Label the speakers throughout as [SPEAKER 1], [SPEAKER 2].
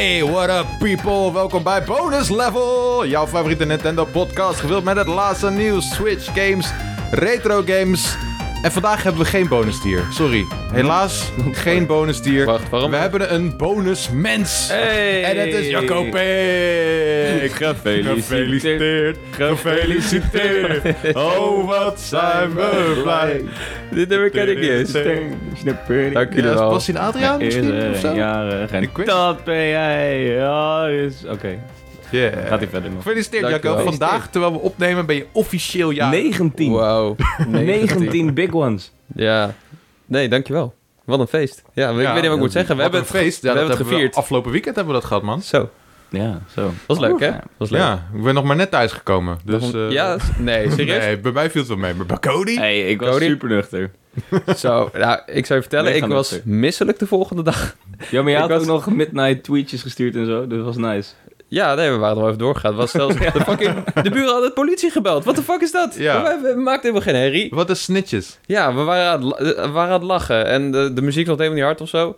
[SPEAKER 1] Goedemorgen, people. Welkom bij Bonus Level, jouw favoriete Nintendo-podcast. Gevuld met het laatste nieuws, Switch games, retro games. En vandaag hebben we geen bonus dier. Sorry. Helaas geen bonus dier.
[SPEAKER 2] Wacht, waarom?
[SPEAKER 1] We hebben een bonus mens.
[SPEAKER 2] Hey.
[SPEAKER 1] En het is Jacob Peek.
[SPEAKER 2] Gefeliciteerd.
[SPEAKER 1] Gefeliciteerd. Oh, wat zijn we blij.
[SPEAKER 2] Dit nummer ken ik niet eens. Dank jullie
[SPEAKER 1] Ja,
[SPEAKER 2] wel.
[SPEAKER 1] was in Adriaan misschien? Of
[SPEAKER 2] Eerder
[SPEAKER 1] zo?
[SPEAKER 2] en jarig en
[SPEAKER 1] Ik weet-
[SPEAKER 2] dat ben jij. Ja, is... Oké,
[SPEAKER 1] Yeah.
[SPEAKER 2] gaat hij verder nog.
[SPEAKER 1] Gefeliciteerd,
[SPEAKER 2] Dank je
[SPEAKER 1] Jacob.
[SPEAKER 2] wel.
[SPEAKER 1] Vandaag, terwijl we opnemen, ben je officieel jarig.
[SPEAKER 2] 19.
[SPEAKER 3] Wauw.
[SPEAKER 2] 19 big ones.
[SPEAKER 3] Ja. Nee, dankjewel. Wat een feest. Ja, maar
[SPEAKER 1] Ja,
[SPEAKER 3] ik weet niet wat ik moet zeggen. We
[SPEAKER 1] Wat
[SPEAKER 3] hebben
[SPEAKER 1] een
[SPEAKER 3] het
[SPEAKER 1] feest. Ja,
[SPEAKER 3] we
[SPEAKER 1] dat
[SPEAKER 3] hebben het
[SPEAKER 1] we
[SPEAKER 3] gevierd.
[SPEAKER 1] afgelopen weekend hebben we dat gehad, man.
[SPEAKER 3] Zo.
[SPEAKER 2] Ja, zo.
[SPEAKER 3] Was leuk, hè?
[SPEAKER 2] Ja.
[SPEAKER 3] Was leuk.
[SPEAKER 1] Ja, ik ben nog maar net thuisgekomen. Dus, eh,
[SPEAKER 3] ja, s- nee, serieus.
[SPEAKER 1] Nee, bij mij viel het wel mee. Maar bij Cody?
[SPEAKER 2] Hey, ik was
[SPEAKER 3] Cody?
[SPEAKER 2] super nuchter.
[SPEAKER 3] Zo, nou, ik zou je vertellen,
[SPEAKER 2] Nee,
[SPEAKER 3] ik
[SPEAKER 2] gaan we
[SPEAKER 3] was
[SPEAKER 2] terug.
[SPEAKER 3] misselijk de volgende dag.
[SPEAKER 2] Ja, maar jij
[SPEAKER 3] Ik
[SPEAKER 2] had
[SPEAKER 3] was-
[SPEAKER 2] ook nog midnight tweetjes gestuurd en zo, dus dat was nice.
[SPEAKER 3] Ja, nee, we waren er wel even doorgegaan. Het Was zelfs de, fucking, de buren hadden de politie gebeld. Wat de fuck is dat?
[SPEAKER 1] Ja.
[SPEAKER 3] We, we maakten helemaal geen herrie.
[SPEAKER 1] Wat een snitches.
[SPEAKER 3] Ja, we waren aan het, la- eh, we waren aan het lachen. En de, de muziek was helemaal niet hard of zo.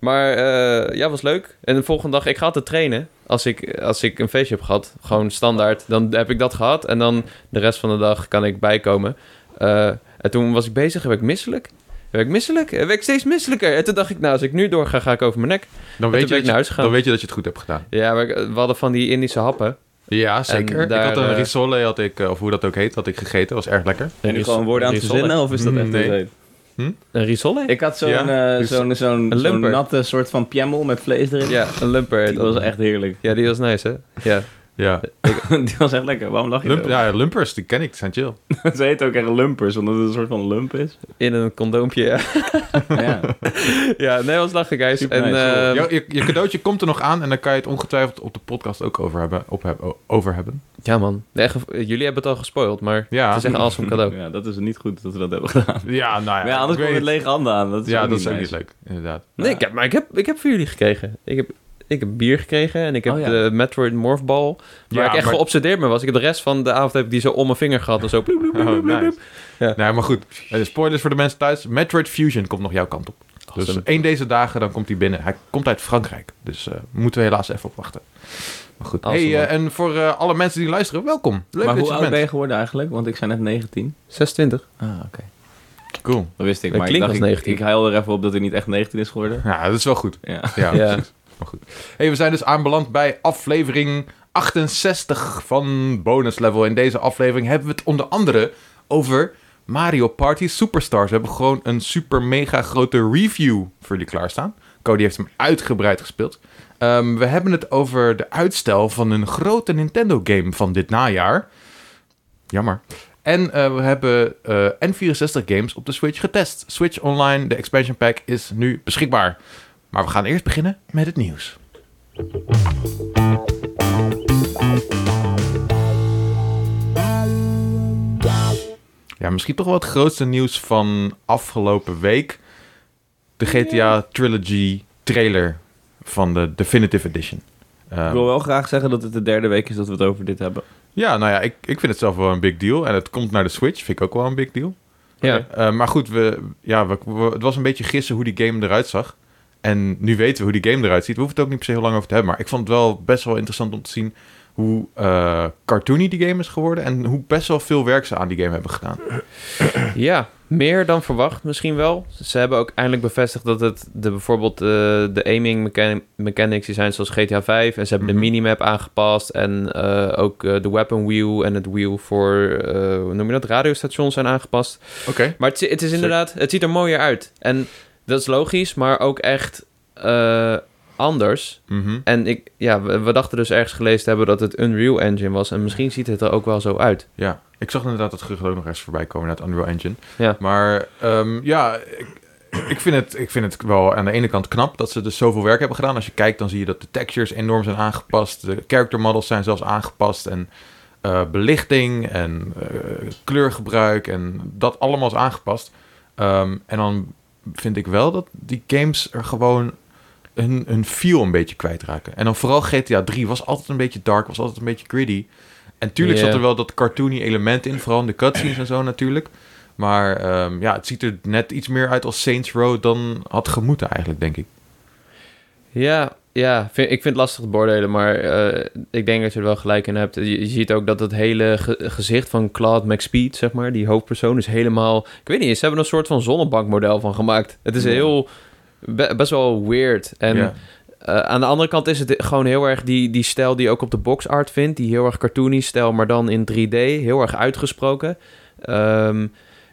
[SPEAKER 3] Maar eh, ja, was leuk. En de volgende dag, ik ga altijd trainen. Als ik, als ik een feestje heb gehad, gewoon standaard, dan heb ik dat gehad. En dan de rest van de dag kan ik bijkomen. Eh, en toen was ik bezig, heb ik misselijk. Heb ik misselijk? Heb ik steeds misselijker? En toen dacht ik, nou, als ik nu doorga, ga ik over mijn nek.
[SPEAKER 1] Dan
[SPEAKER 3] ben
[SPEAKER 1] weet,
[SPEAKER 3] ik
[SPEAKER 1] je dat
[SPEAKER 3] naar huis
[SPEAKER 1] je,
[SPEAKER 3] gegaan.
[SPEAKER 1] dan weet je dat je het goed hebt gedaan.
[SPEAKER 3] Ja, maar ik- we hadden van die Indische happen.
[SPEAKER 1] Ja, zeker.
[SPEAKER 3] daar,
[SPEAKER 1] ik had een
[SPEAKER 3] eh,
[SPEAKER 1] risole, had ik, eh, of hoe dat ook heet, had ik gegeten. was erg lekker.
[SPEAKER 2] En nu gewoon woorden aan te
[SPEAKER 3] risole.
[SPEAKER 2] zinnen, of is dat echt
[SPEAKER 1] Nee.
[SPEAKER 2] een zeep?
[SPEAKER 3] Een risole?
[SPEAKER 2] Ik had zo'n
[SPEAKER 1] Ja,
[SPEAKER 2] eh,
[SPEAKER 1] dus-
[SPEAKER 2] zo'n zo'n
[SPEAKER 3] Een
[SPEAKER 2] zo'n
[SPEAKER 3] lumper.
[SPEAKER 2] natte soort van piemel met vlees erin.
[SPEAKER 3] Ja, een lumper.
[SPEAKER 2] Die was echt heerlijk.
[SPEAKER 3] Ja, die was nice, hè? Ja.
[SPEAKER 1] Ja,
[SPEAKER 2] Die was echt lekker. Waarom lach je
[SPEAKER 1] Lump-
[SPEAKER 2] zo?
[SPEAKER 1] ja lumpers, die ken ik, zijn chill.
[SPEAKER 2] Ze heet ook echt lumpers, omdat het een soort van lump is.
[SPEAKER 3] In een condoompje, ja.
[SPEAKER 2] Ja.
[SPEAKER 3] Ja, nee, was lachen, guys.
[SPEAKER 2] Super
[SPEAKER 3] en,
[SPEAKER 2] nice.
[SPEAKER 3] ehm,
[SPEAKER 1] Jou- je, je cadeautje komt er nog aan en dan kan je het ongetwijfeld op de podcast ook over hebben. Op heb- o- over hebben.
[SPEAKER 3] ja, man. Nee, echt, eh, jullie hebben het al gespoild, maar
[SPEAKER 1] Ja.
[SPEAKER 3] het is echt een awesome cadeau.
[SPEAKER 2] ja, dat is niet goed dat we dat hebben gedaan.
[SPEAKER 1] Ja, nou ja.
[SPEAKER 2] Maar ja, anders
[SPEAKER 1] ik
[SPEAKER 2] komt
[SPEAKER 1] weet
[SPEAKER 2] het lege handen aan. Dat is
[SPEAKER 1] Ja,
[SPEAKER 2] ook
[SPEAKER 1] dat
[SPEAKER 2] niet
[SPEAKER 1] is ook
[SPEAKER 2] nice.
[SPEAKER 1] niet leuk, inderdaad.
[SPEAKER 3] Nee, ik heb, maar ik heb, ik heb voor jullie gekregen. Ik heb, ik heb bier gekregen en ik heb
[SPEAKER 2] Oh, ja.
[SPEAKER 3] de Metroid Morph Ball. Waar
[SPEAKER 1] Ja,
[SPEAKER 3] ik echt
[SPEAKER 1] maar-
[SPEAKER 3] geobsedeerd mee was. Ik heb de rest van de avond heb ik die zo om mijn vinger gehad en zo. bloep, bloep, bloep,
[SPEAKER 1] Oh,
[SPEAKER 3] bloep, bloep,
[SPEAKER 1] nice.
[SPEAKER 3] Ja.
[SPEAKER 1] Nee, maar goed. Eh, Spoilers voor de mensen thuis. Metroid Fusion komt nog jouw kant op. Dus
[SPEAKER 3] Awesome.
[SPEAKER 1] één deze dagen, dan komt hij binnen. Hij komt uit Frankrijk. Dus eh, moeten we helaas even op wachten. Maar goed.
[SPEAKER 3] Awesome,
[SPEAKER 1] hey, eh,
[SPEAKER 3] man.
[SPEAKER 1] en voor eh, alle mensen die luisteren, welkom. Leuk dat
[SPEAKER 2] maar hoe
[SPEAKER 1] je er
[SPEAKER 2] oud ben
[SPEAKER 1] bent.
[SPEAKER 2] je geworden eigenlijk? Want ik zijn net 19.
[SPEAKER 3] 26.
[SPEAKER 2] Ah, oké.
[SPEAKER 1] Cool.
[SPEAKER 2] Dat wist ik,
[SPEAKER 3] Dat
[SPEAKER 2] maar ik
[SPEAKER 3] klinkt
[SPEAKER 2] dacht,
[SPEAKER 3] als
[SPEAKER 2] ik-
[SPEAKER 3] 19.
[SPEAKER 2] Ik, huil er even op dat hij niet echt 19 is geworden.
[SPEAKER 1] Ja, dat is wel goed.
[SPEAKER 2] Ja.
[SPEAKER 1] Ja,
[SPEAKER 3] Ja.
[SPEAKER 1] precies. Maar goed. Hey, we zijn dus aanbeland bij aflevering 68 van Bonus Level. In deze aflevering hebben we het onder andere over Mario Party Superstars. We hebben gewoon een super mega grote review voor jullie klaarstaan. Cody heeft hem uitgebreid gespeeld. Ehm, we hebben het over de uitstel van een grote Nintendo game van dit najaar. Jammer. En eh, we hebben eh, N64 games op de Switch getest. Switch Online, de expansion pack, is nu beschikbaar. Maar we gaan eerst beginnen met het nieuws. Ja, misschien toch wel het grootste nieuws van afgelopen week. De GTA Trilogy trailer van de Definitive Edition.
[SPEAKER 2] Ik
[SPEAKER 1] Ehm,
[SPEAKER 2] wil wel graag zeggen dat het de derde week is dat we het over dit hebben.
[SPEAKER 1] ja, nou ja, ik, ik vind het zelf wel een big deal. En het komt naar de Switch, vind ik ook wel een big deal.
[SPEAKER 3] Ja.
[SPEAKER 1] Eh, maar goed, we, ja, we, we- het was een beetje gissen hoe die game eruit zag. En nu weten we hoe die game eruit ziet. We hoeven het ook niet per se heel lang over te hebben. Maar ik vond het wel best wel interessant om te zien hoe eh, cartoony die game is geworden. En hoe best wel veel werk ze aan die game hebben gedaan.
[SPEAKER 3] ja, meer dan verwacht misschien wel. Ze hebben ook eindelijk bevestigd dat het de, bijvoorbeeld eh, de aiming mechan- mechanics die zijn zoals GTA 5. En ze hebben
[SPEAKER 1] Mhm.
[SPEAKER 3] de minimap aangepast en eh, ook eh, de weapon wheel en het wheel voor, eh, hoe noem je dat, radiostations zijn aangepast.
[SPEAKER 1] Oké.
[SPEAKER 3] Maar het, zi- het is inderdaad, het ziet er mooier uit. En dat is logisch, maar ook echt eh, anders.
[SPEAKER 1] Mhm,
[SPEAKER 3] En ik, ja, we, we dachten dus ergens gelezen te hebben dat het Unreal Engine was. En misschien ziet het er ook wel zo uit.
[SPEAKER 1] Ja, ik zag inderdaad dat gerucht ook nog eens voorbij komen uit Unreal Engine.
[SPEAKER 3] Ja.
[SPEAKER 1] Maar ehm, ja, ik, ik, vind het, ik vind het wel aan de ene kant knap dat ze dus zoveel werk hebben gedaan. Als je kijkt, dan zie je dat de textures enorm zijn aangepast. De character models zijn zelfs aangepast. En eh, belichting en eh, kleurgebruik en dat allemaal is aangepast. Ehm, en dan vind ik wel dat die games er gewoon hun, hun feel een beetje kwijtraken. En dan vooral GTA 3 was altijd een beetje dark, was altijd een beetje gritty. En tuurlijk
[SPEAKER 3] Ja.
[SPEAKER 1] zat er wel dat cartoony element in, vooral in de cutscenes en zo natuurlijk. Maar ehm, ja, het ziet er net iets meer uit als Saints Row dan had gemoeten eigenlijk, denk ik.
[SPEAKER 3] Ja, ja, vind- ik vind het lastig te beoordelen, maar eh, ik denk dat je er wel gelijk in hebt. Je, je ziet ook dat het hele ge- gezicht van Cloud McSpeed, zeg maar, die hoofdpersoon, is helemaal... Ik weet niet, ze hebben er een soort van zonnebankmodel van gemaakt. Het is
[SPEAKER 1] Ja.
[SPEAKER 3] heel... be- best wel weird. En
[SPEAKER 1] ja.
[SPEAKER 3] eh, aan de andere kant is het gewoon heel erg die, die stijl die je ook op de box art vindt. Die heel erg cartoony stijl, maar dan in 3D. Heel erg uitgesproken. Ehm,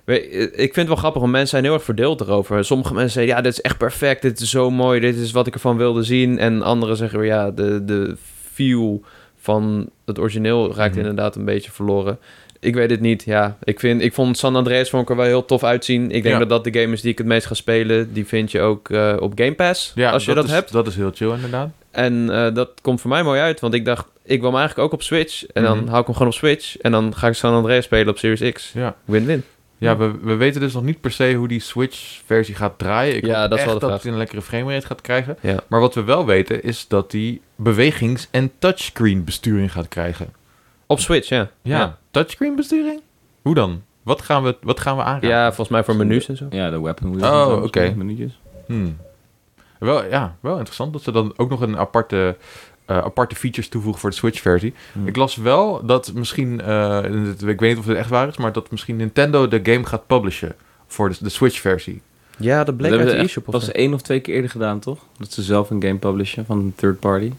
[SPEAKER 3] we- ik vind het wel grappig, want mensen zijn heel erg verdeeld erover. Sommige mensen zeggen, ja, dit is echt perfect. Dit is zo mooi. Dit is wat ik ervan wilde zien. En anderen zeggen weer, ja, de, de feel van het origineel raakt
[SPEAKER 1] Mhm.
[SPEAKER 3] inderdaad een beetje verloren. Ik weet het niet, ja. Ik, vind, ik vond San Andreas vond ik er wel heel tof uitzien. Ik denk
[SPEAKER 1] Ja.
[SPEAKER 3] dat dat de game is die ik het meest ga spelen. Die vind je ook eh, op Game Pass,
[SPEAKER 1] Ja,
[SPEAKER 3] als je dat,
[SPEAKER 1] is,
[SPEAKER 3] hebt.
[SPEAKER 1] Dat is heel chill, inderdaad.
[SPEAKER 3] En eh, dat komt voor mij mooi uit, want ik dacht, ik wil hem eigenlijk ook op Switch. En dan
[SPEAKER 1] Mhm.
[SPEAKER 3] hou ik hem gewoon op Switch. En dan ga ik San Andreas spelen op Series X.
[SPEAKER 1] Ja.
[SPEAKER 3] Win-win.
[SPEAKER 1] Ja, we, we weten dus nog niet per se hoe die Switch-versie gaat draaien. Ik
[SPEAKER 3] Ja,
[SPEAKER 1] hoop
[SPEAKER 3] dat
[SPEAKER 1] echt
[SPEAKER 3] is wel de
[SPEAKER 1] dat
[SPEAKER 3] vraag.
[SPEAKER 1] het een lekkere framerate gaat krijgen.
[SPEAKER 3] Ja.
[SPEAKER 1] Maar wat we wel weten is dat die bewegings- en touchscreen-besturing gaat krijgen.
[SPEAKER 3] Op Switch, ja.
[SPEAKER 1] Ja,
[SPEAKER 3] Ja,
[SPEAKER 1] touchscreen-besturing? Hoe dan? Wat gaan we, wat gaan we aanraken?
[SPEAKER 3] Ja, volgens mij voor menus en zo.
[SPEAKER 2] Ja, de weapon wheels.
[SPEAKER 1] Oh,
[SPEAKER 2] en zo,
[SPEAKER 1] oké.
[SPEAKER 2] misschien, menu'tjes.
[SPEAKER 1] Hmm. Wel, ja, wel interessant dat ze dan ook nog een aparte, eh, aparte features toevoegen voor de Switch-versie.
[SPEAKER 2] Hmm.
[SPEAKER 1] Ik las wel dat misschien, eh, ik weet niet of het echt waar is, maar dat misschien Nintendo de game gaat publishen voor de, de Switch-versie.
[SPEAKER 3] Ja, dat bleek
[SPEAKER 2] Dat
[SPEAKER 3] uit
[SPEAKER 2] hebben ze
[SPEAKER 3] de e-shop. of
[SPEAKER 2] Pas
[SPEAKER 3] zo.
[SPEAKER 2] één of twee keer eerder gedaan, toch? Dat ze zelf een game publishen van een third party.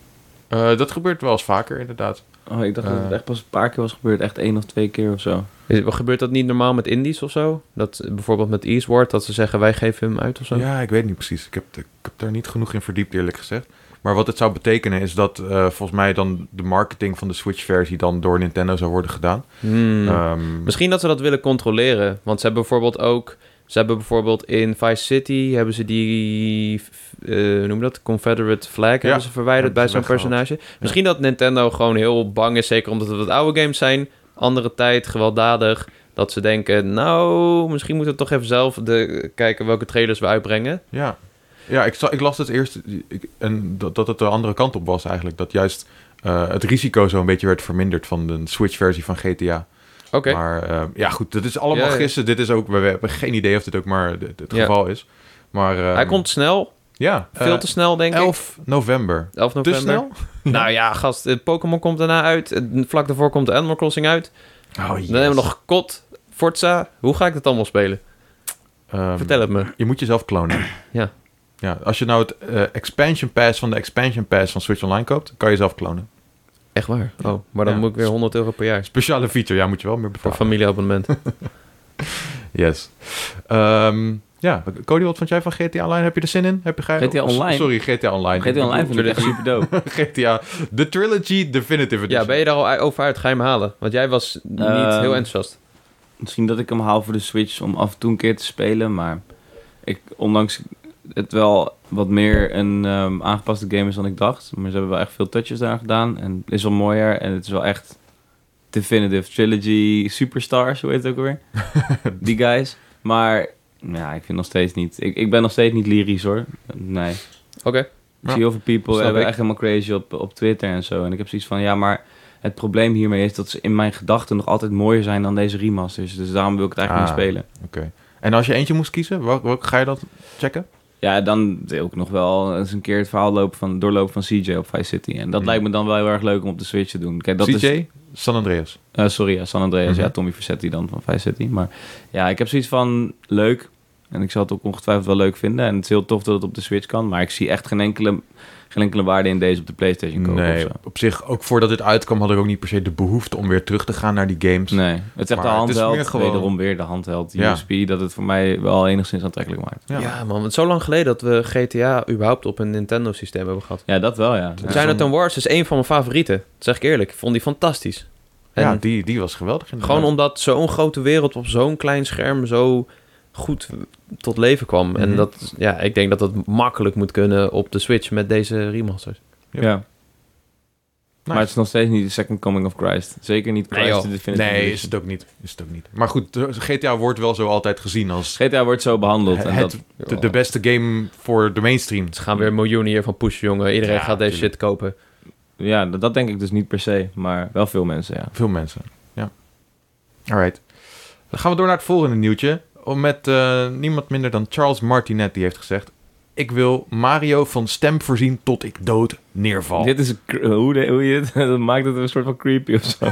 [SPEAKER 1] Eh, dat gebeurt wel eens vaker, inderdaad.
[SPEAKER 2] Oh, ik dacht dat het
[SPEAKER 1] Eh.
[SPEAKER 2] echt pas een paar keer was gebeurd. Echt één of twee keer of zo.
[SPEAKER 3] Is- Gebeurt dat niet normaal met indies of zo? Dat eh, bijvoorbeeld met e-sport, dat ze zeggen, wij geven hem uit of zo?
[SPEAKER 1] Ja, ik weet niet precies. Ik heb, ik heb daar niet genoeg in verdiept, eerlijk gezegd. Maar wat het zou betekenen is dat eh, volgens mij dan de marketing van de Switch-versie dan door Nintendo zou worden gedaan.
[SPEAKER 3] Hmm.
[SPEAKER 1] Ehm,
[SPEAKER 3] Misschien dat ze dat willen controleren. Want ze hebben bijvoorbeeld ook... Ze hebben bijvoorbeeld in Vice City... hebben ze die... eh, hoe noem je dat? Confederate flag hebben ze verwijderd bij
[SPEAKER 1] hebben ze
[SPEAKER 3] zo'n
[SPEAKER 1] weggehaald.
[SPEAKER 3] personage. Misschien dat Nintendo gewoon heel bang is... zeker omdat het wat oude games zijn... andere tijd, gewelddadig... dat ze denken... nou, misschien moeten we toch even zelf... De, kijken welke trailers we uitbrengen.
[SPEAKER 1] Ja, ja ik, za- ik las het eerst ik, en dat, dat het de andere kant op was eigenlijk. Dat juist eh, het risico zo'n beetje werd verminderd van de Switch-versie van GTA.
[SPEAKER 3] Oké.
[SPEAKER 1] Maar eh, ja, goed, dat is allemaal
[SPEAKER 3] Ja, ja.
[SPEAKER 1] gissen. Dit is ook, we, we hebben geen idee of dit ook maar het, het
[SPEAKER 3] Ja.
[SPEAKER 1] geval is. Maar, eh,
[SPEAKER 3] Hij komt snel.
[SPEAKER 1] ja,
[SPEAKER 3] Veel
[SPEAKER 1] eh,
[SPEAKER 3] te snel, denk ik.
[SPEAKER 1] 11 november.
[SPEAKER 3] 11
[SPEAKER 1] Te
[SPEAKER 3] november.
[SPEAKER 1] snel?
[SPEAKER 3] Nou ja, gast. eh, Pokémon komt daarna uit. eh, Vlak daarvoor komt Animal Crossing uit.
[SPEAKER 1] Oh, yes.
[SPEAKER 3] Dan hebben we nog kot, Forza. Hoe ga ik dat allemaal spelen?
[SPEAKER 1] Ehm,
[SPEAKER 3] Vertel het me.
[SPEAKER 1] Je moet jezelf klonen.
[SPEAKER 3] Ja.
[SPEAKER 1] ja. Als je nou het eh, expansion pass van de expansion pass van Switch Online koopt, kan je jezelf klonen.
[SPEAKER 3] Echt waar? Oh, maar dan
[SPEAKER 1] Ja.
[SPEAKER 3] moet ik weer 100 euro per jaar spelen
[SPEAKER 1] Speciale feature, ja, moet je wel meer
[SPEAKER 3] voor
[SPEAKER 1] betalen.
[SPEAKER 3] familieabonnement.
[SPEAKER 1] Yes. Ehm, ja, Cody, wat vond jij van GTA Online? Heb je er zin in? Heb je ge- Oh,
[SPEAKER 2] GTA Online?
[SPEAKER 1] Sorry, GTA Online.
[SPEAKER 2] GTA Online vind ik echt super dope.
[SPEAKER 1] GTA, de Trilogy Definitive Edition.
[SPEAKER 3] ja, ben je daar al over uit? Ga je hem halen? Want jij was niet
[SPEAKER 2] Ehm,
[SPEAKER 3] heel enthousiast.
[SPEAKER 2] Misschien dat ik hem haal voor de Switch om af en toe een keer te spelen. Maar ik, ondanks het wel wat meer een ehm, aangepaste game is dan ik dacht. Maar ze hebben wel echt veel touches daar gedaan. En het is wel mooier. En het is wel echt Definitive Trilogy Superstars, hoe heet het ook alweer? Die guys. Maar ja, ik vind nog steeds niet... Ik, ik ben nog steeds niet lyrisch hoor. Nee.
[SPEAKER 3] Oké.
[SPEAKER 2] Ik
[SPEAKER 1] Ja,
[SPEAKER 2] zie heel veel people
[SPEAKER 3] snap
[SPEAKER 2] hebben
[SPEAKER 3] ik.
[SPEAKER 2] echt helemaal crazy op, op Twitter en zo. En ik heb zoiets van, ja, maar het probleem hiermee is dat ze in mijn gedachten nog altijd mooier zijn dan deze remasters. Dus daarom wil ik het eigenlijk
[SPEAKER 1] Ah.
[SPEAKER 2] niet spelen.
[SPEAKER 1] En als je eentje moest kiezen, welk, welk ga je dat checken?
[SPEAKER 2] Ja, dan wil ik nog wel eens een keer het verhaal lopen van, doorlopen van CJ op Vice City. En dat
[SPEAKER 1] Hmm.
[SPEAKER 2] lijkt me dan wel heel erg leuk om op de Switch te doen. Kijk, dat
[SPEAKER 1] CJ,
[SPEAKER 2] is,
[SPEAKER 1] San Andreas.
[SPEAKER 2] eh, sorry, ja, San Andreas.
[SPEAKER 1] Mhm.
[SPEAKER 2] Ja, Tommy Vercetti dan van Vice City. Maar ja, ik heb zoiets van, leuk. En ik zal het ook ongetwijfeld wel leuk vinden. En het is heel tof dat het op de Switch kan. Maar ik zie echt geen enkele, geen enkele waarde in deze op de PlayStation kopen of
[SPEAKER 1] Nee,
[SPEAKER 2] zo.
[SPEAKER 1] op zich, ook voordat dit uitkwam, had ik ook niet per se de behoefte om weer terug te gaan naar die games.
[SPEAKER 2] Nee, het is echt
[SPEAKER 1] Maar
[SPEAKER 2] de
[SPEAKER 1] het is
[SPEAKER 2] handheld,
[SPEAKER 1] meer gewoon-
[SPEAKER 2] wederom weer de handheld
[SPEAKER 1] Ja.
[SPEAKER 2] USP, dat het voor mij wel enigszins aantrekkelijk maakt.
[SPEAKER 3] Ja. man. Het is zo lang geleden dat we GTA überhaupt op een Nintendo-systeem hebben gehad.
[SPEAKER 2] Ja, dat wel, ja.
[SPEAKER 1] Ja.
[SPEAKER 2] ja.
[SPEAKER 3] Chinatown Wars is een van mijn favorieten. Dat zeg ik eerlijk. Ik vond die fantastisch. En
[SPEAKER 1] Ja, die, die was geweldig. inderdaad.
[SPEAKER 3] Gewoon omdat zo'n grote wereld op zo'n klein scherm zo goed tot leven kwam. En
[SPEAKER 1] Mhm.
[SPEAKER 3] dat, ja, ik denk dat dat makkelijk moet kunnen op de Switch met deze remasters.
[SPEAKER 1] Ja.
[SPEAKER 2] Maar het is nog steeds niet de Second Coming of Christ. Zeker niet
[SPEAKER 3] Nee,
[SPEAKER 2] Christ
[SPEAKER 3] joh.
[SPEAKER 2] the Definitive
[SPEAKER 1] Nee, is
[SPEAKER 2] Edition.
[SPEAKER 1] het ook niet. Is het ook niet. Maar goed, de- GTA wordt wel zo altijd gezien als
[SPEAKER 2] GTA wordt zo behandeld. En
[SPEAKER 1] het,
[SPEAKER 2] dat,
[SPEAKER 1] de, de beste game voor de mainstream.
[SPEAKER 3] Ze gaan weer miljoenen hiervan pushen, jongen. Iedereen
[SPEAKER 1] Ja,
[SPEAKER 3] gaat deze
[SPEAKER 1] tuurlijk.
[SPEAKER 3] shit kopen.
[SPEAKER 2] ja, dat, dat denk ik dus niet per se, maar wel veel mensen, ja.
[SPEAKER 1] Veel mensen. Ja. Alright. Oh, Dan gaan we door naar het volgende nieuwtje. Om Met eh, niemand minder dan Charles Martinet, die heeft gezegd... Ik wil Mario van stem voorzien tot ik dood neerval.
[SPEAKER 2] Dit is een cr- hoe, de, hoe je dit dat maakt het een soort van creepy of zo.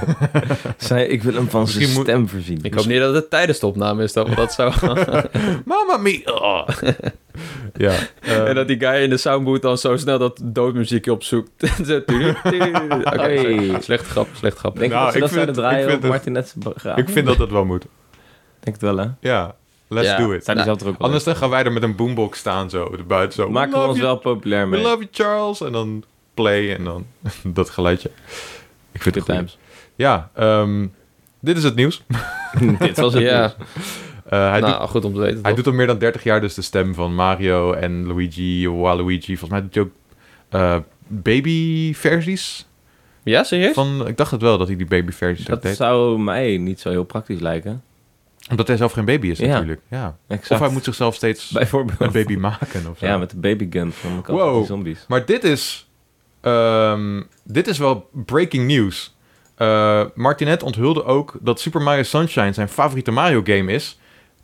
[SPEAKER 2] Zij, ik wil hem van zijn
[SPEAKER 1] Misschien moet-
[SPEAKER 2] stem voorzien.
[SPEAKER 3] Ik hoop niet dat het tijdens de opname is, dat we dat zo...
[SPEAKER 1] Mama mia! Oh. ja. eh,
[SPEAKER 3] en dat die guy in de soundboot dan zo snel dat doodmuziekje opzoekt. Zo, tudu, tudu. Oké,
[SPEAKER 2] Hey.
[SPEAKER 3] sorry. slecht grap, slecht grap.
[SPEAKER 2] Denk je
[SPEAKER 1] Nou,
[SPEAKER 2] dat ze
[SPEAKER 1] ik
[SPEAKER 2] dat
[SPEAKER 1] vind het-
[SPEAKER 2] zouden
[SPEAKER 1] ik
[SPEAKER 2] draaien
[SPEAKER 1] vind
[SPEAKER 2] op
[SPEAKER 1] het-
[SPEAKER 2] Martinet's begrafenis?
[SPEAKER 1] Eh, ik vind dat dat wel moet.
[SPEAKER 2] Denk het wel, hè?
[SPEAKER 1] Ja, let's
[SPEAKER 3] Ja.
[SPEAKER 1] do it.
[SPEAKER 2] Zijn die
[SPEAKER 3] Nou,
[SPEAKER 2] zelf er ook wel
[SPEAKER 1] Anders dan gaan wij er met een boombox staan zo, er buiten zo.
[SPEAKER 2] in? Maken we
[SPEAKER 1] love
[SPEAKER 2] ons
[SPEAKER 1] you,
[SPEAKER 2] wel populair
[SPEAKER 1] We
[SPEAKER 2] mee.
[SPEAKER 1] love you, Charles. En dan play en dan dat geluidje. Ik vind
[SPEAKER 2] Good
[SPEAKER 1] het goed.
[SPEAKER 2] times.
[SPEAKER 1] Ja, ehm, dit is het nieuws.
[SPEAKER 2] Dit was het
[SPEAKER 3] Ja,
[SPEAKER 1] Eh, hij, doet,
[SPEAKER 3] nou, goed om te weten.
[SPEAKER 1] hij
[SPEAKER 3] toch?
[SPEAKER 1] doet al meer dan 30 jaar dus de stem van Mario en Luigi, Waluigi. Volgens mij doet hij ook eh, babyversies.
[SPEAKER 3] Ja, serieus?
[SPEAKER 1] Van, ik dacht het wel dat hij die babyversies ook
[SPEAKER 2] Dat
[SPEAKER 1] deed.
[SPEAKER 2] zou mij niet zo heel praktisch lijken.
[SPEAKER 1] Omdat hij zelf geen baby is
[SPEAKER 2] Ja.
[SPEAKER 1] natuurlijk. Ja. Of
[SPEAKER 2] Exact.
[SPEAKER 1] hij moet zichzelf steeds een
[SPEAKER 2] Bijvoorbeeld.
[SPEAKER 1] baby maken of zo.
[SPEAKER 2] Ja, met de babygun van de kant
[SPEAKER 1] Wow.
[SPEAKER 2] van die zombies.
[SPEAKER 1] Maar dit is, ehm, dit is wel breaking news. Eh, Martinet onthulde ook dat Super Mario Sunshine zijn favoriete Mario game is.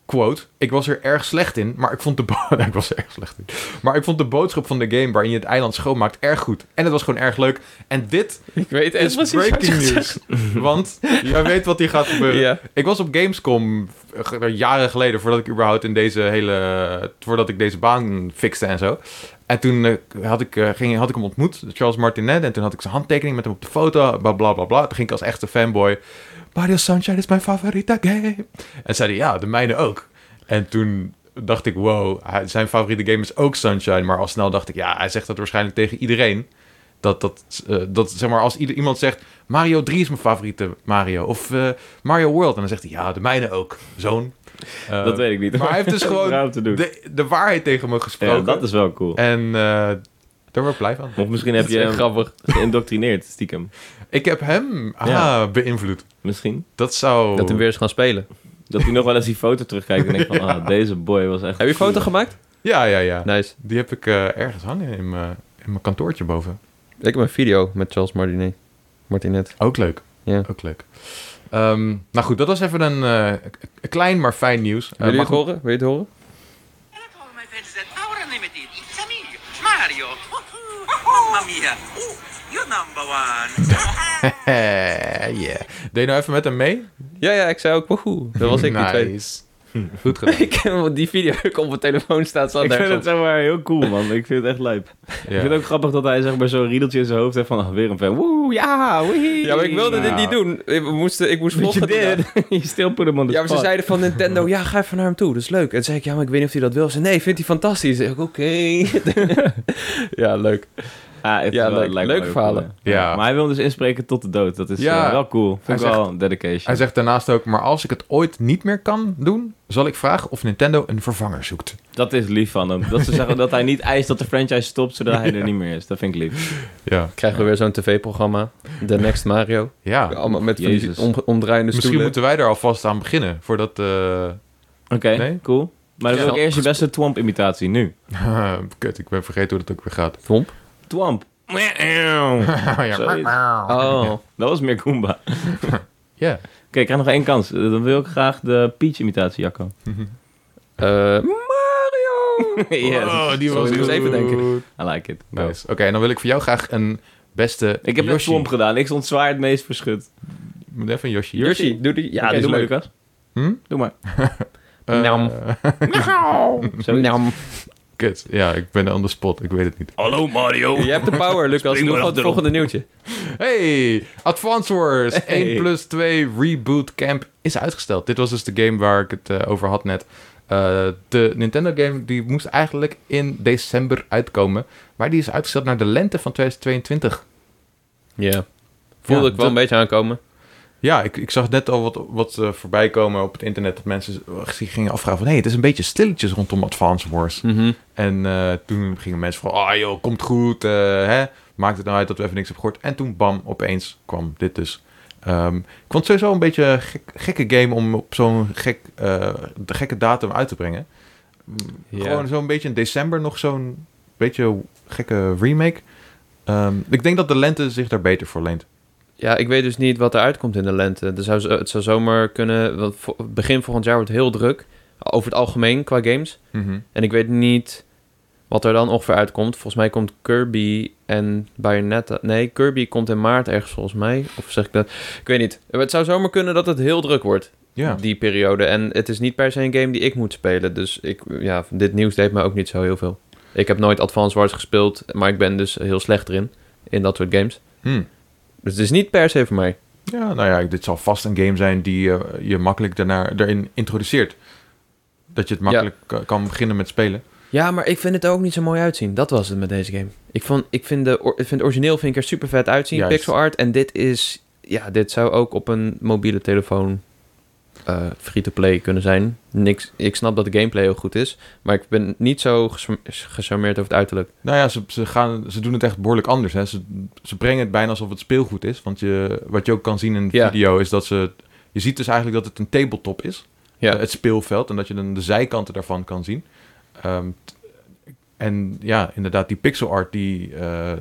[SPEAKER 1] Quote, ik was er erg slecht in, maar ik vond de, bo- ik was er erg slecht in. Maar ik vond de boodschap van de game waarin je het eiland schoonmaakt erg goed. En het was gewoon erg leuk. En dit
[SPEAKER 3] Ik weet
[SPEAKER 1] is breaking news. Want jij weet wat hier gaat gebeuren.
[SPEAKER 3] Ja.
[SPEAKER 1] Ik was op Gamescom eh, ge- jaren geleden, voordat ik überhaupt in deze hele. voordat ik deze baan fixte en zo. En toen eh, had, ik, eh, ging, had ik hem ontmoet, Charles Martinet. En toen had ik zijn handtekening met hem op de foto. Bla bla bla bla. Toen ging ik als echte fanboy. Mario Sunshine is mijn favoriete game. En zei hij, ja, de mijne ook. En toen dacht ik, wow, hij- zijn favoriete game is ook Sunshine. Maar al snel dacht ik, ja, hij zegt dat waarschijnlijk tegen iedereen. Dat, dat, eh, dat zeg maar, als ieder, iemand zegt, Mario 3 is mijn favoriete Mario. Of eh, Mario World. En dan zegt hij, ja, de mijne ook, zoon. Eh,
[SPEAKER 2] dat weet ik niet.
[SPEAKER 1] maar hij heeft dus gewoon
[SPEAKER 2] Ruim te doen.
[SPEAKER 1] de, de waarheid tegen me gesproken.
[SPEAKER 2] Ja, dat is wel cool.
[SPEAKER 1] En eh, daar word ik blij van.
[SPEAKER 2] Of misschien heb je hem
[SPEAKER 3] grappig.
[SPEAKER 2] geïndoctrineerd, stiekem.
[SPEAKER 1] Ik heb hem ah,
[SPEAKER 2] Ja.
[SPEAKER 1] beïnvloed.
[SPEAKER 2] Misschien.
[SPEAKER 1] Dat zou...
[SPEAKER 3] Dat hij weer eens gaan spelen.
[SPEAKER 2] Dat hij nog wel eens die foto terugkijkt en denkt van, ah, deze boy was echt...
[SPEAKER 3] Heb je een foto gemaakt?
[SPEAKER 1] Ja, ja, ja.
[SPEAKER 3] Nice.
[SPEAKER 1] Die heb ik eh, ergens hangen in mijn in mijn kantoortje boven.
[SPEAKER 3] Ik heb een video met Charles Martinet. Martinet.
[SPEAKER 1] Ook leuk.
[SPEAKER 3] Ja.
[SPEAKER 1] Ook leuk. Ehm, nou goed, dat was even een eh, k- k- klein maar fijn nieuws. Eh,
[SPEAKER 3] Wil je
[SPEAKER 1] mag-
[SPEAKER 3] het horen? Wil je het horen?
[SPEAKER 4] Ecco come pensate, ora ne mettete, it's a me, Mario. Mamma mia, oh, you're number one.
[SPEAKER 1] Eh, yeah. Deed je nou even met hem mee?
[SPEAKER 3] Ja, ja, ik zei ook woehoe. Dat was ik, die twee.
[SPEAKER 1] Nice. Goed gedaan.
[SPEAKER 3] Ik heb die video ook op mijn telefoon staat. staat
[SPEAKER 2] Ik vind
[SPEAKER 3] nergens
[SPEAKER 2] het
[SPEAKER 3] op.
[SPEAKER 2] zeg maar heel cool, man. Ik vind het echt lijp. Ik
[SPEAKER 1] Ja.
[SPEAKER 2] vind het ook grappig dat hij zeg maar zo'n riedeltje in zijn hoofd heeft van, ah, weer een fan. Woe, ja, woeie.
[SPEAKER 3] Ja, maar ik wilde dit
[SPEAKER 1] Nou.
[SPEAKER 3] niet doen. Ik moest, ik moest
[SPEAKER 2] Wat je
[SPEAKER 3] vloggen. daarna.
[SPEAKER 2] dit? je still put him on the
[SPEAKER 3] Ja, maar ze
[SPEAKER 2] spot.
[SPEAKER 3] zeiden van Nintendo, ja, ga even naar hem toe, dat is leuk. En toen zei ik, ja, maar ik weet niet of hij dat wil. Ze zei, nee, vindt hij fantastisch. Ik zeg, oké. ja, leuk.
[SPEAKER 2] Ah, het
[SPEAKER 3] Ja,
[SPEAKER 2] is wel-
[SPEAKER 3] leuk.
[SPEAKER 2] lijkt me
[SPEAKER 3] Leuke
[SPEAKER 2] wel
[SPEAKER 3] verhalen.
[SPEAKER 2] cool,
[SPEAKER 1] Ja.
[SPEAKER 2] Maar hij wil hem dus inspreken tot de dood. Dat is
[SPEAKER 1] Ja.
[SPEAKER 2] eh, wel cool. Vond
[SPEAKER 1] Hij
[SPEAKER 2] ik wel dedication.
[SPEAKER 1] Hij zegt daarnaast ook, maar als ik het ooit niet meer kan doen, zal ik vragen of Nintendo een vervanger zoekt.
[SPEAKER 2] Dat is lief van hem. Dat ze zeggen dat hij niet eist dat de franchise stopt zodra hij er niet meer is. Dat vind ik lief.
[SPEAKER 1] Ja.
[SPEAKER 3] Krijgen we weer zo'n tv-programma, The Next Mario.
[SPEAKER 1] ja.
[SPEAKER 3] Allemaal met van die
[SPEAKER 2] Jezus.
[SPEAKER 3] om- omdraaiende
[SPEAKER 1] Misschien
[SPEAKER 3] stoelen.
[SPEAKER 1] moeten wij daar alvast aan beginnen, voordat... eh,
[SPEAKER 2] Oké,
[SPEAKER 1] Nee?
[SPEAKER 2] cool. Maar dan
[SPEAKER 3] Ja.
[SPEAKER 2] wil ik eerst je beste Twamp-imitatie nu.
[SPEAKER 1] Kut, ik ben vergeten hoe dat ook weer gaat.
[SPEAKER 3] Tromp?
[SPEAKER 2] Twamp. Zoiets.
[SPEAKER 1] ja.
[SPEAKER 3] Oh.
[SPEAKER 2] Dat was meer Goomba. Oké,
[SPEAKER 1] Ja.
[SPEAKER 2] ik krijg nog één kans. Eh, Dan wil ik graag de Peach-imitatie, Jacco.
[SPEAKER 3] Eh, Mario!
[SPEAKER 2] yes.
[SPEAKER 1] Oh, die
[SPEAKER 3] Sorry,
[SPEAKER 1] was
[SPEAKER 3] ik moest even denken.
[SPEAKER 2] I like it. Go.
[SPEAKER 1] Nice. Oké, en dan wil ik voor jou graag een beste
[SPEAKER 2] Ik heb net
[SPEAKER 1] Yoshi.
[SPEAKER 2] Twamp gedaan. Ik stond zwaar het meest verschut.
[SPEAKER 1] Moet even een Yoshi.
[SPEAKER 3] Yoshi, doe die. Ja,
[SPEAKER 2] Oké,
[SPEAKER 3] dat is
[SPEAKER 2] doe maar,
[SPEAKER 3] leuk.
[SPEAKER 2] Lucas.
[SPEAKER 1] Hm?
[SPEAKER 2] Doe maar.
[SPEAKER 1] Eh,
[SPEAKER 3] Nam.
[SPEAKER 2] Zo.
[SPEAKER 3] Nou,
[SPEAKER 1] Kut. Ja, ik ben on the spot. Ik weet het niet.
[SPEAKER 5] Hallo Mario.
[SPEAKER 3] je hebt de power, Lucas. Doe
[SPEAKER 5] maar
[SPEAKER 3] gewoon het
[SPEAKER 5] achterop.
[SPEAKER 3] volgende nieuwtje.
[SPEAKER 1] Hey! Advance Wars 1 plus 2 Reboot Camp is uitgesteld. Dit was dus de game waar ik het eh, over had net. Eh, de Nintendo game die moest eigenlijk in december uitkomen. Maar die is uitgesteld naar de lente van 2022.
[SPEAKER 3] Ja. Voelde
[SPEAKER 1] Ja,
[SPEAKER 3] ik wel een
[SPEAKER 1] dat-
[SPEAKER 3] beetje aankomen.
[SPEAKER 1] Ja, ik, ik zag net al wat, wat eh, voorbij komen op het internet. Dat mensen eh, zich gingen afvragen van... hé, hey, het is een beetje stilletjes rondom Advance Wars. En eh, toen gingen mensen van... ah joh, komt goed. eh, hè? Maakt het nou uit dat we even niks hebben gehoord. En toen bam, opeens kwam dit dus. Ehm, ik vond het sowieso een beetje een gek- gekke game... om op zo'n gek, eh, de gekke datum uit te brengen.
[SPEAKER 3] Ja.
[SPEAKER 1] Gewoon zo'n beetje in december nog zo'n... beetje gekke remake. Ehm, ik denk dat de lente zich daar beter voor leent.
[SPEAKER 3] Ja, ik weet dus niet wat er uitkomt in de lente. Er zou, het zou zomaar kunnen... Want vo- begin volgend jaar wordt heel druk. Over het algemeen qua games.
[SPEAKER 1] Mhm.
[SPEAKER 3] En ik weet niet Wat er dan ongeveer uitkomt. Volgens mij komt Kirby en Bayonetta... Nee, Kirby komt in maart ergens volgens mij. Of zeg ik dat? Ik weet niet. Maar Het zou zomaar kunnen dat het heel druk wordt.
[SPEAKER 1] Ja.
[SPEAKER 3] Die periode. En het is niet per se een game die ik moet spelen. Dus ik, ja, dit nieuws deed mij ook niet zo heel veel. Ik heb nooit Advance Wars gespeeld. Maar ik ben dus heel slecht erin. In dat soort games.
[SPEAKER 1] Hm.
[SPEAKER 3] Dus het is niet per se voor mij.
[SPEAKER 1] Ja, nou ja, dit zal vast een game zijn die eh, je makkelijk daarna, erin introduceert. Dat je het makkelijk eh, kan beginnen met spelen.
[SPEAKER 3] Ja, maar ik vind het er ook niet zo mooi uitzien. Dat was het met deze game. Ik, vond, ik vind, de, or- ik vind het origineel vind ik er super vet uitzien,
[SPEAKER 1] Juist.
[SPEAKER 3] pixel art. En dit is, ja, dit zou ook op een mobiele telefoon eh, free-to-play kunnen zijn. Niks, ik snap dat de gameplay heel goed is, maar ik ben niet zo gesm- gecharmeerd over het uiterlijk.
[SPEAKER 1] Nou ja, ze, ze, gaan, ze doen het echt behoorlijk anders. Hè. Ze, ze brengen het bijna alsof het speelgoed is. Want je, wat je ook kan zien in de
[SPEAKER 3] Ja.
[SPEAKER 1] video is dat ze... Je ziet dus eigenlijk dat het een tabletop is.
[SPEAKER 3] Ja.
[SPEAKER 1] eh, Het speelveld. En dat je dan de zijkanten daarvan kan zien. Ehm, t- en ja, inderdaad, die pixel art die, eh,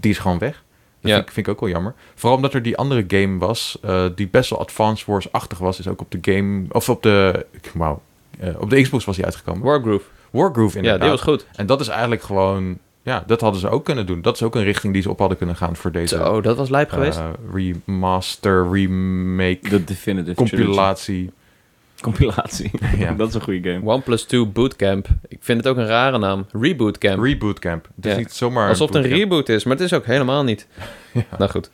[SPEAKER 1] die is gewoon weg. Dat
[SPEAKER 3] Ja.
[SPEAKER 1] vind, ik, vind ik ook wel jammer. Vooral omdat er die andere game was, eh, die best wel Advance Wars-achtig was, is ook op de game. Of op de. Wauw. eh, op de Xbox was die uitgekomen.
[SPEAKER 3] Wargroove.
[SPEAKER 1] Wargroove
[SPEAKER 3] Ja,
[SPEAKER 1] inderdaad.
[SPEAKER 3] die was goed.
[SPEAKER 1] En dat is eigenlijk gewoon. Ja, dat hadden ze ook kunnen doen. Dat is ook een richting die ze op hadden kunnen gaan voor deze
[SPEAKER 3] Zo, dat was lijp
[SPEAKER 1] eh,
[SPEAKER 3] geweest.
[SPEAKER 1] remaster, remake,
[SPEAKER 2] De Definitive Trilogy.
[SPEAKER 1] compilatie.
[SPEAKER 2] Compilatie.
[SPEAKER 1] Ja.
[SPEAKER 2] Dat is een goede game.
[SPEAKER 3] OnePlus 2 Bootcamp. Ik vind het ook een rare naam. Reboot Camp.
[SPEAKER 1] Reboot Camp. Het is
[SPEAKER 3] Ja.
[SPEAKER 1] niet zomaar.
[SPEAKER 3] Alsof het een
[SPEAKER 1] bootcamp.
[SPEAKER 3] reboot is, maar het is ook helemaal niet. Nou goed.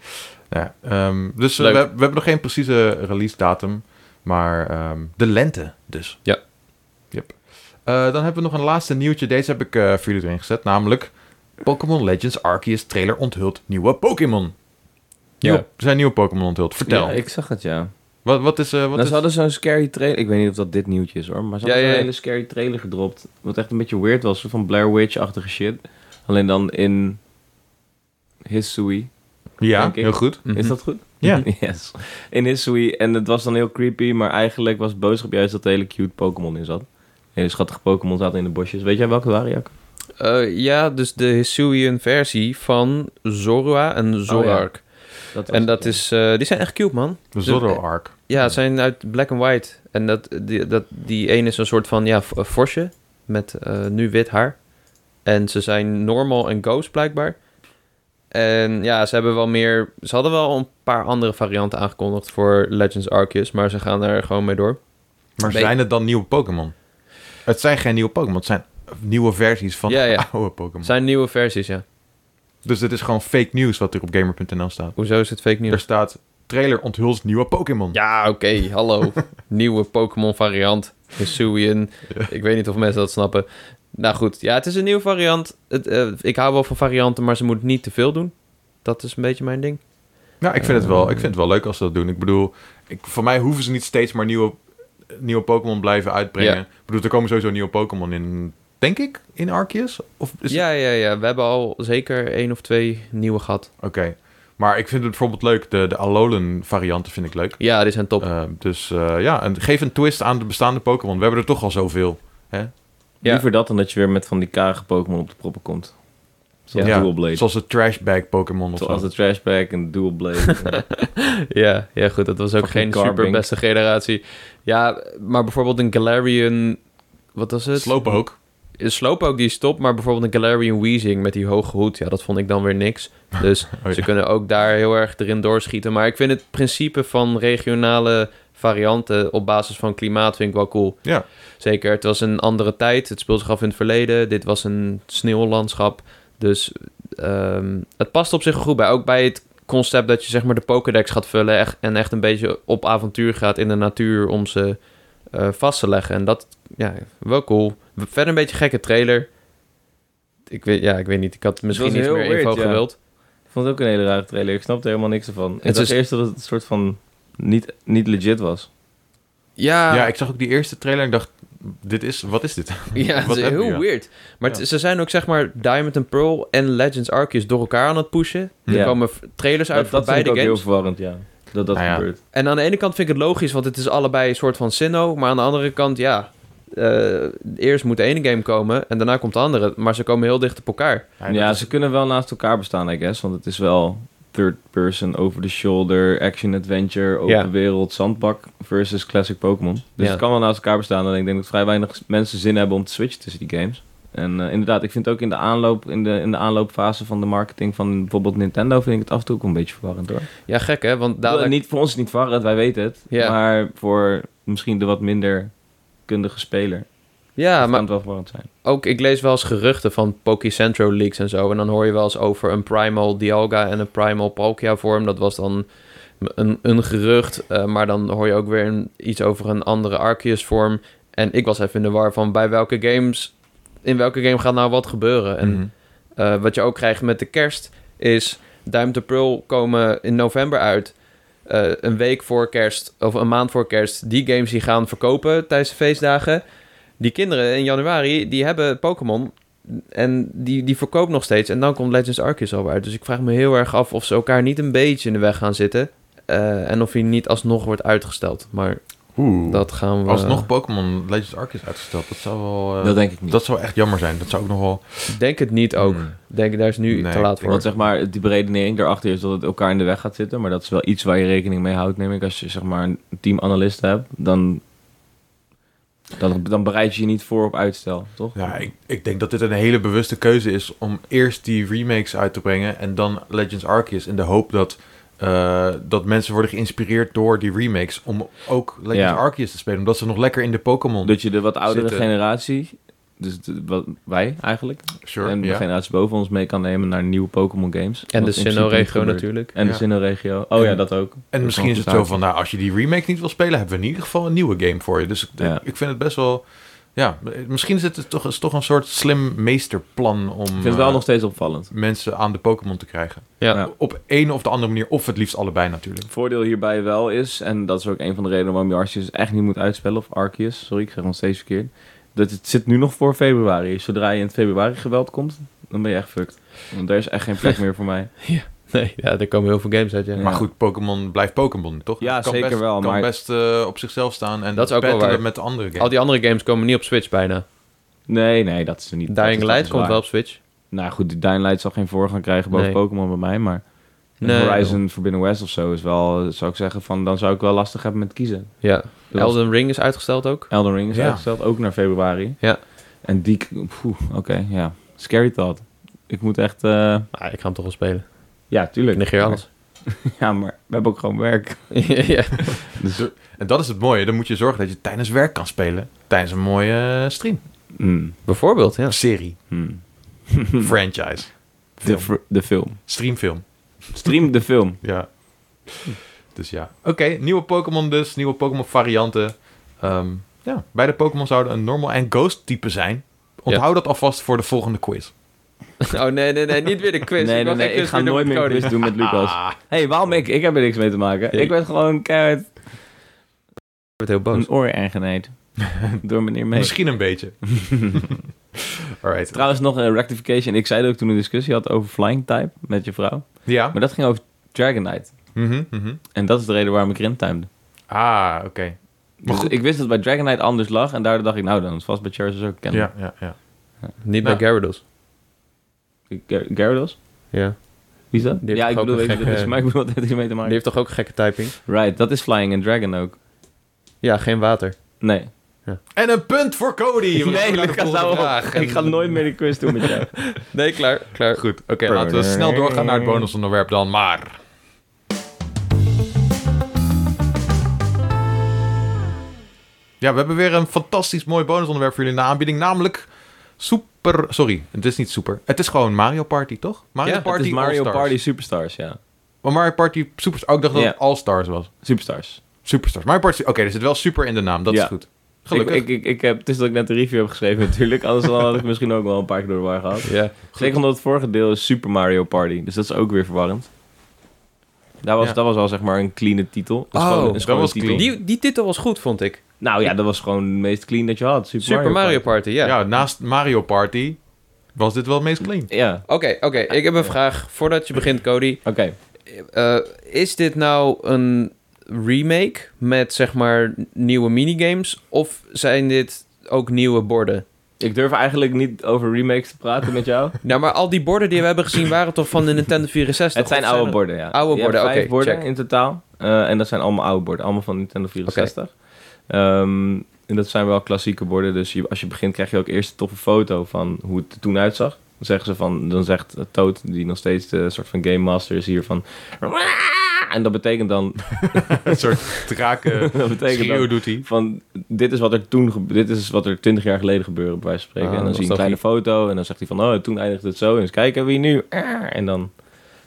[SPEAKER 1] Nou Ja, ehm, dus eh,
[SPEAKER 3] Leuk.
[SPEAKER 1] we, we hebben nog geen precieze release datum, maar ehm, de lente dus.
[SPEAKER 3] Ja.
[SPEAKER 1] Yep. Eh, dan hebben we nog een laatste nieuwtje. Deze heb ik eh, voor jullie erin gezet, namelijk Pokémon Legends Arceus trailer onthult nieuwe Pokémon. Nieuwe,
[SPEAKER 3] Ja.
[SPEAKER 1] Er zijn nieuwe Pokémon onthuld. Vertel.
[SPEAKER 2] Ja, ik zag het, ja.
[SPEAKER 1] Wat, wat is... eh, wat
[SPEAKER 2] nou,
[SPEAKER 1] is...
[SPEAKER 2] ze hadden zo'n scary trailer. Ik weet niet of dat dit nieuwtje is hoor. Maar ze
[SPEAKER 3] Ja,
[SPEAKER 2] hadden
[SPEAKER 3] ja,
[SPEAKER 2] een
[SPEAKER 3] ja.
[SPEAKER 2] hele scary trailer gedropt. Wat echt een beetje weird was. soort Van Blair Witch-achtige shit. Alleen dan in Hisui.
[SPEAKER 1] Ja,
[SPEAKER 2] denk ik.
[SPEAKER 1] heel goed.
[SPEAKER 3] Hm.
[SPEAKER 2] Is dat goed?
[SPEAKER 1] Ja.
[SPEAKER 2] Yes. In Hisui. En het was dan heel creepy. Maar eigenlijk was het boodschap juist dat er hele cute Pokémon in zat. Hele schattige Pokémon zaten in de bosjes. Weet jij welke het waren, Jack?
[SPEAKER 3] Eh, ja, dus de Hisuian versie van Zorua en Zorark.
[SPEAKER 2] Dat was
[SPEAKER 3] En
[SPEAKER 2] het,
[SPEAKER 3] dat
[SPEAKER 2] ja.
[SPEAKER 3] is, eh, die zijn echt cute, man.
[SPEAKER 1] De Zorro-arc.
[SPEAKER 3] Ja, het zijn uit black and white. En dat, die, dat, die ene is een soort van, ja, f- eh, forsje met eh, nu wit haar. En ze zijn normal en ghost blijkbaar. En ja, ze hebben wel meer... Ze hadden wel een paar andere varianten aangekondigd voor Legends Arceus, maar ze gaan er gewoon mee door.
[SPEAKER 1] Maar
[SPEAKER 3] Nee.
[SPEAKER 1] zijn het dan nieuwe Pokémon? Het zijn geen nieuwe Pokémon, het zijn nieuwe versies van
[SPEAKER 3] Ja, ja.
[SPEAKER 1] oude Pokémon.
[SPEAKER 3] Het zijn nieuwe versies, ja.
[SPEAKER 1] Dus dit is gewoon fake news wat er op gamer.nl staat.
[SPEAKER 3] Hoezo is het fake
[SPEAKER 1] Er
[SPEAKER 3] nieuws?
[SPEAKER 1] staat trailer onthult nieuwe Pokémon.
[SPEAKER 3] Ja, oké, hallo. Nieuwe Pokémon variant. Hisuian. Ik weet niet of mensen dat snappen. Nou goed, ja, het is een nieuwe variant. Het, eh, ik hou wel van varianten, maar ze moet niet te veel doen. Dat is een beetje mijn ding.
[SPEAKER 1] Nou, ik vind, het wel, ik vind het wel leuk als ze dat doen. Ik bedoel, ik, voor mij hoeven ze niet steeds maar nieuwe, nieuwe Pokémon blijven uitbrengen.
[SPEAKER 3] Ja.
[SPEAKER 1] Ik bedoel, er komen sowieso nieuwe Pokémon in, denk ik, in Arceus? Of is het-
[SPEAKER 3] ja, ja, ja. We hebben al zeker één of twee nieuwe gehad.
[SPEAKER 1] Oké. Maar ik vind het bijvoorbeeld leuk, de, de Alolan varianten vind ik leuk.
[SPEAKER 3] Ja, die zijn top.
[SPEAKER 1] Eh, dus eh, ja, en geef een twist aan de bestaande Pokémon. We hebben er toch al zoveel. Hè?
[SPEAKER 3] Ja.
[SPEAKER 2] Liever dat dan dat je weer met van die karige Pokémon op de proppen komt. Zoals
[SPEAKER 1] Ja,
[SPEAKER 2] Dual Blade.
[SPEAKER 1] Zoals de Trashbag Pokémon of
[SPEAKER 2] Zoals
[SPEAKER 1] zo.
[SPEAKER 2] de Trashback en Dual Blade.
[SPEAKER 3] Ja, ja, goed. Dat was ook
[SPEAKER 2] Fucking
[SPEAKER 3] geen
[SPEAKER 2] Garbink.
[SPEAKER 3] super beste generatie. Ja, maar bijvoorbeeld een Galarian... Wat was het?
[SPEAKER 1] Slowpoke.
[SPEAKER 3] Een Slowpoke die is top, maar bijvoorbeeld een Galarian Weezing met die hoge hoed, ja, dat vond ik dan weer niks. Dus
[SPEAKER 1] Oh, ja.
[SPEAKER 3] ze kunnen ook daar heel erg erin doorschieten. Maar ik vind het principe van regionale varianten op basis van klimaat vind ik wel cool.
[SPEAKER 1] Ja.
[SPEAKER 3] Zeker, het was een andere tijd, het speelt zich af in het verleden, dit was een sneeuwlandschap. Dus ehm, het past op zich goed bij, ook bij het concept dat je zeg maar de Pokédex gaat vullen echt- en echt een beetje op avontuur gaat in de natuur om ze eh, vast te leggen. En dat ja, wel cool. Verder een beetje gekke trailer. Ik weet, ja, ik weet niet. Ik had misschien
[SPEAKER 2] was
[SPEAKER 3] iets
[SPEAKER 2] heel
[SPEAKER 3] meer
[SPEAKER 2] weird,
[SPEAKER 3] info
[SPEAKER 2] ja.
[SPEAKER 3] gewild.
[SPEAKER 2] ik vond het ook een hele rare trailer. Ik snapte helemaal niks ervan.
[SPEAKER 3] Het
[SPEAKER 2] Het
[SPEAKER 3] is-
[SPEAKER 2] is eerst dat het een soort van niet, niet legit was.
[SPEAKER 3] Ja,
[SPEAKER 1] Ja,
[SPEAKER 3] ja,
[SPEAKER 1] ik zag ook die eerste trailer en dacht, dit is, wat is dit?
[SPEAKER 3] het
[SPEAKER 1] Wat
[SPEAKER 3] is
[SPEAKER 1] heb je
[SPEAKER 3] heel
[SPEAKER 1] aan?
[SPEAKER 3] weird. Maar het-
[SPEAKER 1] Ja.
[SPEAKER 3] ze zijn ook, zeg maar, Diamond and Pearl en Legends Arceus door elkaar aan het pushen. Er
[SPEAKER 2] Ja.
[SPEAKER 3] komen v- trailers uit
[SPEAKER 2] Dat,
[SPEAKER 3] voor
[SPEAKER 2] dat vind ik
[SPEAKER 3] beide
[SPEAKER 2] ook heel
[SPEAKER 3] games.
[SPEAKER 2] verwarrend, ja. Dat dat
[SPEAKER 1] Nou ja.
[SPEAKER 2] gebeurt.
[SPEAKER 3] En aan de ene kant vind ik het logisch, want het is allebei een soort van Sinnoh. Maar aan de andere kant, ja... eh, eerst moet de ene game komen en daarna komt de andere. Maar ze komen heel dicht op elkaar.
[SPEAKER 1] Ja,
[SPEAKER 2] Ja,
[SPEAKER 1] dat is-
[SPEAKER 2] ze kunnen wel naast elkaar bestaan, I guess. Want het is wel third person, over the shoulder, action adventure, open
[SPEAKER 3] Ja.
[SPEAKER 2] wereld, zandbak versus classic Pokémon. Dus
[SPEAKER 3] Ja.
[SPEAKER 2] het kan wel naast elkaar bestaan. En ik denk dat vrij weinig mensen zin hebben om te switchen tussen die games. En eh, inderdaad, ik vind ook in de, aanloop, in, de, in de aanloopfase van de marketing van bijvoorbeeld Nintendo... vind ik het af en toe ook een beetje verwarrend, hoor.
[SPEAKER 3] Ja, gek hè, want
[SPEAKER 2] Dadelijk...
[SPEAKER 3] dadelijk...
[SPEAKER 2] Niet, voor ons is het niet verwarrend, wij weten het.
[SPEAKER 3] Ja.
[SPEAKER 2] Maar voor misschien de wat minder kundige speler
[SPEAKER 3] Ja,
[SPEAKER 2] kan
[SPEAKER 3] Ah, maar
[SPEAKER 2] het wel verwarrend zijn.
[SPEAKER 3] ook ik lees wel eens geruchten van Pokicentro leaks en zo. En dan hoor je wel eens over een Primal Dialga en een Primal Palkia vorm. Dat was dan een, een gerucht. eh, maar dan hoor je ook weer een- iets over een andere Arceus vorm. En ik was even in de war van bij welke games... In welke game gaat nou wat gebeuren? En
[SPEAKER 1] Mhm.
[SPEAKER 3] eh, wat je ook krijgt met de kerst is... Duim te Pearl komen in november uit. Eh, een week voor kerst, of een maand voor kerst. Die games die gaan verkopen tijdens de feestdagen. Die kinderen in januari, die hebben Pokémon. En die, die verkoopt nog steeds. En dan komt Legends Arceus alweer uit. Dus ik vraag me heel erg af of ze elkaar niet een beetje in de weg gaan zitten. Eh, en of hij niet alsnog wordt uitgesteld. Maar
[SPEAKER 1] Oeh.
[SPEAKER 3] dat gaan we...
[SPEAKER 2] eh,
[SPEAKER 1] Alsnog Pokémon Legends Arceus uitgesteld. Dat zou wel... eh,
[SPEAKER 5] Dat denk ik niet.
[SPEAKER 1] dat zou echt jammer zijn. Dat zou ook nog wel...
[SPEAKER 3] Denk het niet ook.
[SPEAKER 1] Hmm.
[SPEAKER 3] Denk, daar is nu
[SPEAKER 1] Nee,
[SPEAKER 3] te laat
[SPEAKER 1] ik
[SPEAKER 3] voor.
[SPEAKER 2] Want zeg maar, die beredenering daarachter is dat het elkaar in de weg gaat zitten. Maar dat is wel iets waar je rekening mee houdt, neem ik. Als je zeg maar een team analisten hebt, dan, dan, dan bereid je je niet voor op uitstel, toch?
[SPEAKER 1] Ja, ik, ik denk dat dit een hele bewuste keuze is om eerst die remakes uit te brengen en dan Legends Arceus in de hoop dat, eh, dat mensen worden geïnspireerd door die remakes om ook Legends
[SPEAKER 2] Ja.
[SPEAKER 1] Arceus te spelen, omdat ze nog lekker in de Pokémon...
[SPEAKER 2] Dat je de wat oudere
[SPEAKER 1] Zitten.
[SPEAKER 2] generatie, dus de- wat, wij eigenlijk,
[SPEAKER 1] Sure,
[SPEAKER 2] en de
[SPEAKER 1] ja.
[SPEAKER 2] generatie boven ons mee kan nemen naar nieuwe Pokémon games.
[SPEAKER 3] En de
[SPEAKER 2] Wat in principe niet
[SPEAKER 3] Sinnoh-regio
[SPEAKER 2] gebeurt.
[SPEAKER 3] natuurlijk.
[SPEAKER 2] En
[SPEAKER 1] Ja.
[SPEAKER 2] de Sinnoh-regio. Oh ja, dat ook. Dat
[SPEAKER 1] En misschien
[SPEAKER 2] nog
[SPEAKER 1] is het
[SPEAKER 2] een
[SPEAKER 1] zo van, nou, als je die remake niet wil spelen, hebben we in ieder geval een nieuwe game voor je. Dus ik,
[SPEAKER 2] Ja.
[SPEAKER 1] ik vind het best wel... Ja, misschien is het toch, is toch een soort slim meesterplan om
[SPEAKER 2] Ik vind het wel
[SPEAKER 1] eh,
[SPEAKER 2] nog steeds opvallend.
[SPEAKER 1] mensen aan de Pokémon te krijgen.
[SPEAKER 3] Ja.
[SPEAKER 2] Ja.
[SPEAKER 1] Op een of de andere manier, of het liefst allebei natuurlijk.
[SPEAKER 2] voordeel hierbij wel is, en dat is ook een van de redenen waarom je Arceus echt niet moet uitspellen, of Arceus, sorry, ik zeg nog steeds verkeerd, dat het zit nu nog voor februari. Zodra je in het februari geweld komt, dan ben je echt fucked. Want daar is echt geen plek meer voor mij.
[SPEAKER 3] Nee, ja, er komen heel veel games uit, ja.
[SPEAKER 1] Maar goed, Pokémon blijft Pokémon, toch?
[SPEAKER 2] Ja,
[SPEAKER 1] Het kan
[SPEAKER 2] zeker
[SPEAKER 1] best,
[SPEAKER 2] wel,
[SPEAKER 1] kan
[SPEAKER 2] maar-
[SPEAKER 1] best eh, op zichzelf staan en
[SPEAKER 3] Dat is ook wel
[SPEAKER 1] battelen
[SPEAKER 3] waar.
[SPEAKER 1] met de andere games.
[SPEAKER 3] Al die andere games komen niet op Switch bijna.
[SPEAKER 2] Nee, nee, dat is er niet. dat is-
[SPEAKER 3] Dying
[SPEAKER 2] dat
[SPEAKER 3] Light
[SPEAKER 2] is
[SPEAKER 3] komt
[SPEAKER 2] waar.
[SPEAKER 3] wel op Switch.
[SPEAKER 2] Nou goed, die Dying Light zal geen voorgang krijgen boven
[SPEAKER 3] Nee.
[SPEAKER 2] Pokémon bij mij, maar
[SPEAKER 3] Nee.
[SPEAKER 2] Horizon Forbidden West of zo is wel, zou ik zeggen, van dan zou ik wel lastig hebben met kiezen.
[SPEAKER 3] Ja.
[SPEAKER 2] was-
[SPEAKER 3] Elden Ring is uitgesteld ook.
[SPEAKER 2] Elden Ring is
[SPEAKER 1] Ja.
[SPEAKER 2] uitgesteld, ook naar februari.
[SPEAKER 3] Ja.
[SPEAKER 2] En die, poeh, oké, ja. Scary thought. Ik moet echt, eh,
[SPEAKER 3] Ah, ik ga hem toch wel spelen.
[SPEAKER 2] ja, tuurlijk.
[SPEAKER 3] Ik negeer alles.
[SPEAKER 2] Ja, maar we hebben ook gewoon werk.
[SPEAKER 3] ja.
[SPEAKER 1] En dat is het mooie. Dan moet je zorgen dat je tijdens werk kan spelen. Tijdens een mooie eh, stream.
[SPEAKER 2] Mm,
[SPEAKER 3] Bijvoorbeeld, ja.
[SPEAKER 1] Serie.
[SPEAKER 2] mm.
[SPEAKER 1] Franchise. Film.
[SPEAKER 2] De, fr- de film.
[SPEAKER 1] Streamfilm.
[SPEAKER 2] Stream de film.
[SPEAKER 1] Ja. Dus ja. Oké, nieuwe Pokémon dus. Nieuwe Pokémon varianten. Ehm, ja, beide Pokémon zouden een normal en ghost type zijn. Onthoud dat alvast voor de volgende quiz.
[SPEAKER 3] Oh nee, nee, nee, niet weer de quiz.
[SPEAKER 2] nee, nee,
[SPEAKER 3] ik, mag
[SPEAKER 2] nee,
[SPEAKER 3] geen
[SPEAKER 2] ik
[SPEAKER 3] quiz
[SPEAKER 2] ga
[SPEAKER 3] meer doen
[SPEAKER 2] nooit
[SPEAKER 3] met
[SPEAKER 2] meer een
[SPEAKER 3] Cody.
[SPEAKER 2] quiz doen met Lucas. hey, waarom ik? Ik heb er niks mee te maken.
[SPEAKER 3] Nee.
[SPEAKER 2] Ik werd gewoon keihard
[SPEAKER 3] Ik word heel boos.
[SPEAKER 2] een oor aangeneid. Door meneer May.
[SPEAKER 1] Misschien een beetje. Alright.
[SPEAKER 2] Trouwens nog een rectification. Ik zei dat ik toen een discussie had over flying type met je vrouw.
[SPEAKER 1] Ja.
[SPEAKER 2] Maar dat ging over Dragonite.
[SPEAKER 1] Mhm, mhm.
[SPEAKER 2] En dat is de reden waarom ik erin timede.
[SPEAKER 1] Ah, oké.
[SPEAKER 2] Dus ik wist dat het bij Dragonite anders lag. En daardoor dacht ik, nou dan is het vast bij Charizard ook kennen.
[SPEAKER 1] Ja, ja, ja.
[SPEAKER 3] Niet
[SPEAKER 1] Nou.
[SPEAKER 3] bij Gyarados.
[SPEAKER 2] Gyar- Gyarados?
[SPEAKER 3] Ja.
[SPEAKER 2] Wie is dat?
[SPEAKER 3] Die heeft
[SPEAKER 2] Ja,
[SPEAKER 3] toch
[SPEAKER 2] ik
[SPEAKER 3] ook
[SPEAKER 2] bedoel,
[SPEAKER 3] een
[SPEAKER 2] weet je,
[SPEAKER 3] gekke-
[SPEAKER 2] dat is, maar ik bedoel, dat heeft er mee te
[SPEAKER 3] Die
[SPEAKER 2] maken.
[SPEAKER 3] heeft toch ook gekke typing?
[SPEAKER 2] Right, dat is Flying and Dragon ook.
[SPEAKER 3] Ja, geen water.
[SPEAKER 2] Nee.
[SPEAKER 1] En een punt voor Cody. We gaan
[SPEAKER 2] Nee,
[SPEAKER 1] naar de
[SPEAKER 2] Lucas,
[SPEAKER 1] volgende
[SPEAKER 2] hou op.
[SPEAKER 1] vraag.
[SPEAKER 2] Ik ga nooit meer de quiz doen met jou.
[SPEAKER 3] Nee, klaar. klaar.
[SPEAKER 1] Goed, oké, laten we snel doorgaan naar het bonusonderwerp dan, maar... Ja, we hebben weer een fantastisch mooi bonusonderwerp voor jullie in de aanbieding, namelijk Super... Sorry, het is niet Super. Het is gewoon Mario Party, toch? Mario
[SPEAKER 3] Ja, het
[SPEAKER 1] Party
[SPEAKER 2] het is Mario
[SPEAKER 1] All-Stars.
[SPEAKER 2] Party Superstars, ja.
[SPEAKER 1] Maar Mario Party Superstars... Oh, ik dacht dat
[SPEAKER 2] Ja.
[SPEAKER 1] het All-Stars was.
[SPEAKER 2] Superstars.
[SPEAKER 1] Superstars. Mario Party... Oké, er zit wel Super in de naam, dat
[SPEAKER 2] Ja.
[SPEAKER 1] is goed.
[SPEAKER 2] Ik,
[SPEAKER 1] Gelukkig.
[SPEAKER 2] ik, ik, ik heb, het is dat ik net de review heb geschreven natuurlijk. Anders dan had ik misschien ook wel een paar keer door de war gehad.
[SPEAKER 3] Ja.
[SPEAKER 2] Zeker omdat het vorige deel is Super Mario Party. Dus dat is ook weer verwarrend. Dat was,
[SPEAKER 1] Ja.
[SPEAKER 2] dat was al zeg maar een clean titel. Dat is
[SPEAKER 3] Oh,
[SPEAKER 2] gewoon een
[SPEAKER 3] dat
[SPEAKER 2] schone
[SPEAKER 1] was
[SPEAKER 2] titel.
[SPEAKER 1] clean.
[SPEAKER 3] Die, die titel was goed, vond ik.
[SPEAKER 2] Nou ja, dat was gewoon het meest clean dat je had. Super,
[SPEAKER 3] Super Mario, Party, ja.
[SPEAKER 1] Ja, naast Mario Party was dit wel het meest clean.
[SPEAKER 2] Ja,
[SPEAKER 3] Oké, oké. Ik heb een vraag voordat je begint, Cody.
[SPEAKER 2] oké.
[SPEAKER 3] Eh, is dit nou een remake met zeg maar nieuwe minigames? Of zijn dit ook nieuwe borden?
[SPEAKER 2] Ik durf eigenlijk niet over remakes te praten met jou.
[SPEAKER 3] Nou, maar al die borden die we hebben gezien waren toch van de Nintendo 64?
[SPEAKER 2] Het zijn
[SPEAKER 3] Of
[SPEAKER 2] oude
[SPEAKER 3] er-
[SPEAKER 2] borden, ja.
[SPEAKER 3] Oude
[SPEAKER 2] Je hebt
[SPEAKER 3] borden,
[SPEAKER 2] vijf
[SPEAKER 3] oké,
[SPEAKER 2] borden
[SPEAKER 3] check.
[SPEAKER 2] in totaal. Eh, en dat zijn allemaal oude borden. Allemaal van Nintendo 64. Ehm, En dat zijn wel klassieke borden. Dus je, als je begint krijg je ook eerst een toffe foto van hoe het er toen uitzag. Dan zeggen ze van, dan zegt Toad, die nog steeds de soort van game master is hier van... En dat betekent dan,
[SPEAKER 1] Een soort draken.
[SPEAKER 2] dat betekent dan
[SPEAKER 1] Schreeuw doet hij.
[SPEAKER 2] van dit is wat er toen gebe- dit is wat er twintig jaar geleden gebeurde bij wijze van spreken.
[SPEAKER 3] Ah,
[SPEAKER 2] en dan
[SPEAKER 3] dat
[SPEAKER 2] zie je een
[SPEAKER 3] was
[SPEAKER 2] kleine foto en dan zegt hij van oh toen eindigde het zo en eens kijken wie nu Ah, en dan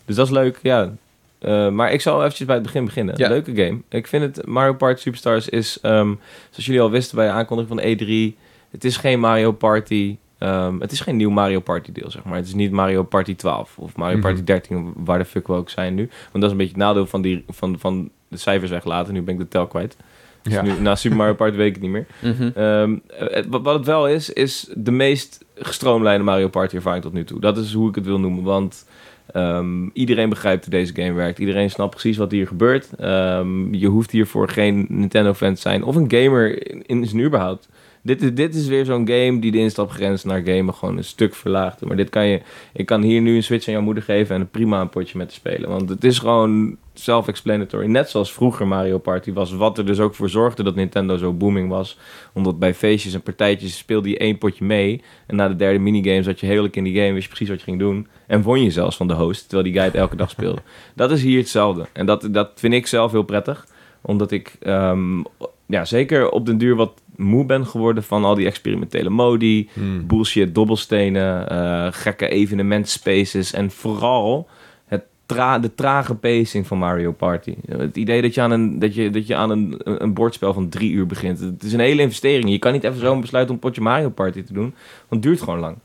[SPEAKER 2] dus dat is leuk ja Eh, maar ik zal eventjes bij het begin beginnen
[SPEAKER 3] Ja.
[SPEAKER 2] leuke game ik vind het Mario Party Superstars is ehm, zoals jullie al wisten bij de aankondiging van de E3 het is geen Mario Party ehm, het is geen nieuw Mario Party deel zeg maar het is niet Mario Party 12 of Mario
[SPEAKER 1] Mhm.
[SPEAKER 2] Party 13 of waar de fuck we ook zijn nu want dat is een beetje het nadeel van die van van de cijfers weglaten nu ben ik de tel kwijt dus
[SPEAKER 1] Ja.
[SPEAKER 2] nu, na Super Mario Party weet ik het niet meer.
[SPEAKER 3] Mhm.
[SPEAKER 2] Ehm, eh, wat wat het wel is, is de meest gestroomlijnde Mario Party ervaring tot nu toe. Dat is hoe ik het wil noemen, want ehm, iedereen begrijpt hoe deze game werkt. Iedereen snapt precies wat hier gebeurt. Ehm, je hoeft hiervoor geen Nintendo-fan te zijn of een gamer in, in zijn überhaupt. Dit is, dit is weer zo'n game die de instapgrens naar gamen gewoon een stuk verlaagt. Maar dit kan je, ik kan hier nu een Switch aan jouw moeder geven en prima een potje met te spelen. Want het is gewoon self-explanatory. Net zoals vroeger Mario Party was. Wat er dus ook voor zorgde dat Nintendo zo booming was omdat bij feestjes en partijtjes speelde je één potje mee. En na de derde minigame zat je heerlijk in die game, wist je precies wat je ging doen. En won je zelfs van de host, terwijl die guy het elke dag speelde. Dat is hier hetzelfde. En dat, dat vind ik zelf heel prettig. Omdat ik ehm, ja, zeker op den duur wat moe ben geworden van al die experimentele modi
[SPEAKER 1] Hmm.
[SPEAKER 2] bullshit dobbelstenen, eh, gekke evenementspaces en vooral het tra de trage pacing van Mario Party. Het idee dat je aan een, dat je, dat je aan een, een bordspel van drie uur begint. Het is een hele investering. Je kan niet even zo'n besluit om een potje Mario Party te doen, want het duurt gewoon lang.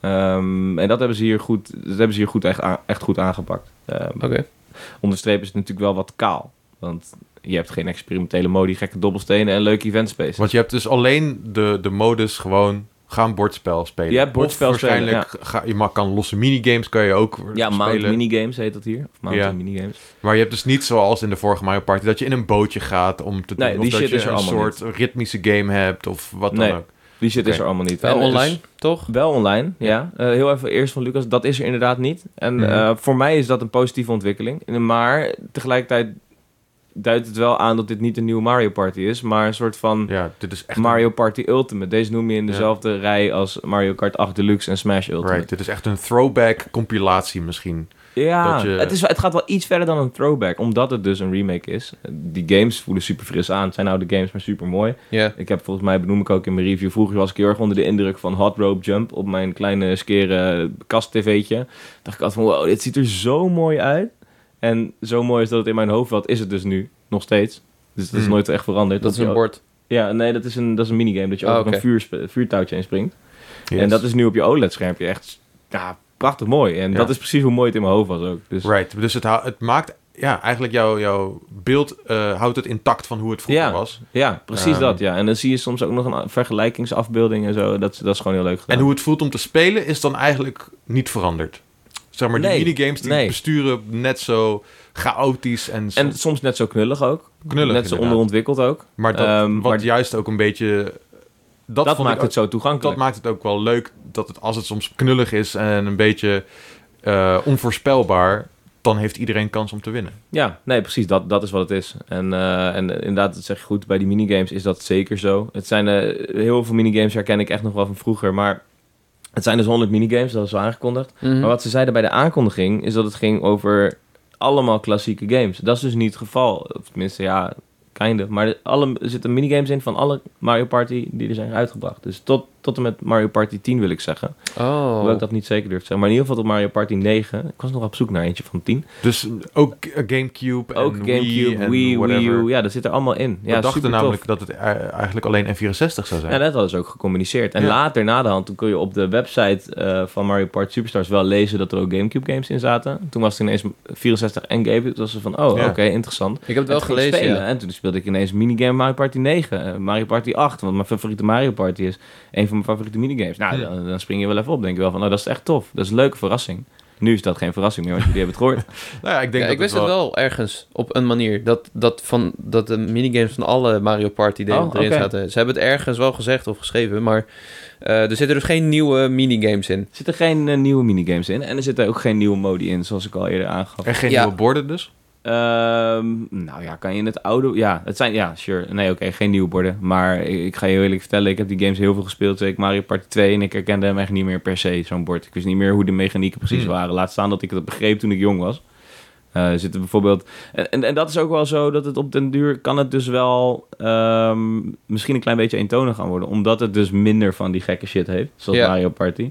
[SPEAKER 2] Ehm, en dat hebben ze hier goed, dat hebben ze hier goed echt, a- echt goed aangepakt. Ehm,
[SPEAKER 3] Oké.
[SPEAKER 2] Onderstrepen is het natuurlijk wel wat kaal, want je hebt geen experimentele modi, gekke dobbelstenen en leuke event spaces.
[SPEAKER 1] Want je hebt dus alleen de, de modus gewoon gaan bordspel spelen.
[SPEAKER 2] Je hebt bordspel
[SPEAKER 1] of
[SPEAKER 2] spelen,
[SPEAKER 1] waarschijnlijk ga, je mag, kan losse minigames kan je ook
[SPEAKER 2] Ja, mount
[SPEAKER 1] spelen.
[SPEAKER 2] minigames heet dat hier. Of mountain
[SPEAKER 1] Ja.
[SPEAKER 2] minigames.
[SPEAKER 1] Maar je hebt dus niet zoals in de vorige Mario Party dat je in een bootje gaat om te
[SPEAKER 2] Nee,
[SPEAKER 1] doen.
[SPEAKER 2] die
[SPEAKER 1] of dat
[SPEAKER 2] shit
[SPEAKER 1] je
[SPEAKER 2] is er
[SPEAKER 1] een
[SPEAKER 2] allemaal
[SPEAKER 1] soort ritmische game hebt of wat dan
[SPEAKER 2] Nee.
[SPEAKER 1] ook.
[SPEAKER 2] Die shit is
[SPEAKER 1] Oké.
[SPEAKER 2] er allemaal niet.
[SPEAKER 3] Wel
[SPEAKER 2] En, eh,
[SPEAKER 3] online, toch?
[SPEAKER 2] dus wel online, ja. Eh, heel even eerst van Lucas, dat is er inderdaad niet. En
[SPEAKER 1] Mhm.
[SPEAKER 2] eh, voor mij is dat een positieve ontwikkeling. Maar tegelijkertijd duidt het wel aan dat dit niet een nieuwe Mario Party is, maar een soort van
[SPEAKER 1] Ja, dit is echt
[SPEAKER 2] Mario Party Ultimate. Deze noem je in
[SPEAKER 1] Ja.
[SPEAKER 2] dezelfde rij als Mario Kart 8 Deluxe en Smash
[SPEAKER 1] een,
[SPEAKER 2] Ultimate.
[SPEAKER 1] right, dit is echt een throwback compilatie misschien.
[SPEAKER 2] Ja,
[SPEAKER 1] Dat je-
[SPEAKER 2] het, is, wel- het gaat wel iets verder dan een throwback, omdat het dus een remake is. Die games voelen super fris aan. Het zijn oude games, maar super mooi.
[SPEAKER 3] Ja.
[SPEAKER 2] Ik heb volgens mij, benoem ik ook in mijn review, vroeger was ik heel erg onder de indruk van Hot Rope Jump op mijn kleine skere kast-tv'tje. Dacht ik altijd van, wow, dit ziet er zo mooi uit. En zo mooi is dat het in mijn hoofd wat is het dus nu, nog steeds. Dus dat is
[SPEAKER 1] Hmm.
[SPEAKER 2] nooit echt veranderd.
[SPEAKER 3] Dat is
[SPEAKER 2] je
[SPEAKER 3] een
[SPEAKER 2] ook-
[SPEAKER 3] bord.
[SPEAKER 2] Ja, nee, dat is een, dat is een minigame, dat je
[SPEAKER 3] Ah,
[SPEAKER 2] over
[SPEAKER 3] oké.
[SPEAKER 2] een vuur, vuurtouwtje inspringt.
[SPEAKER 1] Yes.
[SPEAKER 2] En dat is nu op je OLED-schermpje echt ja, prachtig mooi. En
[SPEAKER 1] Ja.
[SPEAKER 2] dat is precies hoe mooi het in mijn hoofd was ook. Dus
[SPEAKER 1] Right, dus het, hou- het maakt ja, eigenlijk jouw jouw beeld eh, houdt het intact van hoe het vroeger
[SPEAKER 2] Ja.
[SPEAKER 1] was.
[SPEAKER 2] ja, precies
[SPEAKER 1] Ehm.
[SPEAKER 2] dat, ja. En dan zie je soms ook nog een a- vergelijkingsafbeelding en zo. Dat, is- dat is gewoon heel leuk gedaan.
[SPEAKER 1] En hoe het voelt om te spelen is dan eigenlijk niet veranderd. Zeg maar,
[SPEAKER 2] Nee,
[SPEAKER 1] die minigames die
[SPEAKER 2] nee.
[SPEAKER 1] besturen net zo chaotisch en,
[SPEAKER 2] en
[SPEAKER 1] soms
[SPEAKER 2] soms net zo knullig ook.
[SPEAKER 1] knullig.
[SPEAKER 2] net zo
[SPEAKER 1] inderdaad.
[SPEAKER 2] onderontwikkeld ook.
[SPEAKER 1] Maar dat,
[SPEAKER 2] Ehm,
[SPEAKER 1] wat
[SPEAKER 2] maar-
[SPEAKER 1] juist ook een beetje... Dat,
[SPEAKER 2] Dat,
[SPEAKER 1] vond ik
[SPEAKER 2] maakt
[SPEAKER 1] ook-
[SPEAKER 2] het zo toegankelijk.
[SPEAKER 1] dat maakt het ook wel leuk dat het, als het soms knullig is en een beetje eh, onvoorspelbaar, dan heeft iedereen kans om te winnen.
[SPEAKER 2] Ja, nee, precies. Dat, dat is wat het is. En, eh, en eh, inderdaad, dat zeg je goed. Bij die minigames is dat zeker zo. Het zijn eh, heel veel minigames herken ik echt nog wel van vroeger. Maar het zijn dus 100 minigames, dat is wel aangekondigd.
[SPEAKER 3] Mhm.
[SPEAKER 2] Maar wat ze zeiden bij de aankondiging is dat het ging over allemaal klassieke games. Dat is dus niet het geval. Of tenminste, ja, kinder. Maar de- alle, er zitten minigames in van alle Mario Party die er zijn uitgebracht. Dus tot, tot en met Mario Party 10 wil ik zeggen. Hoewel
[SPEAKER 3] Oh.
[SPEAKER 2] ik dat niet zeker durf te zeggen. Maar in ieder geval tot Mario Party 9. Ik was nog op zoek naar eentje van 10.
[SPEAKER 1] Dus ook eh, Gamecube en
[SPEAKER 2] Ook
[SPEAKER 1] Wii
[SPEAKER 2] Gamecube,
[SPEAKER 1] en
[SPEAKER 2] Wii, Wii,
[SPEAKER 1] whatever.
[SPEAKER 2] U. Ja, dat zit er allemaal in. Ja,
[SPEAKER 1] We dachten
[SPEAKER 2] supertof.
[SPEAKER 1] namelijk dat het eh, eigenlijk alleen N64 zou zijn.
[SPEAKER 2] Ja, dat hadden ze ook gecommuniceerd. En
[SPEAKER 1] Ja.
[SPEAKER 2] later, na de hand, toen kon je op de website eh, van Mario Party Superstars wel lezen dat er ook Gamecube games in zaten. Toen was het ineens 64 en Gamecube. Toen was ze van, oh,
[SPEAKER 1] Ja.
[SPEAKER 2] oké, interessant.
[SPEAKER 3] Ik heb het
[SPEAKER 2] En
[SPEAKER 3] wel
[SPEAKER 2] toen ging ik
[SPEAKER 3] gelezen,
[SPEAKER 2] spelen.
[SPEAKER 3] ja.
[SPEAKER 2] En toen speelde ik ineens minigame Mario Party 9, eh, Mario Party 8, want mijn favoriete Mario Party is een van mijn favoriete minigames. Nou,
[SPEAKER 1] Ja.
[SPEAKER 2] dan, dan spring je wel even op. denk je wel van, oh, dat is echt tof. Dat is een leuke verrassing. Nu is dat geen verrassing meer, want jullie hebben het gehoord.
[SPEAKER 1] Nou ja, ik denk
[SPEAKER 3] Ja,
[SPEAKER 1] dat
[SPEAKER 3] ik wist het wel... ergens op een manier dat, dat, van, dat de minigames van alle Mario Party delen
[SPEAKER 2] Oh,
[SPEAKER 3] erin
[SPEAKER 2] oké.
[SPEAKER 3] zaten. Ze hebben het ergens wel gezegd of geschreven, maar eh, er zitten dus geen nieuwe minigames in.
[SPEAKER 2] Er zitten geen eh, nieuwe minigames in en er zitten ook geen nieuwe modi in, zoals ik al eerder aangaf.
[SPEAKER 1] En geen
[SPEAKER 3] Ja.
[SPEAKER 1] nieuwe borden dus?
[SPEAKER 2] Ehm, nou ja, kan je in het oude... Ja, het zijn... Ja, sure. Nee, oké, geen nieuwe borden. Maar ik, ik ga je heel eerlijk vertellen, ik heb die games heel veel gespeeld. Zeker Mario Party 2 en ik herkende hem echt niet meer per se, zo'n bord. Ik wist niet meer hoe de mechanieken precies
[SPEAKER 1] Hmm.
[SPEAKER 2] waren. Laat staan dat ik dat begreep toen ik jong was. Eh zitten bijvoorbeeld... En, en, en dat is ook wel zo dat het op den duur kan het dus wel ehm, misschien een klein beetje eentonig gaan worden. Omdat het dus minder van die gekke shit heeft. Zoals
[SPEAKER 3] Ja.
[SPEAKER 2] Mario Party.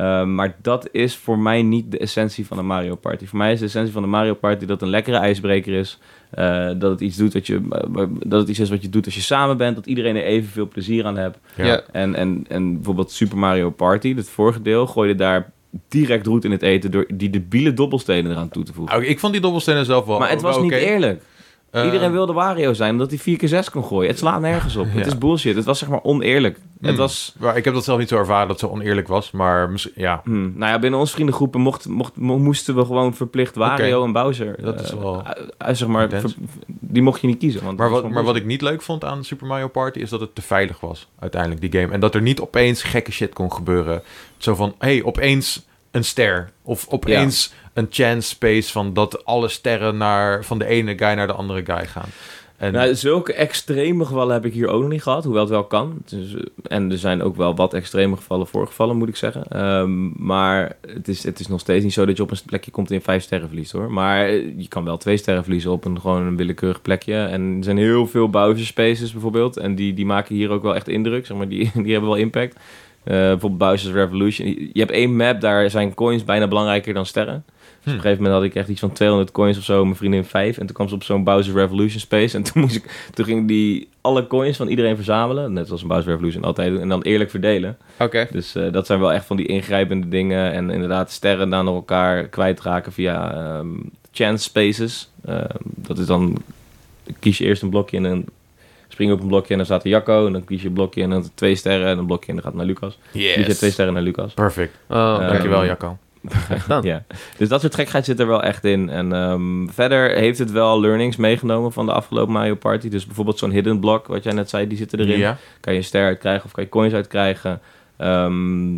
[SPEAKER 2] Uh, maar dat is voor mij niet de essentie van een Mario Party. Voor mij is de essentie van een Mario Party dat het een lekkere ijsbreker is. eh, dat, het iets doet wat je, eh, dat het iets is wat je doet als je samen bent. Dat iedereen er evenveel plezier aan hebt.
[SPEAKER 3] Ja.
[SPEAKER 2] En, en, en bijvoorbeeld Super Mario Party, het vorige deel, gooide daar direct roet in het eten door die debiele dobbelstenen eraan toe te voegen.
[SPEAKER 1] Oké, Nou, ik vond die dobbelstenen zelf wel
[SPEAKER 2] maar het was
[SPEAKER 1] wel
[SPEAKER 2] niet
[SPEAKER 1] oké.
[SPEAKER 2] eerlijk.
[SPEAKER 1] Eh,
[SPEAKER 2] Iedereen wilde Wario zijn omdat hij 4 keer 6 kon gooien. Het slaat nergens op.
[SPEAKER 1] Ja.
[SPEAKER 2] Het is bullshit. Het was zeg maar oneerlijk. Het
[SPEAKER 1] Hmm.
[SPEAKER 2] was...
[SPEAKER 1] maar ik heb dat zelf niet zo ervaren dat ze oneerlijk was, maar misschien- ja,
[SPEAKER 2] Hmm, nou ja, binnen onze vriendengroepen mocht, mocht, mo- moesten we gewoon verplicht Wario en Bowser.
[SPEAKER 1] Dat is
[SPEAKER 2] eh,
[SPEAKER 1] wel
[SPEAKER 2] u- u- zeg maar,
[SPEAKER 1] intens.
[SPEAKER 2] ver- die mocht je niet kiezen. Want
[SPEAKER 1] Maar
[SPEAKER 2] dat
[SPEAKER 1] wat,
[SPEAKER 2] was
[SPEAKER 1] maar wat
[SPEAKER 2] gewoon
[SPEAKER 1] ik niet leuk vond aan Super Mario Party is dat het te veilig was, uiteindelijk, die game. En dat er niet opeens gekke shit kon gebeuren. Zo van, hé, hey, opeens een ster. Of opeens een chance space van dat alle sterren naar, van de ene guy naar de andere guy gaan. En,
[SPEAKER 2] Nou, zulke extreme gevallen heb ik hier ook nog niet gehad, hoewel het wel kan. Het is, eh, en er zijn ook wel wat extreme gevallen voorgevallen, moet ik zeggen. Ehm, maar het is, het is nog steeds niet zo dat je op een plekje komt en in vijf sterren verliest, hoor. Maar eh, je kan wel twee sterren verliezen op een gewoon een willekeurig plekje. En er zijn heel veel Bowser spaces bijvoorbeeld. En die, die maken hier ook wel echt indruk, zeg maar. Die, die hebben wel impact. Eh, bijvoorbeeld Bowser's Revolution. Je hebt één map, daar zijn coins bijna belangrijker dan sterren. Dus op een gegeven moment had ik echt iets van 200 coins of zo, mijn vriendin 5. En toen kwam ze op zo'n Bowser Revolution space. En toen, moest ik, toen ging die alle coins van iedereen verzamelen. Net zoals een Bowser Revolution altijd doen. En dan eerlijk verdelen.
[SPEAKER 3] Oké.
[SPEAKER 2] Dus eh, dat zijn wel echt van die ingrijpende dingen. En inderdaad sterren aan elkaar kwijtraken via ehm, chance spaces. Ehm, dat is dan, kies je eerst een blokje en dan spring je op een blokje en dan staat er Jacco. En dan kies je een blokje en dan twee sterren en een blokje en dan gaat het naar Lucas. Kies je twee sterren naar Lucas.
[SPEAKER 1] Perfect.
[SPEAKER 3] Oh,
[SPEAKER 2] Eh,
[SPEAKER 3] oké.
[SPEAKER 1] Dankjewel, Jacco.
[SPEAKER 3] gedaan.
[SPEAKER 2] Ja. Dus dat soort gekheid zit er wel echt in. En ehm, verder heeft het wel learnings meegenomen van de afgelopen Mario Party. Dus bijvoorbeeld zo'n hidden block, wat jij net zei, die zitten erin.
[SPEAKER 1] Ja.
[SPEAKER 2] Kan je een ster uitkrijgen of kan je coins uitkrijgen. Ehm,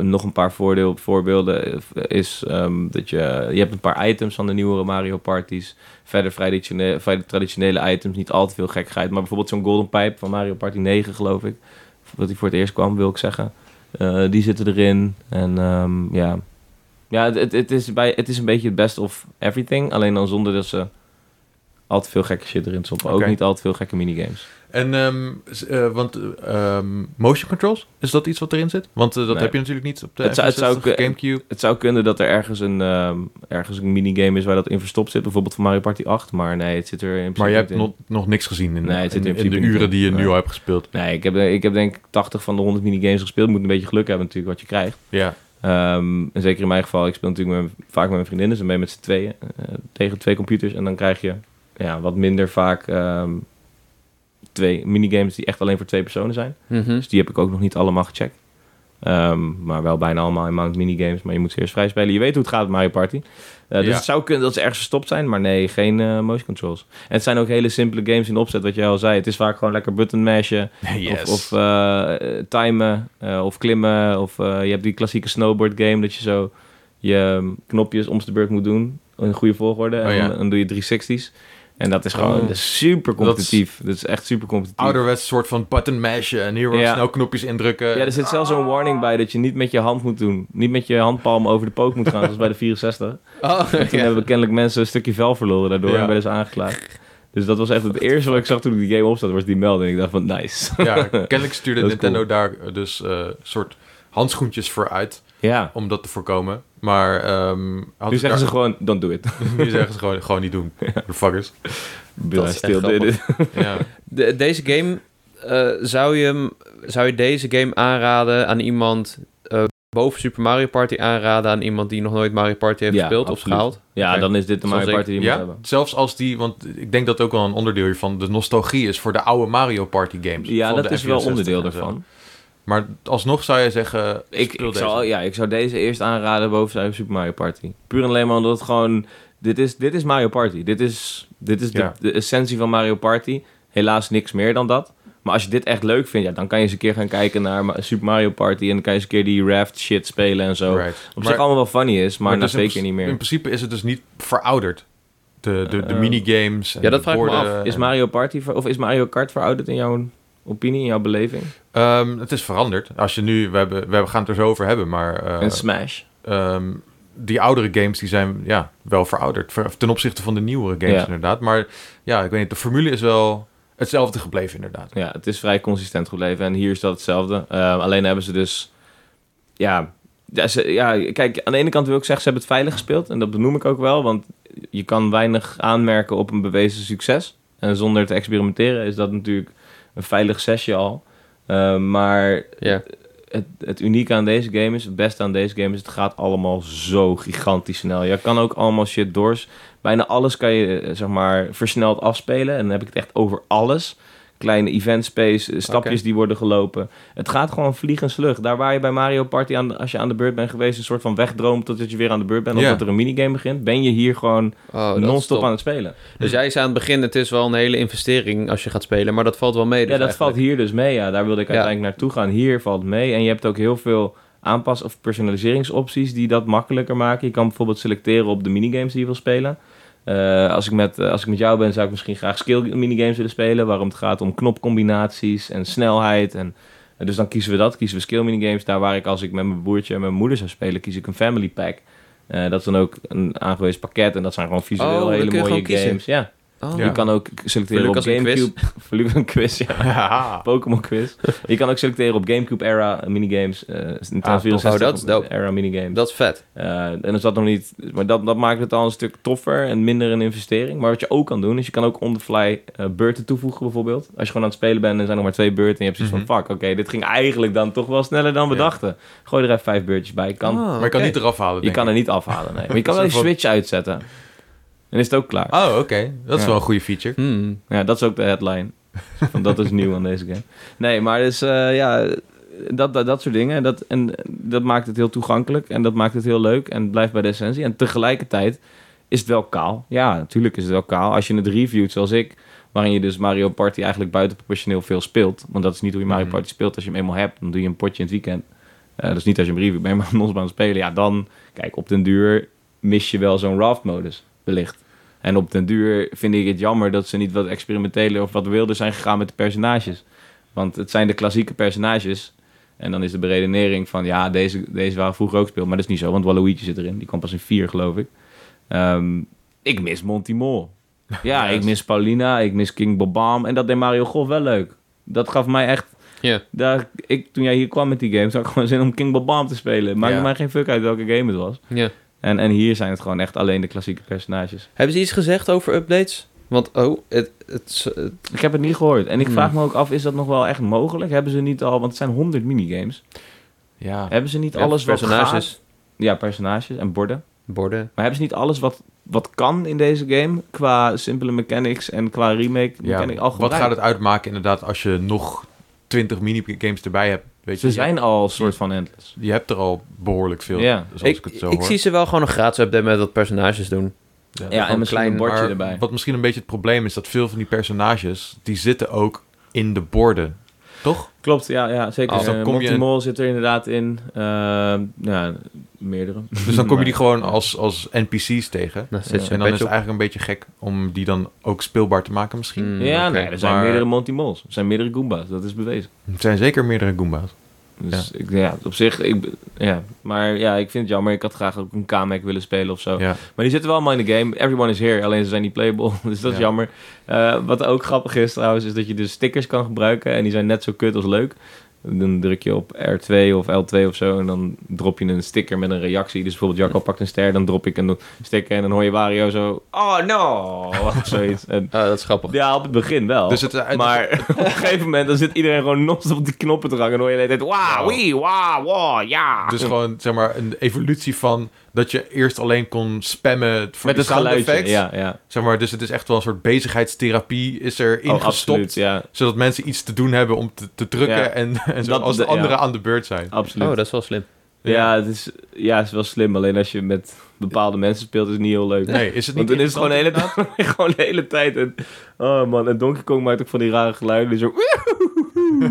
[SPEAKER 2] nog een paar voordeel, voorbeelden eh, is ehm, dat je... Je hebt een paar items van de nieuwere Mario Parties. Verder vrij traditionele, vrij traditionele items, niet al te veel gekheid. Maar bijvoorbeeld zo'n Golden Pipe van Mario Party 9, geloof ik. Dat die voor het eerst kwam, wil ik zeggen. Eh, die zitten erin. En ehm, ja... Ja, het- het, het, is bij, het is een beetje het best of everything. Alleen dan zonder dat ze al te veel gekke shit erin stoppen.
[SPEAKER 1] Oké.
[SPEAKER 2] Ook niet al te veel gekke minigames.
[SPEAKER 1] En, ehm, s- eh, want, eh, ehm, motion controls, is dat iets wat erin zit? Want eh, dat
[SPEAKER 2] Nee.
[SPEAKER 1] heb je natuurlijk niet op de
[SPEAKER 2] Het zou- het zou
[SPEAKER 1] F64,
[SPEAKER 2] ook, eh,
[SPEAKER 1] Gamecube.
[SPEAKER 2] Het zou kunnen dat er ergens een, ehm, ergens een minigame is waar dat in verstopt zit. Bijvoorbeeld van Mario Party 8. Maar nee, het zit er in principe
[SPEAKER 1] Maar je hebt
[SPEAKER 2] niet in.
[SPEAKER 1] nog, nog niks gezien in,
[SPEAKER 2] Nee, het zit
[SPEAKER 1] in,
[SPEAKER 2] in
[SPEAKER 1] in de
[SPEAKER 2] principe niet
[SPEAKER 1] uren
[SPEAKER 2] in.
[SPEAKER 1] die je nu
[SPEAKER 2] Nee.
[SPEAKER 1] al hebt gespeeld.
[SPEAKER 2] Nee, ik heb, ik heb denk ik 80 van de 100 minigames gespeeld. Moet een beetje geluk hebben natuurlijk wat je krijgt.
[SPEAKER 1] Ja.
[SPEAKER 2] Ehm, en zeker in mijn geval, ik speel natuurlijk met- vaak met mijn vriendinnen. Ze mee met z'n tweeën eh, tegen twee computers. En dan krijg je ja, wat minder vaak ehm, twee minigames die echt alleen voor twee personen zijn.
[SPEAKER 3] Mhm.
[SPEAKER 2] Dus die heb ik ook nog niet allemaal gecheckt. Ehm, maar wel bijna allemaal in mount minigames. Maar je moet ze eerst vrij spelen. Je weet hoe het gaat met Mario Party. Eh, dus
[SPEAKER 1] Ja.
[SPEAKER 2] het zou kunnen dat ze ergens verstopt zijn. Maar nee, geen eh, motion controls. En het zijn ook hele simpele games in opzet. Wat jij al zei. Het is vaak gewoon lekker button mashen. Of, of eh, eh, timen. eh, of klimmen. Of eh, je hebt die klassieke snowboard game. Dat je zo je ehm, knopjes om de beurt moet doen. In goede volgorde.
[SPEAKER 1] Oh,
[SPEAKER 2] En
[SPEAKER 1] ja.
[SPEAKER 2] dan, dan doe je 360's. En dat is gewoon
[SPEAKER 1] Oh.
[SPEAKER 2] dat is super
[SPEAKER 1] Dat is-
[SPEAKER 2] competitief. Dat is, echt super competitief.
[SPEAKER 1] ouderwets soort van button mashen en hier wat
[SPEAKER 2] Ja.
[SPEAKER 1] snel knopjes indrukken.
[SPEAKER 2] Ja, er zit zelfs een warning bij dat je niet met je hand moet doen. Niet met je handpalm over de pook moet gaan, zoals bij de 64. En
[SPEAKER 3] Oh,
[SPEAKER 2] toen hebben we kennelijk mensen een stukje vel verloren daardoor
[SPEAKER 1] Ja.
[SPEAKER 2] en werden ze aangeklaagd. Dus dat was echt het eerste wat ik zag toen ik die game opstad, was die melding. Ik dacht van, nice.
[SPEAKER 1] Ja, kennelijk stuurde
[SPEAKER 2] Dat is
[SPEAKER 1] Nintendo
[SPEAKER 2] cool.
[SPEAKER 1] daar eh, dus eh soort handschoentjes voor uit
[SPEAKER 2] Ja,
[SPEAKER 1] om dat te voorkomen. Maar ehm hadden
[SPEAKER 2] nu zeggen ze
[SPEAKER 1] daar-
[SPEAKER 2] gewoon, don't do it.
[SPEAKER 1] nu zeggen ze gewoon, gewoon niet doen. De fuckers.
[SPEAKER 2] Bill
[SPEAKER 3] echt
[SPEAKER 2] stil
[SPEAKER 3] grappig.
[SPEAKER 2] did it.
[SPEAKER 1] Ja.
[SPEAKER 3] De- deze game, eh, zou, je hem, zou je deze game aanraden aan iemand eh, boven Super Mario Party aanraden aan iemand die nog nooit Mario Party heeft
[SPEAKER 2] Ja,
[SPEAKER 3] gespeeld of
[SPEAKER 2] absoluut.
[SPEAKER 3] gehaald?
[SPEAKER 2] Ja,
[SPEAKER 3] Oké.
[SPEAKER 2] dan is dit de
[SPEAKER 3] Zoals
[SPEAKER 2] Mario
[SPEAKER 3] ik-
[SPEAKER 2] Party die je moet
[SPEAKER 1] ja,
[SPEAKER 2] hebben.
[SPEAKER 1] zelfs als die, want ik denk dat ook wel een onderdeel hiervan de nostalgie is voor de oude Mario Party games.
[SPEAKER 2] Ja,
[SPEAKER 1] Van
[SPEAKER 2] dat
[SPEAKER 1] de
[SPEAKER 2] is wel
[SPEAKER 1] N64
[SPEAKER 2] onderdeel
[SPEAKER 1] en zo.
[SPEAKER 2] daarvan.
[SPEAKER 1] Maar alsnog zou je zeggen,
[SPEAKER 2] Ik,
[SPEAKER 1] speel
[SPEAKER 2] ik,
[SPEAKER 1] deze.
[SPEAKER 2] zou, ja, ik zou deze eerst aanraden boven zijn Super Mario Party. Puur en alleen maar omdat het gewoon... Dit is, dit is Mario Party. Dit is, dit is de,
[SPEAKER 1] Ja.
[SPEAKER 2] de essentie van Mario Party. Helaas niks meer dan dat. Maar als je dit echt leuk vindt, ja, dan kan je eens een keer gaan kijken naar Ma- Super Mario Party. En dan kan je eens een keer die raft shit spelen en zo.
[SPEAKER 1] Right.
[SPEAKER 2] Op zich allemaal wel funny is,
[SPEAKER 1] dus
[SPEAKER 2] maar, na
[SPEAKER 1] in
[SPEAKER 2] twee
[SPEAKER 1] pr-
[SPEAKER 2] keer niet
[SPEAKER 1] In
[SPEAKER 2] meer.
[SPEAKER 1] principe is het dus niet verouderd. de, de, de
[SPEAKER 2] Eh,
[SPEAKER 1] minigames. en
[SPEAKER 3] ja, dat
[SPEAKER 1] de
[SPEAKER 3] vraag ik me
[SPEAKER 1] borden.
[SPEAKER 3] af.
[SPEAKER 2] Is Mario Party ver- of is Mario Kart verouderd in jouw opinie, in jouw beleving?
[SPEAKER 1] Ehm, het is veranderd. Als je nu, we, hebben, we gaan het er zo over hebben, maar eh,
[SPEAKER 2] en Smash?
[SPEAKER 1] ehm, die oudere games die zijn ja, wel verouderd. Ver- ten opzichte van de nieuwere games
[SPEAKER 2] Ja.
[SPEAKER 1] inderdaad. Maar ja, ik weet niet, de formule is wel hetzelfde gebleven inderdaad.
[SPEAKER 2] Ja, het is vrij consistent gebleven. En hier is dat hetzelfde. Ehm, alleen hebben ze dus... Ja, ja, ze- ja, kijk, aan de ene kant wil ik zeggen... ze hebben het veilig gespeeld. En dat benoem ik ook wel. Want je kan weinig aanmerken op een bewezen succes. En zonder te experimenteren is dat natuurlijk een veilig zesje al. Ehm, maar
[SPEAKER 3] Ja.
[SPEAKER 2] het, het unieke aan deze game is... het beste aan deze game is... het gaat allemaal zo gigantisch snel. Je kan ook allemaal shit doors... Bijna alles kan je, eh, zeg maar, versneld afspelen. En dan heb ik het echt over alles kleine event space, eh, stapjes
[SPEAKER 3] Oké.
[SPEAKER 2] die worden gelopen. Het gaat gewoon vliegen slug. Daar waar je bij Mario Party, aan, als je aan de beurt bent geweest, een soort van wegdroomt totdat je weer aan de beurt bent of
[SPEAKER 1] Ja.
[SPEAKER 2] dat er een minigame begint, ben je hier gewoon
[SPEAKER 3] Oh, dat is
[SPEAKER 2] non-stop
[SPEAKER 3] top.
[SPEAKER 2] aan het spelen.
[SPEAKER 3] Dus jij zei aan het begin, het is wel een hele investering als je gaat spelen, maar dat valt wel mee. dus
[SPEAKER 2] ja, dat
[SPEAKER 3] eigenlijk.
[SPEAKER 2] valt hier dus mee. Ja, daar wilde ik
[SPEAKER 3] Ja.
[SPEAKER 2] uiteindelijk naartoe gaan. Hier valt mee. En je hebt ook heel veel aanpas- of personaliseringsopties die dat makkelijker maken. Je kan bijvoorbeeld selecteren op de minigames die je wil spelen. Eh, als, ik met, eh, als ik met jou ben, zou ik misschien graag skill minigames willen spelen. Waarom het gaat om knopcombinaties en snelheid. En, eh, dus dan kiezen we dat. Kiezen we skill minigames. Daar waar ik als ik met mijn broertje en mijn moeder zou spelen, kies ik een family pack. Eh, dat is dan ook een aangewezen pakket. En dat zijn gewoon
[SPEAKER 3] Oh,
[SPEAKER 2] visueel
[SPEAKER 3] dan
[SPEAKER 2] hele
[SPEAKER 3] kun je
[SPEAKER 2] mooie
[SPEAKER 3] gewoon kiezen.
[SPEAKER 2] games. Ja.
[SPEAKER 3] Oh,
[SPEAKER 1] Ja.
[SPEAKER 2] Je kan ook selecteren
[SPEAKER 3] Voor
[SPEAKER 2] op
[SPEAKER 3] Lucas een quiz.
[SPEAKER 2] Gamecube. Voor Lucas een quiz, ja.
[SPEAKER 1] Haha.
[SPEAKER 2] Pokémon quiz. Je kan ook selecteren op Gamecube era eh, minigames. eh Nintendo
[SPEAKER 1] Ah,
[SPEAKER 2] 64
[SPEAKER 3] Oh, dat is dope.
[SPEAKER 2] era minigames.
[SPEAKER 3] Dat is vet.
[SPEAKER 2] Eh, en is dat nog niet. Maar dat, dat maakt het al een stuk toffer en minder een investering. Maar wat je ook kan doen, is je kan ook on the fly eh, beurten toevoegen bijvoorbeeld. Als je gewoon aan het spelen bent en er zijn nog maar twee beurten. En je hebt zoiets van fuck, oké, dit ging eigenlijk dan toch wel sneller dan we
[SPEAKER 1] Ja.
[SPEAKER 2] dachten. Gooi er even vijf beurtjes bij. Kan,
[SPEAKER 3] Ah,
[SPEAKER 1] maar je kan
[SPEAKER 3] oké.
[SPEAKER 1] niet eraf halen,
[SPEAKER 2] je
[SPEAKER 1] denk
[SPEAKER 2] kan
[SPEAKER 1] ik.
[SPEAKER 2] er niet afhalen. Nee. Maar je kan wel
[SPEAKER 1] Een
[SPEAKER 2] je
[SPEAKER 1] soort van-
[SPEAKER 2] switch uitzetten. En is het ook klaar.
[SPEAKER 1] Oh, oké. Dat is
[SPEAKER 2] Ja.
[SPEAKER 1] wel een goede feature.
[SPEAKER 3] Hmm.
[SPEAKER 2] Ja, dat is ook de headline. Van dat is nieuw aan deze game. Nee, maar dus eh, ja, dat, dat, dat soort dingen. Dat, en dat maakt het heel toegankelijk en dat maakt het heel leuk en het blijft bij de essentie. En tegelijkertijd is het wel kaal. Ja, natuurlijk is het wel kaal. Als je het reviewt zoals ik, waarin je dus Mario Party eigenlijk buitenproportioneel veel speelt. Want dat is niet hoe je Mario
[SPEAKER 1] Mhm.
[SPEAKER 2] Party speelt. Als je hem eenmaal hebt, dan doe je een potje in het weekend. Eh, dus niet als je hem reviewt, maar je helemaal aan het spelen. Ja, dan, kijk, op den duur mis je wel zo'n raft-modus, wellicht. En op den duur vind ik het jammer dat ze niet wat experimenteler of wat wilder zijn gegaan met de personages. Want het zijn de klassieke personages. En dan is de beredenering van, ja, deze, deze waren vroeger ook speel. Maar dat is niet zo, want Waluigi zit erin. Die kwam pas in 4, geloof ik. Ehm, ik mis Monty Mol. Ja, ik mis Paulina, ik mis King Bobam. En dat deed Mario Golf wel leuk. Dat gaf mij echt
[SPEAKER 3] Ja.
[SPEAKER 2] daar, ik, toen jij hier kwam met die games, had ik gewoon zin om King Bob te spelen. Maakt
[SPEAKER 1] Ja.
[SPEAKER 2] mij geen fuck uit welke game het was.
[SPEAKER 3] ja.
[SPEAKER 2] En, en hier zijn het gewoon echt alleen de klassieke personages.
[SPEAKER 3] Hebben ze iets gezegd over updates? Want, oh, het... het, het-
[SPEAKER 2] Ik heb het niet gehoord. En ik
[SPEAKER 3] Hmm.
[SPEAKER 2] vraag me ook af, is dat nog wel echt mogelijk? Hebben ze niet al, want het zijn honderd minigames.
[SPEAKER 1] Ah. Ja.
[SPEAKER 2] Hebben ze niet
[SPEAKER 3] ja,
[SPEAKER 2] alles wat
[SPEAKER 3] personages,
[SPEAKER 2] gaat- Ja, personages en borden.
[SPEAKER 3] borden.
[SPEAKER 2] Maar hebben ze niet alles wat, wat kan in deze game? Qua simpele mechanics en qua remake
[SPEAKER 1] Ja.
[SPEAKER 2] mechanic al
[SPEAKER 1] Wat
[SPEAKER 2] gebruikt?
[SPEAKER 1] gaat het uitmaken inderdaad als je nog 20 minigames erbij hebt? Weet je,
[SPEAKER 2] Ze
[SPEAKER 1] je
[SPEAKER 2] zijn al een soort van endless.
[SPEAKER 1] Je hebt er al behoorlijk veel,
[SPEAKER 2] Ja.
[SPEAKER 1] zoals ik,
[SPEAKER 3] Ik,
[SPEAKER 1] het zo
[SPEAKER 3] ik
[SPEAKER 1] hoor.
[SPEAKER 3] zie ze wel gewoon een gratis update met wat personages doen.
[SPEAKER 1] Ja,
[SPEAKER 2] Ja, en misschien
[SPEAKER 3] klein,
[SPEAKER 2] een bordje
[SPEAKER 1] maar
[SPEAKER 2] erbij.
[SPEAKER 1] Wat misschien een beetje het probleem is, dat veel van die personages, die zitten ook in de borden. Toch?
[SPEAKER 2] Klopt, ja, ja zeker.
[SPEAKER 1] Dus dan
[SPEAKER 2] Eh,
[SPEAKER 1] kom je-
[SPEAKER 2] Monty Mol zit er inderdaad in. Ehm ja, meerdere.
[SPEAKER 1] Dus dan kom je die
[SPEAKER 2] Maar-
[SPEAKER 1] gewoon als, als NPC's tegen.
[SPEAKER 3] Nou, zet
[SPEAKER 2] Ja.
[SPEAKER 3] ze
[SPEAKER 1] En dan is
[SPEAKER 3] een patch
[SPEAKER 1] het
[SPEAKER 3] op.
[SPEAKER 1] eigenlijk een beetje gek om die dan ook speelbaar te maken misschien.
[SPEAKER 3] Mm,
[SPEAKER 2] Ja,
[SPEAKER 3] oké.
[SPEAKER 2] nee, er zijn
[SPEAKER 1] maar-
[SPEAKER 2] meerdere Monty Mols. Er zijn meerdere Goombas, dat is bewezen.
[SPEAKER 1] Er zijn zeker meerdere Goomba's.
[SPEAKER 2] Dus ja, ik, ja op zich, ik, be- ja. Maar ja, ik vind het jammer. Ik had graag ook een Kamek willen spelen of zo.
[SPEAKER 1] Ja.
[SPEAKER 2] Maar die zitten wel allemaal in de game. Everyone is here, alleen ze zijn niet playable. Dus dat is
[SPEAKER 1] Ja.
[SPEAKER 2] jammer. Eh, wat ook grappig is trouwens, is dat je dus stickers kan gebruiken. En die zijn net zo kut als leuk. Dan druk je op R2 of L2 of zo. En dan drop je een sticker met een reactie. Dus bijvoorbeeld Jacco pakt een ster. Dan drop ik een sticker. En dan hoor je Wario zo... Oh no! Of zoiets. En,
[SPEAKER 3] Ah, dat is grappig.
[SPEAKER 2] ja, op het begin wel.
[SPEAKER 1] Dus het, het-
[SPEAKER 2] maar op een gegeven moment dan zit iedereen gewoon non op die knoppen te hangen. En hoor je de hele tijd... Wow, wee, wow, wow, ja.
[SPEAKER 1] Dus gewoon zeg maar een evolutie van dat je eerst alleen kon spammen voor de sound effects.
[SPEAKER 2] Ja, ja.
[SPEAKER 1] Zeg maar, dus het is echt wel een soort bezigheidstherapie is er
[SPEAKER 2] Oh,
[SPEAKER 1] ingestopt.
[SPEAKER 2] absoluut, ja.
[SPEAKER 1] Zodat mensen iets te doen hebben om te, te drukken
[SPEAKER 2] Ja. Dus
[SPEAKER 1] en, en zo,
[SPEAKER 2] Dat-
[SPEAKER 1] als de
[SPEAKER 2] ja.
[SPEAKER 1] anderen aan de beurt zijn.
[SPEAKER 2] Absoluut.
[SPEAKER 3] Oh, dat is wel slim.
[SPEAKER 2] Ja, het is, ja, het is wel slim. Alleen als je met bepaalde mensen speelt, is het niet heel leuk.
[SPEAKER 1] Nee, is het niet
[SPEAKER 2] Want dan is het gewoon de hele, gewoon de hele tijd. En, oh man, en Donkey Kong maakt ook van die rare geluiden. Zo,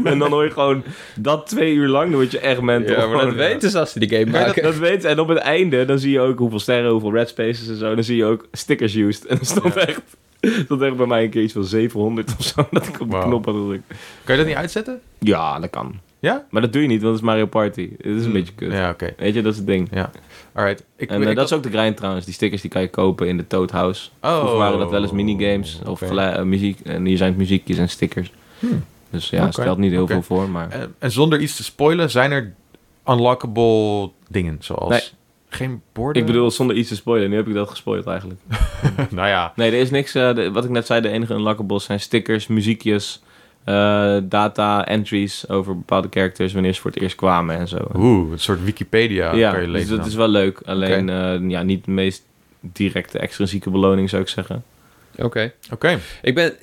[SPEAKER 2] en dan hoor je gewoon dat twee uur lang, dan word je echt mental.
[SPEAKER 3] Ja, maar dat
[SPEAKER 2] Gewoon,
[SPEAKER 3] weten ze als ze die game
[SPEAKER 2] ja.
[SPEAKER 3] maken.
[SPEAKER 2] Dat weet En op het einde, dan zie je ook hoeveel sterren, hoeveel red spaces en zo. Dan zie je ook stickers used. En dan stond echt... Dat echt bij mij een keer iets van 700 of zo, dat ik op de
[SPEAKER 1] Wauw.
[SPEAKER 2] knop had gedrukt.
[SPEAKER 1] Kan je dat niet uitzetten?
[SPEAKER 2] Ja, dat kan.
[SPEAKER 1] Ja?
[SPEAKER 2] Maar dat doe je niet, want het is Mario Party. Het is een beetje kut.
[SPEAKER 1] Hmm. Ja, oké.
[SPEAKER 2] Weet je, dat is het ding.
[SPEAKER 1] Ja. Alright. Ik,
[SPEAKER 2] En eh, dat is ook de grind trouwens. Die stickers die kan je kopen in de Toad House.
[SPEAKER 1] Oh.
[SPEAKER 2] Vroeger waren dat wel eens minigames of
[SPEAKER 1] Oké. Hmm.
[SPEAKER 2] gelu- eh, muziek. En hier zijn het muziekjes en stickers. Dus ja,
[SPEAKER 1] Oké.
[SPEAKER 2] stelt niet heel
[SPEAKER 1] Oké. Eh,
[SPEAKER 2] veel voor, maar...
[SPEAKER 1] En, en zonder iets te spoilen, zijn er unlockable dingen zoals...
[SPEAKER 2] Nee.
[SPEAKER 1] Geen borden?
[SPEAKER 2] Ik bedoel, zonder iets te spoilen. Nu heb ik dat gespoild eigenlijk.
[SPEAKER 1] nou ja.
[SPEAKER 2] Nee, er is niks... eh, de- wat ik net zei, de enige unlockables zijn stickers, muziekjes... eh, data, entries over bepaalde characters... wanneer ze voor het eerst kwamen en zo.
[SPEAKER 1] Oeh, een soort Wikipedia
[SPEAKER 2] ja,
[SPEAKER 1] kan je lezen.
[SPEAKER 2] dus dat
[SPEAKER 1] dan.
[SPEAKER 2] is wel leuk. Alleen eh, ja, niet de meest directe extrinsieke beloning zou ik zeggen.
[SPEAKER 3] Oké.
[SPEAKER 1] Oké.
[SPEAKER 3] Ik ben...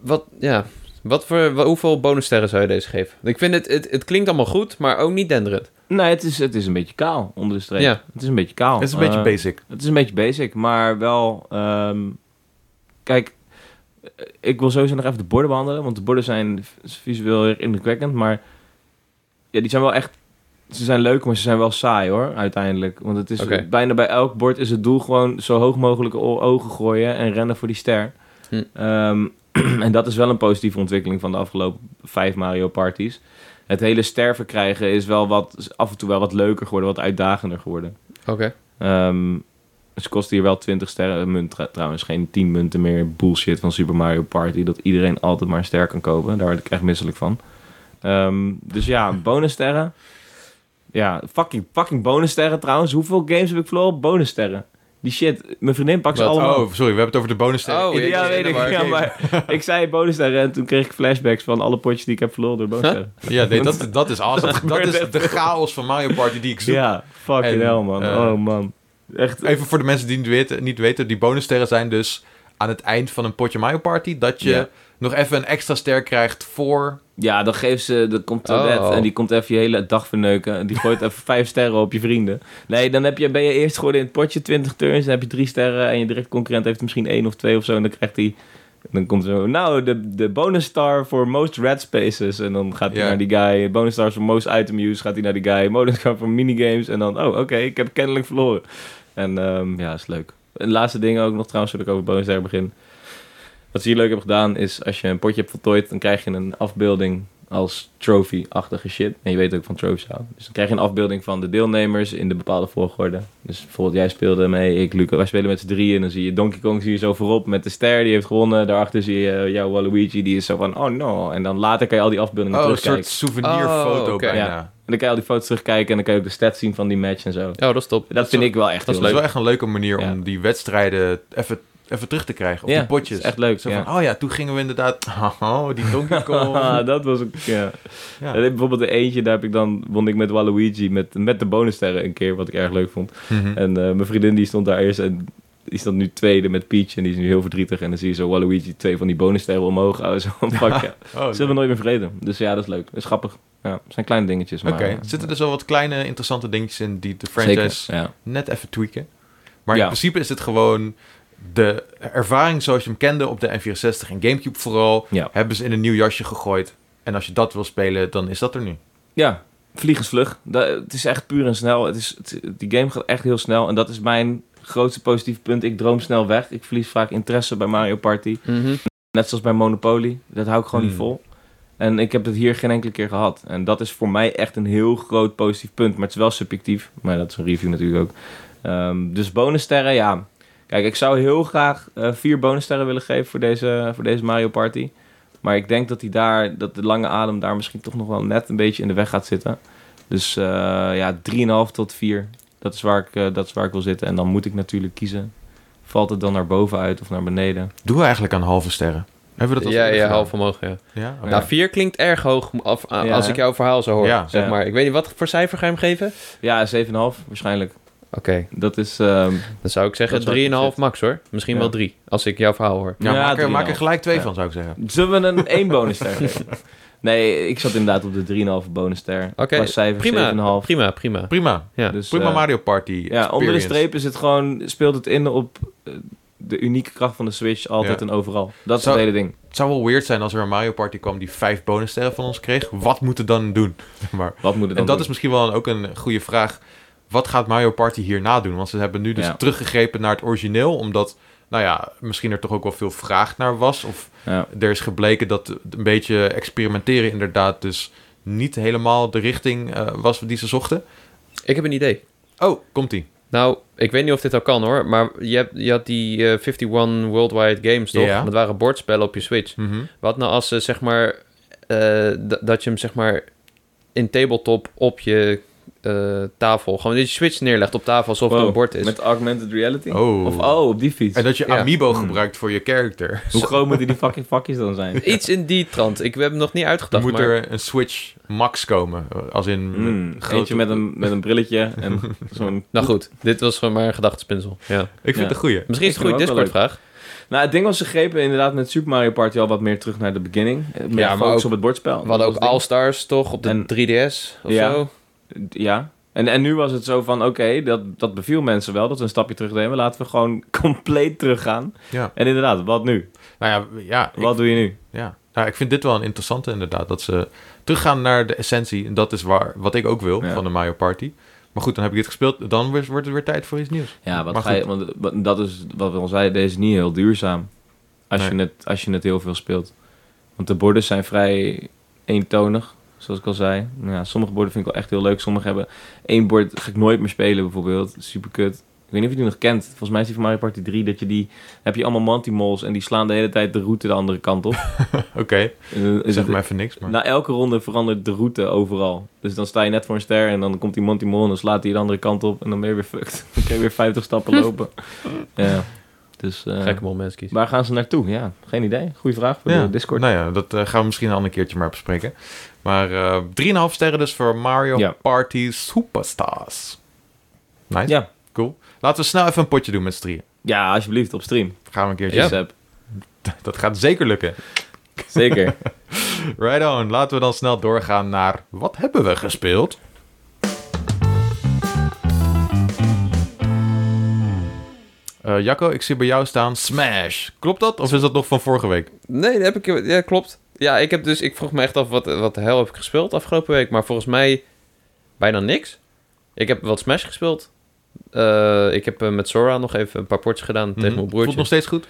[SPEAKER 3] Wat, ja... Wat voor, wa- hoeveel bonussterren zou je deze geven? Ik vind het, het, het klinkt allemaal goed, maar ook niet denderend.
[SPEAKER 2] Nee, het is, het is een beetje kaal onder de streep.
[SPEAKER 3] Ja.
[SPEAKER 2] Het is een beetje kaal.
[SPEAKER 1] Het is een beetje
[SPEAKER 2] Eh,
[SPEAKER 1] basic.
[SPEAKER 2] Het is een beetje basic, maar wel... ehm, kijk, eh, ik wil sowieso nog even de borden behandelen, want de borden zijn v- visueel erg indrukwekkend, maar ja, die zijn wel echt... Ze zijn leuk, maar ze zijn wel saai hoor, uiteindelijk. Want het is
[SPEAKER 3] Oké.
[SPEAKER 2] bijna bij elk bord is het doel gewoon zo hoog mogelijk o- ogen gooien en rennen voor die ster.
[SPEAKER 3] Hm.
[SPEAKER 2] Ehm, en dat is wel een positieve ontwikkeling van de afgelopen vijf Mario Parties. Het hele sterven krijgen is wel wat, is af en toe wel wat leuker geworden, wat uitdagender geworden.
[SPEAKER 3] Oké.
[SPEAKER 2] Ehm, ze kosten hier wel 20 sterren een munt tra- trouwens. Geen 10 munten meer bullshit van Super Mario Party. Dat iedereen altijd maar een ster kan kopen. Daar word ik echt misselijk van. Ehm, dus ja, bonussterren. Ja, fucking, fucking bonussterren trouwens. Hoeveel games heb ik verloren? op Bonussterren. Die shit, mijn vriendin pakt ze
[SPEAKER 3] Wat?
[SPEAKER 2] allemaal.
[SPEAKER 1] Oh, sorry, we hebben het over de bonus.
[SPEAKER 3] Oh,
[SPEAKER 1] Ik-
[SPEAKER 3] ja,
[SPEAKER 2] ja,
[SPEAKER 3] ik-
[SPEAKER 2] weet ik.
[SPEAKER 3] maar-
[SPEAKER 2] Ja, maar ik zei bonussterren en toen kreeg ik flashbacks van alle potjes die ik heb verloren door bonussterren.
[SPEAKER 1] ja nee, dat, dat is awesome. Dat,
[SPEAKER 2] gebeurt
[SPEAKER 1] is
[SPEAKER 2] echt.
[SPEAKER 1] de chaos van Mario Party die ik zoek.
[SPEAKER 2] Ja, fucking
[SPEAKER 1] En,
[SPEAKER 2] hell man.
[SPEAKER 1] eh,
[SPEAKER 2] oh man. Echt,
[SPEAKER 1] Even voor de mensen die het weten, niet weten, die bonussterren zijn dus aan het eind van een potje Mario Party dat je
[SPEAKER 2] Ja.
[SPEAKER 1] nog even een extra ster krijgt voor.
[SPEAKER 2] Ja, dan geeft ze, dan komt Toadette
[SPEAKER 3] Oh.
[SPEAKER 2] en die komt even je hele dag verneuken. En die gooit even vijf sterren op je vrienden. Nee, dan heb je, ben je eerst geworden in het potje 20 turns. Dan heb je drie sterren en je direct concurrent heeft er misschien één of twee of zo. En dan krijgt hij, dan komt zo, nou, de, de bonus star voor most red spaces. En dan gaat hij
[SPEAKER 1] Ja.
[SPEAKER 2] naar die guy. Bonus stars voor most item use gaat hij naar die guy. Bonus star voor minigames. En dan, oh, oké, ik heb kennelijk verloren. En ehm, ja, is leuk. Een laatste ding ook nog trouwens, voordat ik over bonus sterren begin. Wat ze hier leuk hebben gedaan is, als je een potje hebt voltooid, dan krijg je een afbeelding als trophy-achtige shit. En je weet ook van trophies houden. Dus dan krijg je een afbeelding van de deelnemers in de bepaalde volgorde. Dus bijvoorbeeld jij speelde mee, ik, Luca. Wij spelen met z'n drieën. En dan zie je Donkey Kong zie je zo voorop met de ster, die heeft gewonnen. Daarachter zie je eh, jouw Waluigi, die is zo van, oh no. En dan later kan je al die afbeeldingen
[SPEAKER 1] Oh, een
[SPEAKER 2] terugkijken.
[SPEAKER 1] soort souvenirfoto
[SPEAKER 3] Oh, oké.
[SPEAKER 1] bijna.
[SPEAKER 2] Ja. En dan kan je al die foto's terugkijken en dan kan je ook de stats zien van die match en zo. Dat,
[SPEAKER 3] Oh, dat is top.
[SPEAKER 2] vind ik wel echt
[SPEAKER 1] Dat
[SPEAKER 3] dat is
[SPEAKER 1] is
[SPEAKER 2] heel
[SPEAKER 1] wel echt een leuke manier
[SPEAKER 2] Ja.
[SPEAKER 1] om die wedstrijden even, even terug te krijgen. Of
[SPEAKER 2] Ja,
[SPEAKER 1] die potjes.
[SPEAKER 2] dat is echt leuk,
[SPEAKER 1] Zo
[SPEAKER 2] ja.
[SPEAKER 1] van, oh ja, toen gingen we inderdaad... Oh, die Donkey Kong.
[SPEAKER 2] Ah, dat was ook... Ja.
[SPEAKER 1] Ja.
[SPEAKER 2] En ik- bijvoorbeeld de eentje, daar heb ik dan, won ik met Waluigi, met, met de bonussterren een keer, wat ik erg leuk vond.
[SPEAKER 1] Mhm.
[SPEAKER 2] En eh, mijn vriendin die stond daar eerst en die stond nu tweede met Peach en die is nu heel verdrietig. En dan zie je zo Waluigi twee van die bonussterren omhoog houden. Zo van, fuck ja,
[SPEAKER 1] Oh,
[SPEAKER 2] ze hebben nooit meer vreden. Dus ja, dat is leuk. Dat is grappig. Ja, het zijn kleine dingetjes, maar...
[SPEAKER 1] Oké,
[SPEAKER 2] eh,
[SPEAKER 1] zitten er zo wat kleine interessante dingetjes in die de
[SPEAKER 2] zeker,
[SPEAKER 1] franchise
[SPEAKER 2] ja.
[SPEAKER 1] net even tweaken. Maar in
[SPEAKER 2] Ja.
[SPEAKER 1] principe is het gewoon de ervaring zoals je hem kende op de N64 en Gamecube vooral.
[SPEAKER 2] Ja.
[SPEAKER 1] Hebben ze in een nieuw jasje gegooid. En als je dat wil spelen, dan is dat er nu.
[SPEAKER 2] Ja, vliegensvlug. Da- het is echt puur en snel. Het is, het- die game gaat echt heel snel. En dat is mijn grootste positieve punt. Ik droom snel weg. Ik verlies vaak interesse bij Mario Party.
[SPEAKER 3] Mhm.
[SPEAKER 2] Net zoals bij Monopoly. Dat hou ik gewoon niet
[SPEAKER 1] Hmm.
[SPEAKER 2] vol. En ik heb het hier geen enkele keer gehad. En dat is voor mij echt een heel groot positief punt. Maar het is wel subjectief. Maar dat is een review natuurlijk ook. Ehm, dus bonussterren, ja. Kijk, ik zou heel graag eh, vier bonussterren willen geven voor deze, voor deze Mario Party. Maar ik denk dat, die daar, dat de lange adem daar misschien toch nog wel net een beetje in de weg gaat zitten. Dus eh ja, 3,5 tot 4. Dat is, waar ik, eh, dat is waar ik wil zitten. En dan moet ik natuurlijk kiezen. Valt het dan naar boven uit of naar beneden?
[SPEAKER 1] Doen we eigenlijk aan halve sterren? Hebben we dat al
[SPEAKER 3] Ja,
[SPEAKER 1] eerder
[SPEAKER 3] ja,
[SPEAKER 1] gedaan?
[SPEAKER 3] half omhoog, ja.
[SPEAKER 1] Ja, oké.
[SPEAKER 3] Nou, 4 klinkt erg hoog af, a-
[SPEAKER 2] Ja,
[SPEAKER 3] als
[SPEAKER 2] hè?
[SPEAKER 3] ik jouw verhaal zou horen,
[SPEAKER 1] Ja.
[SPEAKER 3] zeg
[SPEAKER 2] Ja.
[SPEAKER 3] maar. Ik weet niet, wat voor cijfer ga je hem geven? Oké,
[SPEAKER 2] Ja, 7,5 waarschijnlijk. Dat is. ehm,
[SPEAKER 3] dan zou ik zeggen
[SPEAKER 2] Dat zou ik
[SPEAKER 3] 3,5 max hoor. Misschien
[SPEAKER 2] Ja.
[SPEAKER 3] wel 3, als ik jouw verhaal hoor.
[SPEAKER 1] Ja,
[SPEAKER 2] Ja,
[SPEAKER 1] maak, er,
[SPEAKER 2] drieënhalf.
[SPEAKER 1] maak er gelijk twee
[SPEAKER 2] Ja.
[SPEAKER 1] van, zou ik zeggen.
[SPEAKER 2] zullen we een 1 bonusster geven? Nee, ik zat inderdaad op de 3,5 bonusster.
[SPEAKER 3] Oké,
[SPEAKER 2] Qua cijfer
[SPEAKER 3] prima,
[SPEAKER 2] 7,5.
[SPEAKER 3] prima, prima.
[SPEAKER 1] Prima.
[SPEAKER 3] Ja.
[SPEAKER 2] Dus,
[SPEAKER 1] Prima
[SPEAKER 2] eh,
[SPEAKER 1] Mario Party.
[SPEAKER 2] Ja, onder de
[SPEAKER 1] experience.
[SPEAKER 2] streep is het gewoon, speelt het in op eh, de unieke kracht van de Switch altijd
[SPEAKER 1] Ja.
[SPEAKER 2] en overal. Dat is
[SPEAKER 1] Zou-
[SPEAKER 2] het hele ding.
[SPEAKER 1] Het zou wel weird zijn als er een Mario Party kwam die vijf bonussterren van ons kreeg. Wat moeten we dan doen? Maar,
[SPEAKER 2] Wat moet het
[SPEAKER 1] en
[SPEAKER 2] dan
[SPEAKER 1] dat
[SPEAKER 2] doen?
[SPEAKER 1] is misschien wel ook een goede vraag. Wat gaat Mario Party hierna doen? Want ze hebben nu dus
[SPEAKER 2] Ja.
[SPEAKER 1] teruggegrepen naar het origineel. Omdat, nou ja, misschien er toch ook wel veel vraag naar was. Of
[SPEAKER 2] Ja.
[SPEAKER 1] er is gebleken dat een beetje experimenteren inderdaad dus niet helemaal de richting eh, was die ze zochten.
[SPEAKER 3] Ik heb een idee.
[SPEAKER 1] Oh, komt-ie.
[SPEAKER 3] Nou, ik weet niet of dit al kan hoor, maar je, hebt, je had die eh, 51 Worldwide Games toch?
[SPEAKER 1] Ja.
[SPEAKER 3] Dat waren bordspellen op je Switch.
[SPEAKER 2] Hm.
[SPEAKER 1] Mhm.
[SPEAKER 3] Wat nou als ze zeg maar eh, d- dat je hem zeg maar in tabletop op je eh, tafel, gewoon dat je Switch neerlegt op tafel alsof het
[SPEAKER 2] Wow,
[SPEAKER 3] een bord is.
[SPEAKER 2] Met augmented reality?
[SPEAKER 1] Oh.
[SPEAKER 2] Of oh, op die fiets.
[SPEAKER 1] En dat je
[SPEAKER 3] Ja.
[SPEAKER 1] Amiibo gebruikt voor je character.
[SPEAKER 2] Mhm. Hoe groot moeten die fucking vakjes dan zijn?
[SPEAKER 3] Iets in die trant. Ik heb hem nog niet
[SPEAKER 1] Dan
[SPEAKER 3] uitgedacht,
[SPEAKER 1] moet
[SPEAKER 3] maar
[SPEAKER 1] er een Switch Max komen. eh, Als in...
[SPEAKER 2] Mm,
[SPEAKER 1] grote-
[SPEAKER 2] Eentje met een, met een brilletje en zo'n...
[SPEAKER 3] nou goed, dit was gewoon maar een gedachtespinsel. Ja.
[SPEAKER 1] Ik vind
[SPEAKER 2] Ja.
[SPEAKER 1] het een goeie.
[SPEAKER 3] Misschien is
[SPEAKER 2] Ik
[SPEAKER 3] het een
[SPEAKER 2] vind
[SPEAKER 3] goede
[SPEAKER 2] hem ook wel
[SPEAKER 3] Discord-vraag.
[SPEAKER 2] Nou, het ding was, ze grepen inderdaad met Super Mario Party al wat meer terug naar de beginning. Eh, Meer
[SPEAKER 3] Ja,
[SPEAKER 2] ja,
[SPEAKER 3] maar
[SPEAKER 2] focus
[SPEAKER 3] ook-
[SPEAKER 2] op het bordspel.
[SPEAKER 3] We hadden ook
[SPEAKER 2] Dat was
[SPEAKER 3] All-Stars toch op de
[SPEAKER 2] En-
[SPEAKER 3] 3DS of
[SPEAKER 2] Ja.
[SPEAKER 3] zo.
[SPEAKER 2] het ding. Ja. En, en nu was het zo van, oké, dat, dat beviel mensen wel, dat we een stapje terug nemen. Laten we gewoon compleet teruggaan.
[SPEAKER 1] Ja.
[SPEAKER 2] En inderdaad, wat nu?
[SPEAKER 1] Nou ja, ja, ik,
[SPEAKER 2] Wat doe je nu?
[SPEAKER 1] ja. Nou, ik vind dit wel een interessante inderdaad. Dat ze teruggaan naar de essentie. En dat is waar, wat ik ook wil
[SPEAKER 2] Ja.
[SPEAKER 1] van de Mario Party. Maar goed, dan heb ik dit gespeeld. Dan wordt wordt het weer tijd voor iets nieuws.
[SPEAKER 2] Ja, wat
[SPEAKER 1] Maar
[SPEAKER 2] ga je, want wat- dat is wat we al zeiden, deze is niet heel duurzaam. Als, je het, als je het heel veel speelt. Want de borden zijn vrij eentonig, zoals ik al zei. Nou Ja, sommige borden vind ik wel echt heel leuk. Sommige hebben één bord, ga ik nooit meer spelen bijvoorbeeld. Super kut. Ik weet niet of je die nog kent. Volgens mij is die van Mario Party 3, dat je die... heb je allemaal Mantimols en die slaan de hele tijd de route de andere kant op.
[SPEAKER 1] Oké,
[SPEAKER 2] En dan is
[SPEAKER 1] zeg
[SPEAKER 2] het-
[SPEAKER 1] maar even niks. Maar...
[SPEAKER 2] na elke ronde verandert de route overal. Dus dan sta je net voor een ster en dan komt die Montimol en dan slaat hij de andere kant op en dan ben je weer fucked. Dan kun je weer 50 stappen lopen. ja, dus... eh,
[SPEAKER 3] Gekke moment kiezen.
[SPEAKER 2] waar gaan ze naartoe? Ja, geen idee. Goeie vraag voor
[SPEAKER 1] ja,
[SPEAKER 2] de Discord.
[SPEAKER 1] Nou ja, dat eh, gaan we misschien een ander keertje maar bespreken. Maar eh 3,5 sterren dus voor Mario
[SPEAKER 2] Ja.
[SPEAKER 1] Party Superstars. Nice,
[SPEAKER 2] Ja.
[SPEAKER 1] cool. Laten we snel even een potje doen met z'n drieën.
[SPEAKER 2] ja, alsjeblieft, op stream.
[SPEAKER 1] Gaan we een keertje.
[SPEAKER 3] Ja.
[SPEAKER 2] Ace app.
[SPEAKER 1] Dat gaat zeker lukken.
[SPEAKER 2] Zeker.
[SPEAKER 1] Right on. Laten we dan snel doorgaan naar wat hebben we gespeeld? Eh, Jacco, ik zie bij jou staan Smash. Klopt dat? Of is dat nog van vorige week?
[SPEAKER 3] Nee, dat heb ik. Ja, klopt. Ja, ik heb dus. Ik vroeg me echt af wat, wat de hel heb ik gespeeld afgelopen week. Maar volgens mij bijna niks. Ik heb wat Smash gespeeld. Eh, ik heb eh, met Sora nog even een paar potjes gedaan tegen
[SPEAKER 1] Mhm.
[SPEAKER 3] mijn
[SPEAKER 1] Voelt
[SPEAKER 3] broertje.
[SPEAKER 1] nog steeds goed?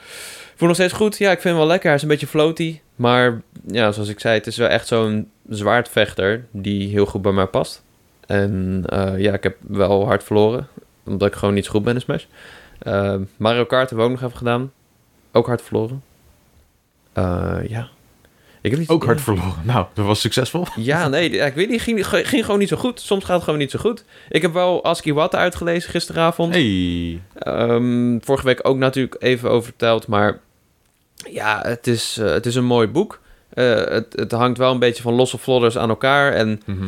[SPEAKER 3] Voel nog steeds goed. Ja, ik vind hem wel lekker. Hij is een beetje floaty. Maar ja, zoals ik zei, het is wel echt zo'n zwaardvechter die heel goed bij mij past. En eh, ja, ik heb wel hard verloren. Omdat ik gewoon niet zo goed ben in Smash. Eh, Mario Kart hebben we ook nog even gedaan. Ook hard verloren. Eh, ja. Ik heb niet...
[SPEAKER 1] Ook hard verloren. Nou, dat was succesvol.
[SPEAKER 3] Ja, nee, ja, ik weet niet. Ging, ging gewoon niet zo goed. Soms gaat het gewoon niet zo goed. Ik heb wel Askiwata uitgelezen gisteravond.
[SPEAKER 1] Hey.
[SPEAKER 3] Ehm, vorige week ook natuurlijk even over verteld, maar ja, het is, eh, het is een mooi boek. Eh, het, het hangt wel een beetje van losse vlodders aan elkaar en
[SPEAKER 1] Mhm.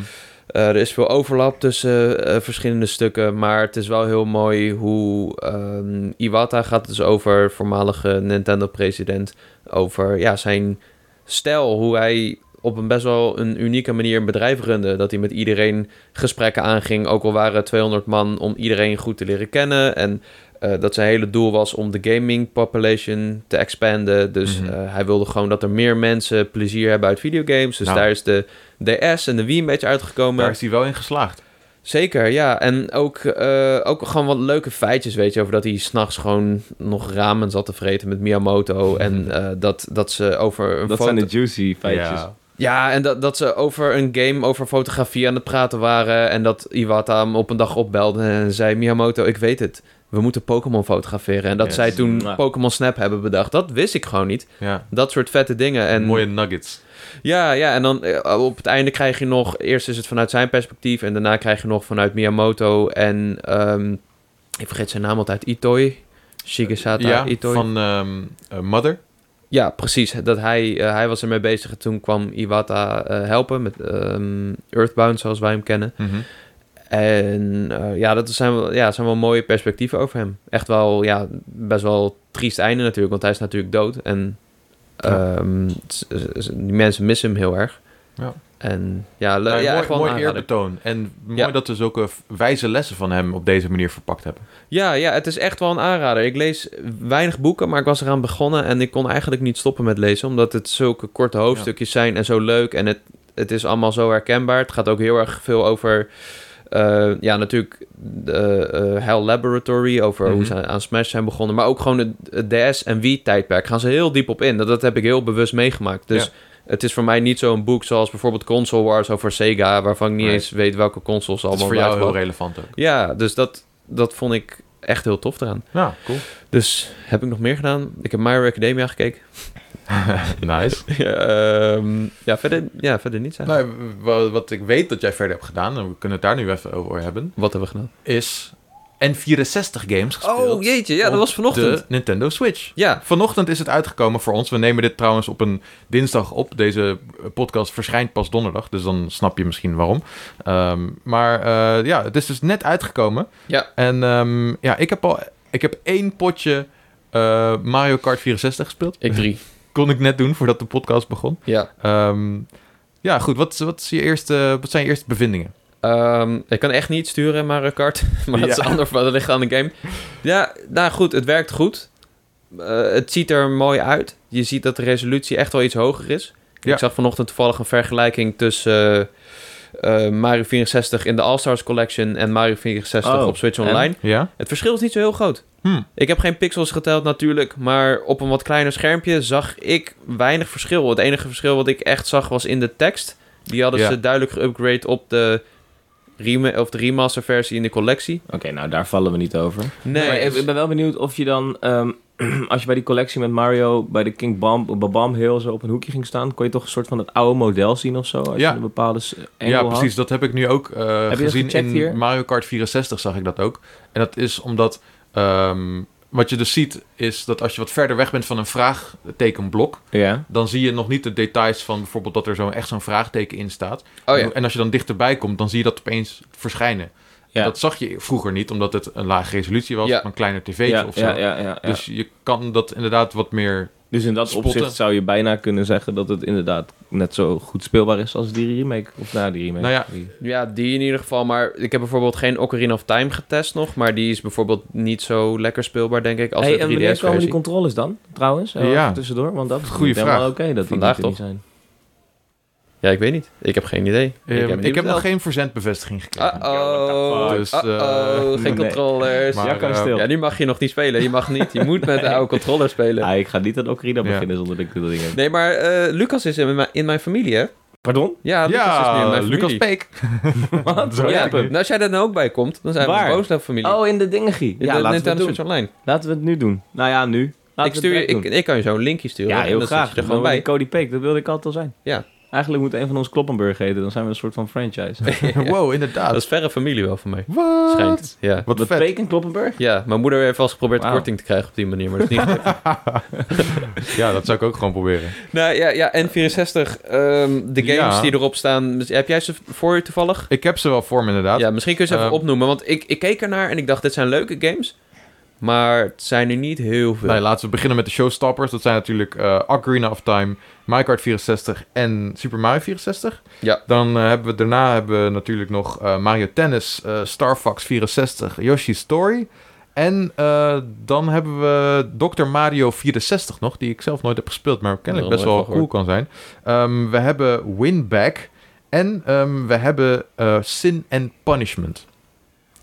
[SPEAKER 3] eh, er is veel overlap tussen eh, verschillende stukken, maar het is wel heel mooi hoe ehm, Iwata gaat dus over voormalige Nintendo-president, over ja, zijn stijl, hoe hij op een best wel een unieke manier een bedrijf runde. Dat hij met iedereen gesprekken aanging, ook al waren het 200 man, om iedereen goed te leren kennen. En eh, dat zijn hele doel was om de gaming population te expanden. Dus
[SPEAKER 1] Mhm.
[SPEAKER 3] eh, hij wilde gewoon dat er meer mensen plezier hebben uit videogames. Dus
[SPEAKER 1] Nou.
[SPEAKER 3] daar is de DS en de Wii een beetje uitgekomen.
[SPEAKER 1] Daar is hij wel in geslaagd.
[SPEAKER 3] Zeker, ja. En ook, eh, ook gewoon wat leuke feitjes, weet je, over dat hij s'nachts gewoon nog ramen zat te vreten met Miyamoto. En eh, dat, dat ze over een
[SPEAKER 2] dat
[SPEAKER 3] foto-
[SPEAKER 2] zijn de juicy feitjes.
[SPEAKER 1] Ja.
[SPEAKER 3] Ja, en dat, dat ze over een game, over fotografie aan het praten waren. En dat Iwata hem op een dag opbelde en zei... Miyamoto, ik weet het. We moeten Pokémon fotograferen. En dat
[SPEAKER 2] Yes.
[SPEAKER 3] zij toen
[SPEAKER 2] Mwah.
[SPEAKER 3] Pokémon Snap hebben bedacht. Dat wist ik gewoon niet.
[SPEAKER 1] Ja.
[SPEAKER 3] Dat soort vette dingen. En
[SPEAKER 1] Mooie nuggets.
[SPEAKER 3] ja, ja, en dan eh, op het einde krijg je nog... Eerst is het vanuit zijn perspectief en daarna krijg je nog vanuit Miyamoto en... ehm, ik vergeet zijn naam altijd, Itoi. Shigesata
[SPEAKER 1] ja,
[SPEAKER 3] Itoi.
[SPEAKER 1] van ehm, eh, Mother.
[SPEAKER 3] Ja, precies. Dat hij, eh, hij was ermee bezig en toen kwam Iwata eh, helpen met ehm, Earthbound, zoals wij hem kennen.
[SPEAKER 1] Mhm.
[SPEAKER 3] En eh, ja, dat zijn wel, ja, zijn wel mooie perspectieven over hem. Echt wel, ja, best wel triest einde natuurlijk, want hij is natuurlijk dood. En
[SPEAKER 1] Ja.
[SPEAKER 3] ehm, s- s- die mensen missen hem heel erg.
[SPEAKER 1] Ja.
[SPEAKER 3] En ja, le-
[SPEAKER 1] Ja,
[SPEAKER 3] ja
[SPEAKER 1] mooi
[SPEAKER 3] gewoon
[SPEAKER 1] mooi
[SPEAKER 3] aanrader.
[SPEAKER 1] eerbetoon. En mooi
[SPEAKER 3] Ja.
[SPEAKER 1] dat we zulke v- wijze lessen van hem op deze manier verpakt hebben.
[SPEAKER 3] Ja, ja, het is echt wel een aanrader. Ik lees weinig boeken, maar ik was eraan begonnen en ik kon eigenlijk niet stoppen met lezen, omdat het zulke korte hoofdstukjes zijn en zo leuk en het, het is allemaal zo herkenbaar. Het gaat ook heel erg veel over, eh, ja, natuurlijk de eh, Hell Laboratory, over hoe
[SPEAKER 1] Mhm.
[SPEAKER 3] ze aan Smash zijn begonnen, maar ook gewoon het, het DS en Wii tijdperk gaan ze heel diep op in. Dat, dat heb ik heel bewust meegemaakt. Dus
[SPEAKER 1] Ja.
[SPEAKER 3] het is voor mij niet zo'n boek zoals bijvoorbeeld Console Wars over Sega, waarvan ik niet
[SPEAKER 1] Right.
[SPEAKER 3] eens weet welke consoles ze
[SPEAKER 1] Dat is
[SPEAKER 3] allemaal
[SPEAKER 1] voor jou heel
[SPEAKER 3] uitgebracht.
[SPEAKER 1] relevant ook.
[SPEAKER 3] Ja, dus dat, dat vond ik echt heel tof eraan.
[SPEAKER 1] Nou, cool.
[SPEAKER 3] Dus heb ik nog meer gedaan? Ik heb My Hero Academia gekeken.
[SPEAKER 1] nice.
[SPEAKER 3] ja, ehm, ja, verder, ja, verder niets eigenlijk.
[SPEAKER 1] Nou, wa- wat ik weet dat jij verder hebt gedaan, en we kunnen het daar nu even over hebben,
[SPEAKER 3] Wat hebben we gedaan?
[SPEAKER 1] is N64 games gespeeld.
[SPEAKER 3] jeetje,
[SPEAKER 1] op De Nintendo Switch.
[SPEAKER 3] Oh, Ja,
[SPEAKER 1] Vanochtend is het uitgekomen voor ons. We nemen dit trouwens op een dinsdag op. Deze eh, podcast verschijnt pas donderdag, dus dan snap je misschien waarom. Ehm, maar eh, ja, het is dus net uitgekomen.
[SPEAKER 3] Ja.
[SPEAKER 1] En ehm, ja, ik heb al ik heb één potje eh, Mario Kart 64 gespeeld.
[SPEAKER 3] ik drie.
[SPEAKER 1] Kon ik net doen voordat de podcast begon.
[SPEAKER 3] Ja.
[SPEAKER 1] Ehm, ja, goed. Wat, wat, is je eerste, wat zijn je eerste bevindingen?
[SPEAKER 3] Ehm, ik kan echt niet sturen in Mario Kart, maar dat, is
[SPEAKER 1] Ja.
[SPEAKER 3] ander, dat ligt aan de game. Ja, nou goed, het werkt goed. Eh, het ziet er mooi uit. Je ziet dat de resolutie echt wel iets hoger is.
[SPEAKER 1] Ja.
[SPEAKER 3] Ik zag vanochtend toevallig een vergelijking tussen eh, eh, Mario 64 in de All-Stars Collection en Mario 64
[SPEAKER 2] Oh,
[SPEAKER 3] op Switch
[SPEAKER 2] en?
[SPEAKER 3] Online.
[SPEAKER 1] Ja?
[SPEAKER 3] Het verschil is niet zo heel groot.
[SPEAKER 1] Hm.
[SPEAKER 3] Ik heb geen pixels geteld natuurlijk, maar op een wat kleiner schermpje zag ik weinig verschil. Het enige verschil wat ik echt zag was in de tekst. Die hadden
[SPEAKER 1] Ja.
[SPEAKER 3] ze duidelijk geüpgrade op de, rema of de remaster versie in de collectie.
[SPEAKER 2] Oké, nou daar vallen we niet over.
[SPEAKER 3] Nee,
[SPEAKER 2] Maar ik-
[SPEAKER 3] het-
[SPEAKER 2] ik ben wel benieuwd of je dan, ehm, als je bij die collectie met Mario bij de King Bomb, Babam Hill zo op een hoekje ging staan, kon je toch een soort van het oude model zien of zo? Als
[SPEAKER 1] Ja.
[SPEAKER 2] je een bepaalde s- angle
[SPEAKER 1] Ja,
[SPEAKER 2] had?
[SPEAKER 1] precies. Dat heb ik nu ook eh,
[SPEAKER 2] dat
[SPEAKER 1] gezien in
[SPEAKER 2] gecheckt hier?
[SPEAKER 1] Mario Kart 64 zag ik dat ook. En dat is omdat ehm, wat je dus ziet is dat als je wat verder weg bent van een vraagtekenblok,
[SPEAKER 2] Ja.
[SPEAKER 1] dan zie je nog niet de details van bijvoorbeeld dat er zo echt zo'n vraagteken in staat.
[SPEAKER 3] oh ja.
[SPEAKER 1] En als je dan dichterbij komt, dan zie je dat opeens verschijnen.
[SPEAKER 2] Ja.
[SPEAKER 1] Dat zag je vroeger niet, omdat het een lage resolutie was,
[SPEAKER 3] Ja.
[SPEAKER 1] op een kleiner tv'tje
[SPEAKER 2] Ja,
[SPEAKER 1] of zo.
[SPEAKER 2] ja, ja, ja, ja.
[SPEAKER 1] Dus je kan dat inderdaad wat meer
[SPEAKER 2] Dus in dat
[SPEAKER 1] Spotten.
[SPEAKER 2] opzicht zou je bijna kunnen zeggen dat het inderdaad net zo goed speelbaar is als die remake. Of na die remake.
[SPEAKER 1] Nou ja.
[SPEAKER 2] Die-
[SPEAKER 3] ja, die in ieder geval. Maar ik heb bijvoorbeeld geen Ocarina of Time getest nog, maar die is bijvoorbeeld niet zo lekker speelbaar denk ik als
[SPEAKER 2] Hey,
[SPEAKER 3] de
[SPEAKER 2] en wanneer
[SPEAKER 3] 3DS
[SPEAKER 2] komen die
[SPEAKER 3] versie.
[SPEAKER 2] controles dan, trouwens? Heel
[SPEAKER 1] Ja.
[SPEAKER 2] even tussendoor, want dat is
[SPEAKER 1] Goeie
[SPEAKER 2] niet helemaal
[SPEAKER 1] vraag.
[SPEAKER 2] oké dat die
[SPEAKER 3] Vandaag
[SPEAKER 2] er niet zijn.
[SPEAKER 3] Ja, ik weet niet. Ik heb geen idee.
[SPEAKER 1] Ehm,
[SPEAKER 3] heb
[SPEAKER 1] ik
[SPEAKER 3] niet
[SPEAKER 1] heb Ah, nog
[SPEAKER 3] besteld.
[SPEAKER 1] geen verzendbevestiging gekregen.
[SPEAKER 3] Uh-oh.
[SPEAKER 1] Dus, eh,
[SPEAKER 3] Uh-oh, geen
[SPEAKER 2] nee.
[SPEAKER 3] controllers.
[SPEAKER 1] Maar,
[SPEAKER 2] Ja, kan
[SPEAKER 1] eh,
[SPEAKER 2] stil.
[SPEAKER 3] Ja, die mag je nog niet spelen. Je mag niet. Je moet met de oude controller spelen.
[SPEAKER 2] Ah, ik ga niet aan Ocarina
[SPEAKER 1] Ja.
[SPEAKER 2] beginnen zonder dat ik dat ding heb.
[SPEAKER 3] Nee, maar eh, Lucas is in mijn, in mijn familie, hè?
[SPEAKER 2] Pardon?
[SPEAKER 3] Ja, Lucas is nu in
[SPEAKER 1] ja,
[SPEAKER 3] mijn
[SPEAKER 1] Lucas
[SPEAKER 3] familie.
[SPEAKER 1] Peek.
[SPEAKER 2] Wat?
[SPEAKER 1] Zo
[SPEAKER 3] ja,
[SPEAKER 1] heet ik nu.
[SPEAKER 3] nou, als jij daar nou ook bij komt, dan zijn
[SPEAKER 2] Waar?
[SPEAKER 3] we een Boosloop-familie.
[SPEAKER 2] Oh, in de dingerie.
[SPEAKER 3] in
[SPEAKER 2] Ja,
[SPEAKER 3] de
[SPEAKER 2] laten we het
[SPEAKER 3] Nintendo
[SPEAKER 2] doen.
[SPEAKER 3] Switch Online.
[SPEAKER 2] Laten we het nu doen. Nou ja, nu. Laten
[SPEAKER 3] ik, stuur je,
[SPEAKER 2] we het
[SPEAKER 3] ik,
[SPEAKER 2] direct doen.
[SPEAKER 3] ik kan je zo een linkje sturen.
[SPEAKER 2] Ja,
[SPEAKER 3] en
[SPEAKER 2] heel
[SPEAKER 3] dan
[SPEAKER 2] graag.
[SPEAKER 3] Zit je er gewoon
[SPEAKER 2] Dan
[SPEAKER 3] bij.
[SPEAKER 2] word ik Cody Peek, dat wilde ik altijd al zijn.
[SPEAKER 3] Ja.
[SPEAKER 2] Eigenlijk moet een van ons Kloppenburg heten, dan zijn we een soort van franchise.
[SPEAKER 1] Wow,
[SPEAKER 3] Dat
[SPEAKER 1] inderdaad.
[SPEAKER 3] is verre familie wel van mij.
[SPEAKER 1] Wat?
[SPEAKER 3] Schijnt. Ja.
[SPEAKER 1] Wat
[SPEAKER 2] Met
[SPEAKER 1] vet.
[SPEAKER 2] Peek en Kloppenburg?
[SPEAKER 3] ja, mijn moeder heeft vast geprobeerd
[SPEAKER 2] Wauw.
[SPEAKER 3] korting te krijgen op die manier, maar dat is niet gelukt.
[SPEAKER 1] Ja, dat zou ik ook gewoon proberen.
[SPEAKER 3] Nou ja, ja N64, ehm, de games
[SPEAKER 1] Ja.
[SPEAKER 3] die erop staan. Dus Heb jij ze voor je toevallig?
[SPEAKER 1] Ik heb ze wel voor me inderdaad.
[SPEAKER 3] Ja, misschien kun je ze even
[SPEAKER 1] Ehm,
[SPEAKER 3] opnoemen. Want ik, ik keek ernaar en ik dacht, dit zijn leuke games. Maar het zijn er niet heel veel.
[SPEAKER 1] Nou, laten we beginnen met de showstoppers. Dat zijn natuurlijk eh Ocarina of Time, Mario Kart 64 en Super Mario 64.
[SPEAKER 3] Ja.
[SPEAKER 1] Dan eh, hebben we daarna hebben we natuurlijk nog eh, Mario Tennis, eh, Star Fox 64, Yoshi's Story. En eh, dan hebben we Dr. Mario 64 nog, die ik zelf nooit heb gespeeld, maar kennelijk
[SPEAKER 3] Nog
[SPEAKER 1] best wel
[SPEAKER 3] nooit van
[SPEAKER 1] cool kan zijn. Ehm, we hebben Winback en ehm, we hebben eh, Sin and Punishment.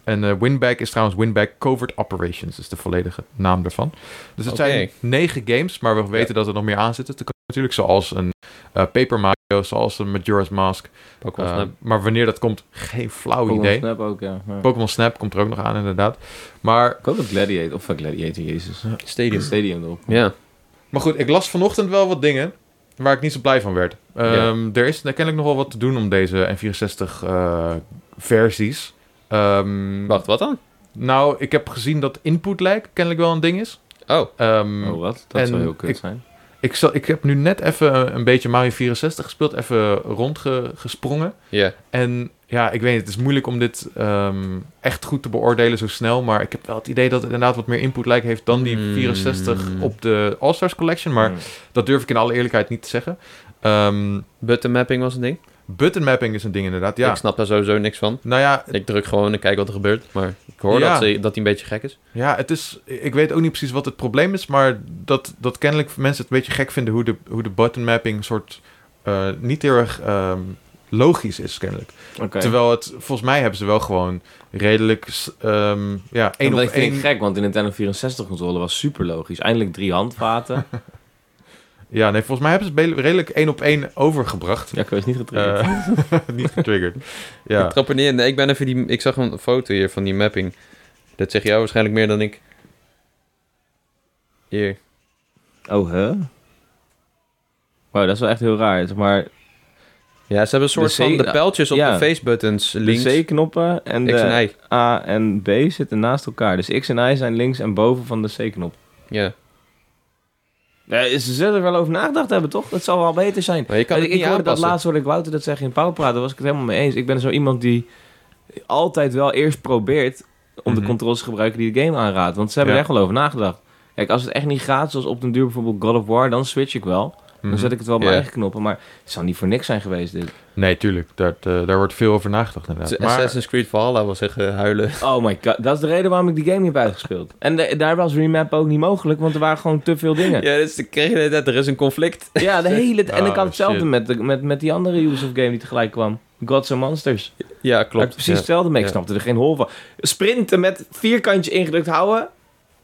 [SPEAKER 1] En eh, Winback is trouwens Winback Covert Operations, is de volledige naam daarvan. Dus het
[SPEAKER 3] Oké.
[SPEAKER 1] zijn negen games, maar we weten dat er nog meer aan zitten te komen natuurlijk, zoals een eh, Paper Mario, zoals een Majora's Mask.
[SPEAKER 3] Pokémon
[SPEAKER 1] Eh,
[SPEAKER 3] Snap.
[SPEAKER 1] maar wanneer dat komt, geen flauw
[SPEAKER 2] Pokémon
[SPEAKER 1] idee.
[SPEAKER 2] Snap ook, ja. ja.
[SPEAKER 1] Pokémon Snap komt er ook nog aan, inderdaad. Maar,
[SPEAKER 2] Ik hoop dat Gladiator, of eh, Gladiator, jezus.
[SPEAKER 3] Stadium.
[SPEAKER 2] Stadium erop.
[SPEAKER 3] Ja.
[SPEAKER 1] maar goed, ik las vanochtend wel wat dingen waar ik niet zo blij van werd. Ehm, Er is kennelijk nogal wat te doen om deze eh, N64-versies.
[SPEAKER 3] Wacht, wat dan?
[SPEAKER 1] Ehm, Nou, ik heb gezien dat input lag kennelijk wel een ding is.
[SPEAKER 3] Oh,
[SPEAKER 1] Ehm,
[SPEAKER 2] Oh, wat? Dat
[SPEAKER 1] En
[SPEAKER 2] zou heel kut
[SPEAKER 1] ik-
[SPEAKER 2] zijn.
[SPEAKER 1] ik, zal, ik heb nu net even een beetje Mario 64 gespeeld, even rondgesprongen.
[SPEAKER 3] ja.
[SPEAKER 1] En ja, ik weet het, het is moeilijk om dit ehm, echt goed te beoordelen zo snel. Maar ik heb wel het idee dat het inderdaad wat meer input lijkt heeft dan die
[SPEAKER 3] Hmm.
[SPEAKER 1] 64 op de All-Stars Collection. Maar
[SPEAKER 2] Hmm.
[SPEAKER 1] dat durf ik in alle eerlijkheid niet te zeggen. Ehm
[SPEAKER 3] Button mapping was een ding.
[SPEAKER 1] Button mapping is een ding inderdaad, ja.
[SPEAKER 3] Ik snap daar sowieso niks van.
[SPEAKER 1] Nou ja,
[SPEAKER 3] Ik druk gewoon en kijk wat er gebeurt. Maar ik hoor
[SPEAKER 1] Ja.
[SPEAKER 3] dat, ze, dat hij een beetje gek is.
[SPEAKER 1] ja, het is, ik weet ook niet precies wat het probleem is, maar dat, dat kennelijk mensen het een beetje gek vinden hoe de, hoe de button mapping soort eh, niet heel erg ehm, logisch is, kennelijk.
[SPEAKER 2] Oké.
[SPEAKER 1] Terwijl het, volgens mij hebben ze wel gewoon redelijk, s- ehm ja, één op
[SPEAKER 2] Dat vind
[SPEAKER 1] één.
[SPEAKER 2] ik gek, want de Nintendo 64 controller was super logisch. Eindelijk drie handvaten.
[SPEAKER 1] Ja, nee, volgens mij hebben ze het be- redelijk één op één overgebracht.
[SPEAKER 2] ja, ik was niet getriggerd.
[SPEAKER 1] Eh, niet getriggerd. Ja.
[SPEAKER 3] Ik trap er niet in. Nee, ik, ben even die, ik zag een foto hier van die mapping. Dat zeg jij waarschijnlijk meer dan ik. Hier.
[SPEAKER 2] Oh, hè? Wow, dat is wel echt heel raar. Zeg Maar
[SPEAKER 3] Ja, ze hebben een soort
[SPEAKER 2] De C-
[SPEAKER 3] van de pijltjes op
[SPEAKER 2] ja.
[SPEAKER 3] de facebuttons links.
[SPEAKER 2] de C-knoppen en
[SPEAKER 3] X en
[SPEAKER 2] de
[SPEAKER 3] Y.
[SPEAKER 2] A en B zitten naast elkaar. Dus X en Y zijn links en boven van de C-knop.
[SPEAKER 3] Ja.
[SPEAKER 2] Ja, ze zullen er wel over nagedacht hebben, toch? Dat zal wel beter zijn.
[SPEAKER 3] Maar je kan
[SPEAKER 2] ik
[SPEAKER 3] het
[SPEAKER 2] ik
[SPEAKER 3] niet
[SPEAKER 2] hoorde dat
[SPEAKER 3] aanpassen.
[SPEAKER 2] laatst hoorde ik Wouter dat zeggen in Pauwpraat. Daar was ik het helemaal mee eens. Ik ben zo iemand die altijd wel eerst probeert om de
[SPEAKER 1] Mhm.
[SPEAKER 2] controls te gebruiken die de game aanraadt. Want ze hebben
[SPEAKER 1] Ja.
[SPEAKER 2] er echt wel over nagedacht. Kijk, als het echt niet gaat, zoals op den duur bijvoorbeeld God of War, dan switch ik wel. Dan zet ik het wel op mijn
[SPEAKER 3] Mhm. Ja.
[SPEAKER 2] eigen knoppen. Maar het zou niet voor niks zijn geweest, dit.
[SPEAKER 1] Nee, tuurlijk. Daar, eh, daar wordt veel over nagedacht
[SPEAKER 3] Z-
[SPEAKER 1] inderdaad. Maar,
[SPEAKER 3] Assassin's Creed Valhalla was echt eh, huilen.
[SPEAKER 2] Oh my god, dat is de reden waarom ik die game niet heb uitgespeeld. En de- daar was remap ook niet mogelijk, want er waren gewoon te veel dingen.
[SPEAKER 3] Ja, dus dan kreeg je de hele tijd, er is een conflict.
[SPEAKER 2] Ja, de hele tijd. En ik
[SPEAKER 1] Oh,
[SPEAKER 2] had hetzelfde
[SPEAKER 1] shit.
[SPEAKER 2] met, de- met, met die andere Ubisoft game die tegelijk kwam. Gods and Monsters.
[SPEAKER 3] Ja,
[SPEAKER 2] Klopt.
[SPEAKER 3] klopt.
[SPEAKER 2] Precies hetzelfde mee. Ik
[SPEAKER 3] Ja.
[SPEAKER 2] snapte er geen hol van. Sprinten met vierkantje ingedrukt houden.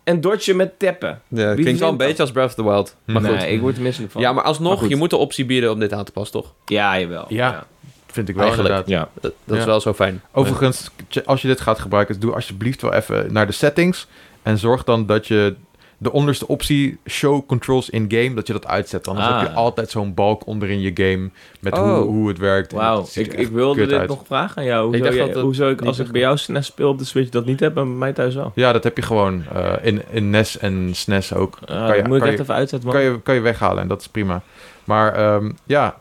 [SPEAKER 2] En dodgen met tappen.
[SPEAKER 3] Ja,
[SPEAKER 2] Wie
[SPEAKER 3] klinkt wel een
[SPEAKER 2] verzint dat?
[SPEAKER 3] beetje als Breath of the Wild. Maar
[SPEAKER 2] nee,
[SPEAKER 3] goed.
[SPEAKER 2] ik word er misselijk van.
[SPEAKER 3] Ja, maar alsnog,
[SPEAKER 2] Maar goed.
[SPEAKER 3] je moet de optie bieden om dit aan te passen, toch?
[SPEAKER 2] ja jawel.
[SPEAKER 1] Ja. vind ik wel
[SPEAKER 3] Eigenlijk.
[SPEAKER 1] inderdaad.
[SPEAKER 2] Ja.
[SPEAKER 3] Dat, dat is
[SPEAKER 1] Ja.
[SPEAKER 3] wel zo fijn.
[SPEAKER 1] Overigens, tje- als je dit gaat gebruiken, doe alsjeblieft wel even naar de settings. En zorg dan dat je de onderste optie, show controls in game, dat je dat uitzet. Anders
[SPEAKER 2] Ah.
[SPEAKER 1] heb je altijd zo'n balk onderin je game met
[SPEAKER 3] Oh.
[SPEAKER 1] hoe, hoe het werkt. En
[SPEAKER 2] Wauw,
[SPEAKER 1] het ziet
[SPEAKER 2] ik,
[SPEAKER 1] er echt
[SPEAKER 2] ik wilde
[SPEAKER 1] kut
[SPEAKER 2] dit
[SPEAKER 1] uit.
[SPEAKER 2] nog vragen aan jou. Hoezo,
[SPEAKER 3] Ik dacht
[SPEAKER 2] jij-
[SPEAKER 3] dat het
[SPEAKER 2] hoezo ik,
[SPEAKER 3] niet
[SPEAKER 2] als ik
[SPEAKER 3] echt-
[SPEAKER 2] bij jou SNES speel op de Switch dat niet heb, en bij mij thuis wel.
[SPEAKER 1] Ja, dat heb je gewoon eh, in, in NES en SNES ook.
[SPEAKER 2] Ah,
[SPEAKER 1] Kan je-
[SPEAKER 2] moet ik
[SPEAKER 1] kan
[SPEAKER 2] echt
[SPEAKER 1] je-
[SPEAKER 2] even uitzetten, man.
[SPEAKER 1] Kan je, kan je weghalen en dat is prima. Maar ehm, ja,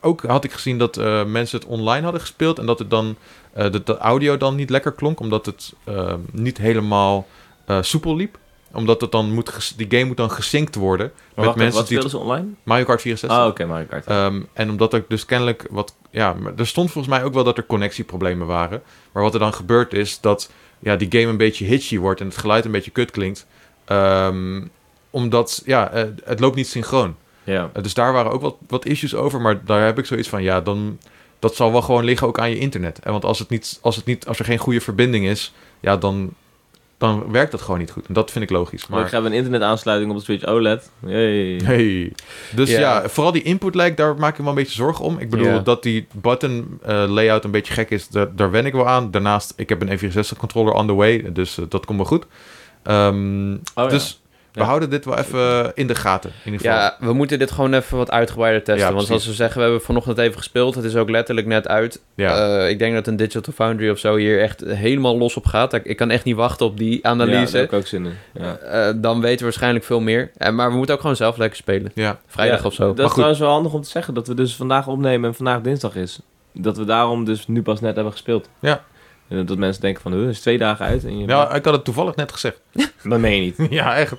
[SPEAKER 1] ook had ik gezien dat eh, mensen het online hadden gespeeld... en dat het dan, eh, dat de audio dan niet lekker klonk... omdat het ehm, niet helemaal eh, soepel liep. Omdat het dan moet ges- die game moet dan gesynct worden
[SPEAKER 2] Maar
[SPEAKER 1] met
[SPEAKER 2] wacht,
[SPEAKER 1] mensen
[SPEAKER 2] wat
[SPEAKER 1] die...
[SPEAKER 2] spelen ze online?
[SPEAKER 1] Mario Kart 64.
[SPEAKER 2] Oh, oké, Mario Kart.
[SPEAKER 1] Ehm, en omdat er dus kennelijk wat... Ja, maar er stond volgens mij ook wel dat er connectieproblemen waren. Maar wat er dan gebeurt is dat ja, die game een beetje hitchy wordt... en het geluid een beetje kut klinkt. Ehm, omdat, ja, eh, het loopt niet synchroon.
[SPEAKER 2] ja.
[SPEAKER 1] Eh, Dus daar waren ook wat, wat issues over. Maar daar heb ik zoiets van, ja, dan... Dat zal wel gewoon liggen ook aan je internet. En want als, het niet, als, het niet, als er geen goede verbinding is... Ja, dan, dan werkt dat gewoon niet goed. En dat vind ik logisch.
[SPEAKER 2] Maar ik
[SPEAKER 1] Maar...
[SPEAKER 2] heb een internetaansluiting op de Switch Oh, OLED. Hey.
[SPEAKER 1] Hey. Dus
[SPEAKER 3] Ja.
[SPEAKER 1] ja. vooral die input lag, daar maak ik me wel een beetje zorgen om. Ik bedoel,
[SPEAKER 3] Ja.
[SPEAKER 1] dat die button eh, layout een beetje gek is, daar, daar wen ik wel aan. Daarnaast, ik heb een N64 controller on the way, dus eh, dat komt wel goed. Ehm,
[SPEAKER 2] Oh, ja.
[SPEAKER 1] dus we
[SPEAKER 2] Ja.
[SPEAKER 1] houden dit wel even in de gaten. In ieder geval.
[SPEAKER 3] Ja, we moeten dit gewoon even wat uitgebreider testen.
[SPEAKER 1] Ja,
[SPEAKER 3] want
[SPEAKER 1] precies.
[SPEAKER 3] zoals we zeggen, we hebben vanochtend even gespeeld. Het is ook letterlijk net uit.
[SPEAKER 1] ja.
[SPEAKER 3] Eh, ik denk dat een Digital Foundry of zo hier echt helemaal los op gaat. Ik, ik kan echt niet wachten op die
[SPEAKER 2] Ja, daar
[SPEAKER 3] analyse.
[SPEAKER 2] heb ik ook zin in. Ja.
[SPEAKER 3] Eh, dan weten we waarschijnlijk veel meer. Eh, maar we moeten ook gewoon zelf lekker spelen.
[SPEAKER 1] ja.
[SPEAKER 3] Vrijdag
[SPEAKER 2] Ja,
[SPEAKER 3] of zo.
[SPEAKER 2] Dat is trouwens wel handig om te zeggen dat we dus vandaag opnemen en vandaag dinsdag is. Dat we daarom dus nu pas net hebben gespeeld.
[SPEAKER 1] Ja.
[SPEAKER 2] En dat mensen denken van, huh, is twee dagen uit. En je
[SPEAKER 1] Nou, ik had het toevallig net gezegd.
[SPEAKER 2] dat meen je niet.
[SPEAKER 1] ja, echt.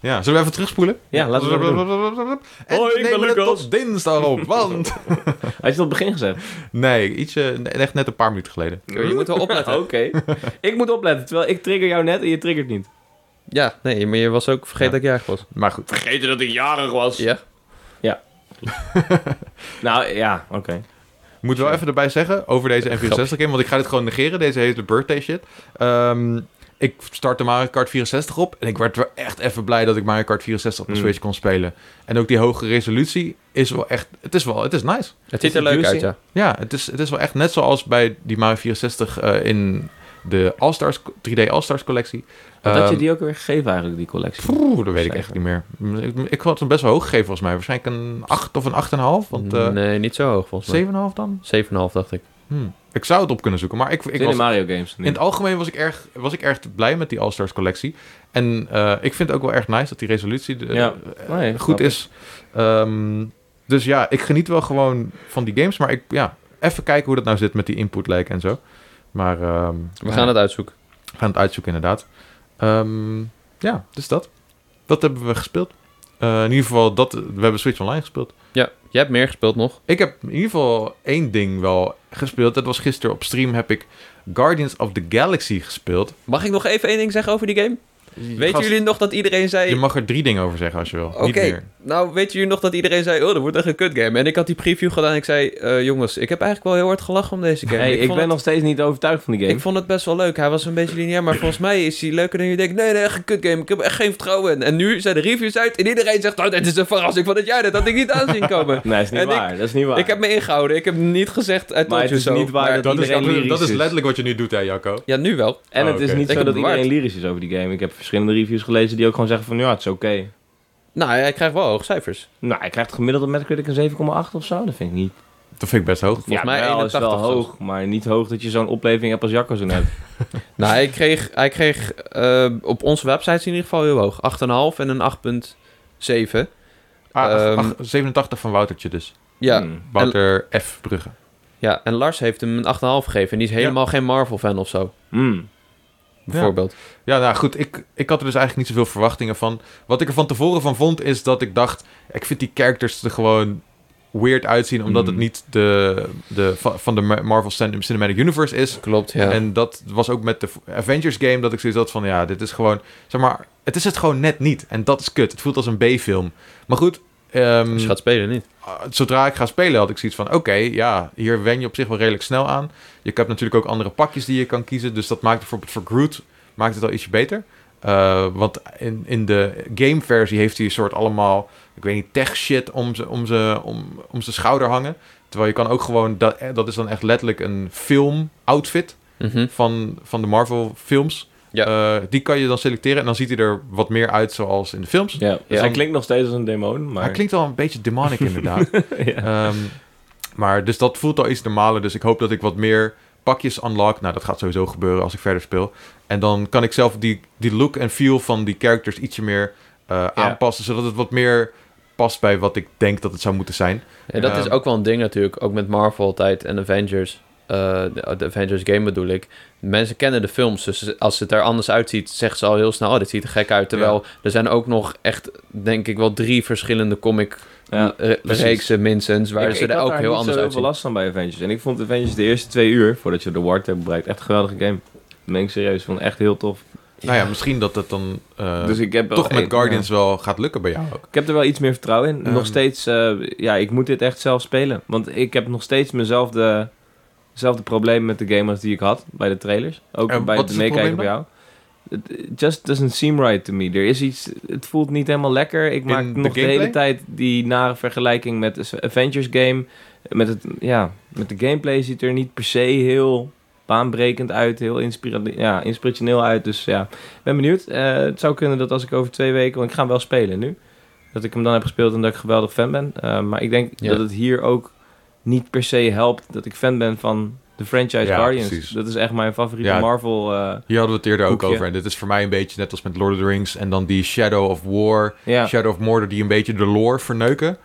[SPEAKER 1] Ja, zullen we even terugspoelen?
[SPEAKER 2] Hmm? Ja, laten we dat
[SPEAKER 1] En
[SPEAKER 2] Hoi, ik ben
[SPEAKER 1] nemen het
[SPEAKER 2] Lucas.
[SPEAKER 1] tot dinsdag op, want...
[SPEAKER 2] Had je dat op het begin gezegd?
[SPEAKER 1] Nee, ietsje, echt net een paar minuten geleden.
[SPEAKER 3] Je moet wel opletten.
[SPEAKER 2] Oké. ik moet opletten, terwijl ik trigger jou net en je triggert niet.
[SPEAKER 3] Ja, nee, maar je was ook
[SPEAKER 1] Ja.
[SPEAKER 3] vergeten dat ik jarig was.
[SPEAKER 1] Maar goed.
[SPEAKER 2] Vergeten dat ik jarig was.
[SPEAKER 3] Ja.
[SPEAKER 2] Nou, ja, oké.
[SPEAKER 1] Ik moet wel even erbij zeggen over deze N64 game, want ik ga dit gewoon negeren, deze hele birthday shit. Ehm, ik startte Mario Kart 64 op en ik werd wel echt even blij dat ik Mario Kart 64 op mijn
[SPEAKER 2] Hmm.
[SPEAKER 1] Switch kon spelen. En ook die hoge resolutie is wel echt, het is wel, het is nice.
[SPEAKER 3] Het ziet er leuk
[SPEAKER 2] juicy?
[SPEAKER 3] uit, ja.
[SPEAKER 1] Ja, het is, het is wel echt net zoals bij die Mario 64 eh, in de All-Stars, 3D All-Stars collectie.
[SPEAKER 2] Wat had je
[SPEAKER 1] Ehm,
[SPEAKER 2] die ook weer gegeven eigenlijk, die collectie?
[SPEAKER 1] Poeh, dat weet ik echt niet meer. Ik, ik had hem best wel hoog gegeven volgens mij. Waarschijnlijk een 8 of een 8,5. Want eh
[SPEAKER 3] Mm, nee, niet zo hoog volgens mij.
[SPEAKER 1] 7,5 dan?
[SPEAKER 3] 7,5 dacht ik.
[SPEAKER 1] Hm. Ik zou het op kunnen zoeken. Maar ik,
[SPEAKER 2] Ik
[SPEAKER 1] ik
[SPEAKER 2] in de
[SPEAKER 1] was,
[SPEAKER 2] Mario games.
[SPEAKER 1] in het algemeen was ik erg, was ik erg blij met die All-Stars collectie. En eh, ik vind het ook wel erg nice dat die resolutie eh,
[SPEAKER 2] Ja.
[SPEAKER 1] eh,
[SPEAKER 2] Nee,
[SPEAKER 1] goed
[SPEAKER 2] snap ik.
[SPEAKER 1] is. Ehm, dus ja, ik geniet wel gewoon van die games. Maar ik, ja, even kijken hoe dat nou zit met die input lag en zo. Maar ehm,
[SPEAKER 3] We gaan het uitzoeken.
[SPEAKER 1] we gaan het uitzoeken inderdaad. Ehm, ja, dus dat. Dat hebben we gespeeld. Eh, in ieder geval, dat, we hebben Switch Online gespeeld.
[SPEAKER 3] Ja, jij hebt meer gespeeld nog.
[SPEAKER 1] Ik heb in ieder geval één ding wel gespeeld. Dat was gisteren op stream heb ik Guardians of the Galaxy gespeeld.
[SPEAKER 3] Mag ik nog even één ding zeggen over die game? Weten
[SPEAKER 1] Gast,
[SPEAKER 3] jullie nog dat iedereen zei...
[SPEAKER 1] Je mag er drie dingen over zeggen als je wil.
[SPEAKER 3] Oké,
[SPEAKER 1] Niet meer.
[SPEAKER 3] nou weten jullie nog dat iedereen zei... Oh, dat wordt echt een kut game. En ik had die preview gedaan en ik zei... eh, jongens, ik heb eigenlijk wel heel hard gelachen om deze game.
[SPEAKER 2] Hey, ik,
[SPEAKER 3] vond
[SPEAKER 2] ben
[SPEAKER 3] het-
[SPEAKER 2] nog steeds niet overtuigd van die game.
[SPEAKER 3] Ik vond het best wel leuk. Hij was een beetje lineair, maar volgens mij is hij leuker dan je denkt. Nee, nee, echt een kutgame. Ik heb er echt geen vertrouwen in. En nu zijn de reviews uit en iedereen zegt... Oh, dit is een verrassing van het jaar. Dat had ik niet aan zien komen.
[SPEAKER 2] Nee, is niet
[SPEAKER 3] En ik-
[SPEAKER 2] waar. dat is niet waar.
[SPEAKER 3] ik heb me ingehouden. Ik heb niet gezegd uit
[SPEAKER 2] Maar het
[SPEAKER 3] tot
[SPEAKER 2] is
[SPEAKER 3] zo.
[SPEAKER 2] niet waar
[SPEAKER 3] maar-
[SPEAKER 2] dat-
[SPEAKER 1] Dat is,
[SPEAKER 2] Iedereen
[SPEAKER 1] absoluut- dat
[SPEAKER 2] lyrisch
[SPEAKER 1] is
[SPEAKER 2] is.
[SPEAKER 1] letterlijk wat je nu doet, hè, Jacco?
[SPEAKER 3] Ja, nu wel.
[SPEAKER 2] En
[SPEAKER 1] Oh,
[SPEAKER 2] het is
[SPEAKER 1] oké.
[SPEAKER 2] niet
[SPEAKER 3] Ik
[SPEAKER 2] zo
[SPEAKER 3] heb
[SPEAKER 2] dat
[SPEAKER 3] het bewaard.
[SPEAKER 2] iedereen lyrisch is over die game. Ik heb verschillende reviews gelezen die ook gewoon zeggen van ja, het is oké.
[SPEAKER 3] Nou, hij krijgt wel hoge cijfers.
[SPEAKER 2] Nou, ik krijg het gemiddelde Metacritic een 7,8 of zo. Dat vind ik niet.
[SPEAKER 1] Dat vind ik best hoog.
[SPEAKER 3] Volgens mij
[SPEAKER 2] wel,
[SPEAKER 3] 81
[SPEAKER 2] is wel
[SPEAKER 3] zelfs.
[SPEAKER 2] hoog, maar niet hoog dat je zo'n opleving hebt als Jacco zo net.
[SPEAKER 3] Nou, hij kreeg, hij kreeg eh, op onze website in ieder geval heel hoog. 8,5 en een 8,7.
[SPEAKER 1] Ah,
[SPEAKER 3] Ehm,
[SPEAKER 1] ach, 87 van Woutertje dus.
[SPEAKER 3] Ja.
[SPEAKER 2] Hmm.
[SPEAKER 1] Wouter F. Brugge.
[SPEAKER 3] ja, en Lars heeft hem een 8,5 gegeven. En die is helemaal geen Marvel-fan of zo,
[SPEAKER 2] Hmm.
[SPEAKER 3] bijvoorbeeld.
[SPEAKER 1] Ja, nou goed, ik, ik had er dus eigenlijk niet zoveel verwachtingen van. Wat ik er van tevoren van vond, is dat ik dacht... Ik vind die characters er gewoon weird uitzien... omdat
[SPEAKER 2] Mm.
[SPEAKER 1] het niet de, de, va- van de Ma- Marvel Cin- Cinematic Universe is.
[SPEAKER 3] Klopt, ja.
[SPEAKER 1] En dat was ook met de Avengers game... dat ik zoiets had van, ja, dit is gewoon... Zeg maar, het is het gewoon net niet. En dat is kut. Het voelt als een B-film. Maar goed... ehm,
[SPEAKER 3] Dus je gaat spelen niet.
[SPEAKER 1] uh, zodra ik ga spelen had ik zoiets van... oké, ja, hier wen je op zich wel redelijk snel aan. Je hebt natuurlijk ook andere pakjes die je kan kiezen. Dus dat maakt bijvoorbeeld voor Groot maakt het al ietsje beter. Eh, want in, in de gameversie heeft hij een soort allemaal... ik weet niet, tech shit om zijn om ze- om, om ze schouder hangen. Terwijl je kan ook gewoon... dat, eh, dat is dan echt letterlijk een film-outfit
[SPEAKER 3] Mhm.
[SPEAKER 1] van, van de Marvel-films.
[SPEAKER 3] Ja.
[SPEAKER 1] Eh, die kan je dan selecteren en dan ziet hij er wat meer uit zoals in de films.
[SPEAKER 2] Ja, dus
[SPEAKER 3] Ja.
[SPEAKER 2] hij klinkt nog steeds als een demon, maar...
[SPEAKER 1] Hij klinkt al een beetje demonic inderdaad.
[SPEAKER 2] ja.
[SPEAKER 1] Ehm, maar dus dat voelt al iets normaler. Dus ik hoop dat ik wat meer pakjes unlock. Nou, dat gaat sowieso gebeuren als ik verder speel. En dan kan ik zelf die, die look en feel van die characters ietsje meer eh, aanpassen. Zodat het wat meer past bij wat ik denk dat het zou moeten zijn.
[SPEAKER 3] Ja, dat
[SPEAKER 1] Ja.
[SPEAKER 3] is ook wel een ding natuurlijk. Ook met Marvel altijd en Avengers. Eh, de, de Avengers game bedoel ik. Mensen kennen de films, dus als het er anders uitziet, zeggen ze al heel snel, oh, dit ziet er gek uit. Terwijl er zijn ook nog echt, denk ik wel, drie verschillende comic
[SPEAKER 2] Ja.
[SPEAKER 3] re-
[SPEAKER 1] precies.
[SPEAKER 3] reeksen Eh, minstens, waar
[SPEAKER 2] Ik-
[SPEAKER 3] ze
[SPEAKER 2] ik
[SPEAKER 3] er
[SPEAKER 2] had
[SPEAKER 3] ook
[SPEAKER 2] daar
[SPEAKER 3] heel
[SPEAKER 2] niet
[SPEAKER 3] anders
[SPEAKER 2] zo heel veel
[SPEAKER 3] uitzien.
[SPEAKER 2] last van bij Avengers. En ik vond Avengers de eerste twee uur, voordat je de Ward hebt bereikt, echt een geweldige game. Dat meen ik serieus, vond het echt heel tof.
[SPEAKER 1] Nou ja, misschien dat het dan eh,
[SPEAKER 2] dus ik heb wel
[SPEAKER 1] toch met
[SPEAKER 2] één-
[SPEAKER 1] Guardians
[SPEAKER 2] ja.
[SPEAKER 1] wel gaat lukken bij jou ook.
[SPEAKER 2] Ik heb er wel iets meer vertrouwen in.
[SPEAKER 1] Ehm.
[SPEAKER 2] Nog steeds, eh, ja, ik moet dit echt zelf spelen. Want ik heb nog steeds mezelfde hetzelfde probleem met de game als die ik had bij de trailers. Ook
[SPEAKER 1] En
[SPEAKER 2] bij
[SPEAKER 1] wat
[SPEAKER 2] het
[SPEAKER 1] is het
[SPEAKER 2] meekijken
[SPEAKER 1] probleem
[SPEAKER 2] bij jou. It it just doesn't seem right to me. Er is iets, het voelt niet helemaal lekker. Ik maak
[SPEAKER 1] de
[SPEAKER 2] nog de hele
[SPEAKER 1] gameplay?
[SPEAKER 2] tijd die nare vergelijking met de Avengers game. Met, het, ja, met de gameplay ziet er niet per se heel baanbrekend uit, heel inspira ja, inspirationeel uit. Dus ja, ik ben benieuwd. Eh, het zou kunnen dat als ik over twee weken, want ik ga hem wel spelen nu, dat ik hem dan heb gespeeld en dat ik geweldig fan ben. Eh, maar ik denk
[SPEAKER 3] Ja.
[SPEAKER 2] dat het hier ook niet per se helpt dat ik fan ben van de franchise
[SPEAKER 1] Ja,
[SPEAKER 2] Guardians.
[SPEAKER 1] precies.
[SPEAKER 2] Dat is echt mijn favoriete
[SPEAKER 1] Ja.
[SPEAKER 2] Marvel. eh,
[SPEAKER 1] Hier hadden we het eerder ook
[SPEAKER 2] Hoekje.
[SPEAKER 1] over. En dit is voor mij een beetje net als met Lord of the Rings. En dan die Shadow of War,
[SPEAKER 2] ja.
[SPEAKER 1] Shadow of Mordor... die een beetje de lore verneuken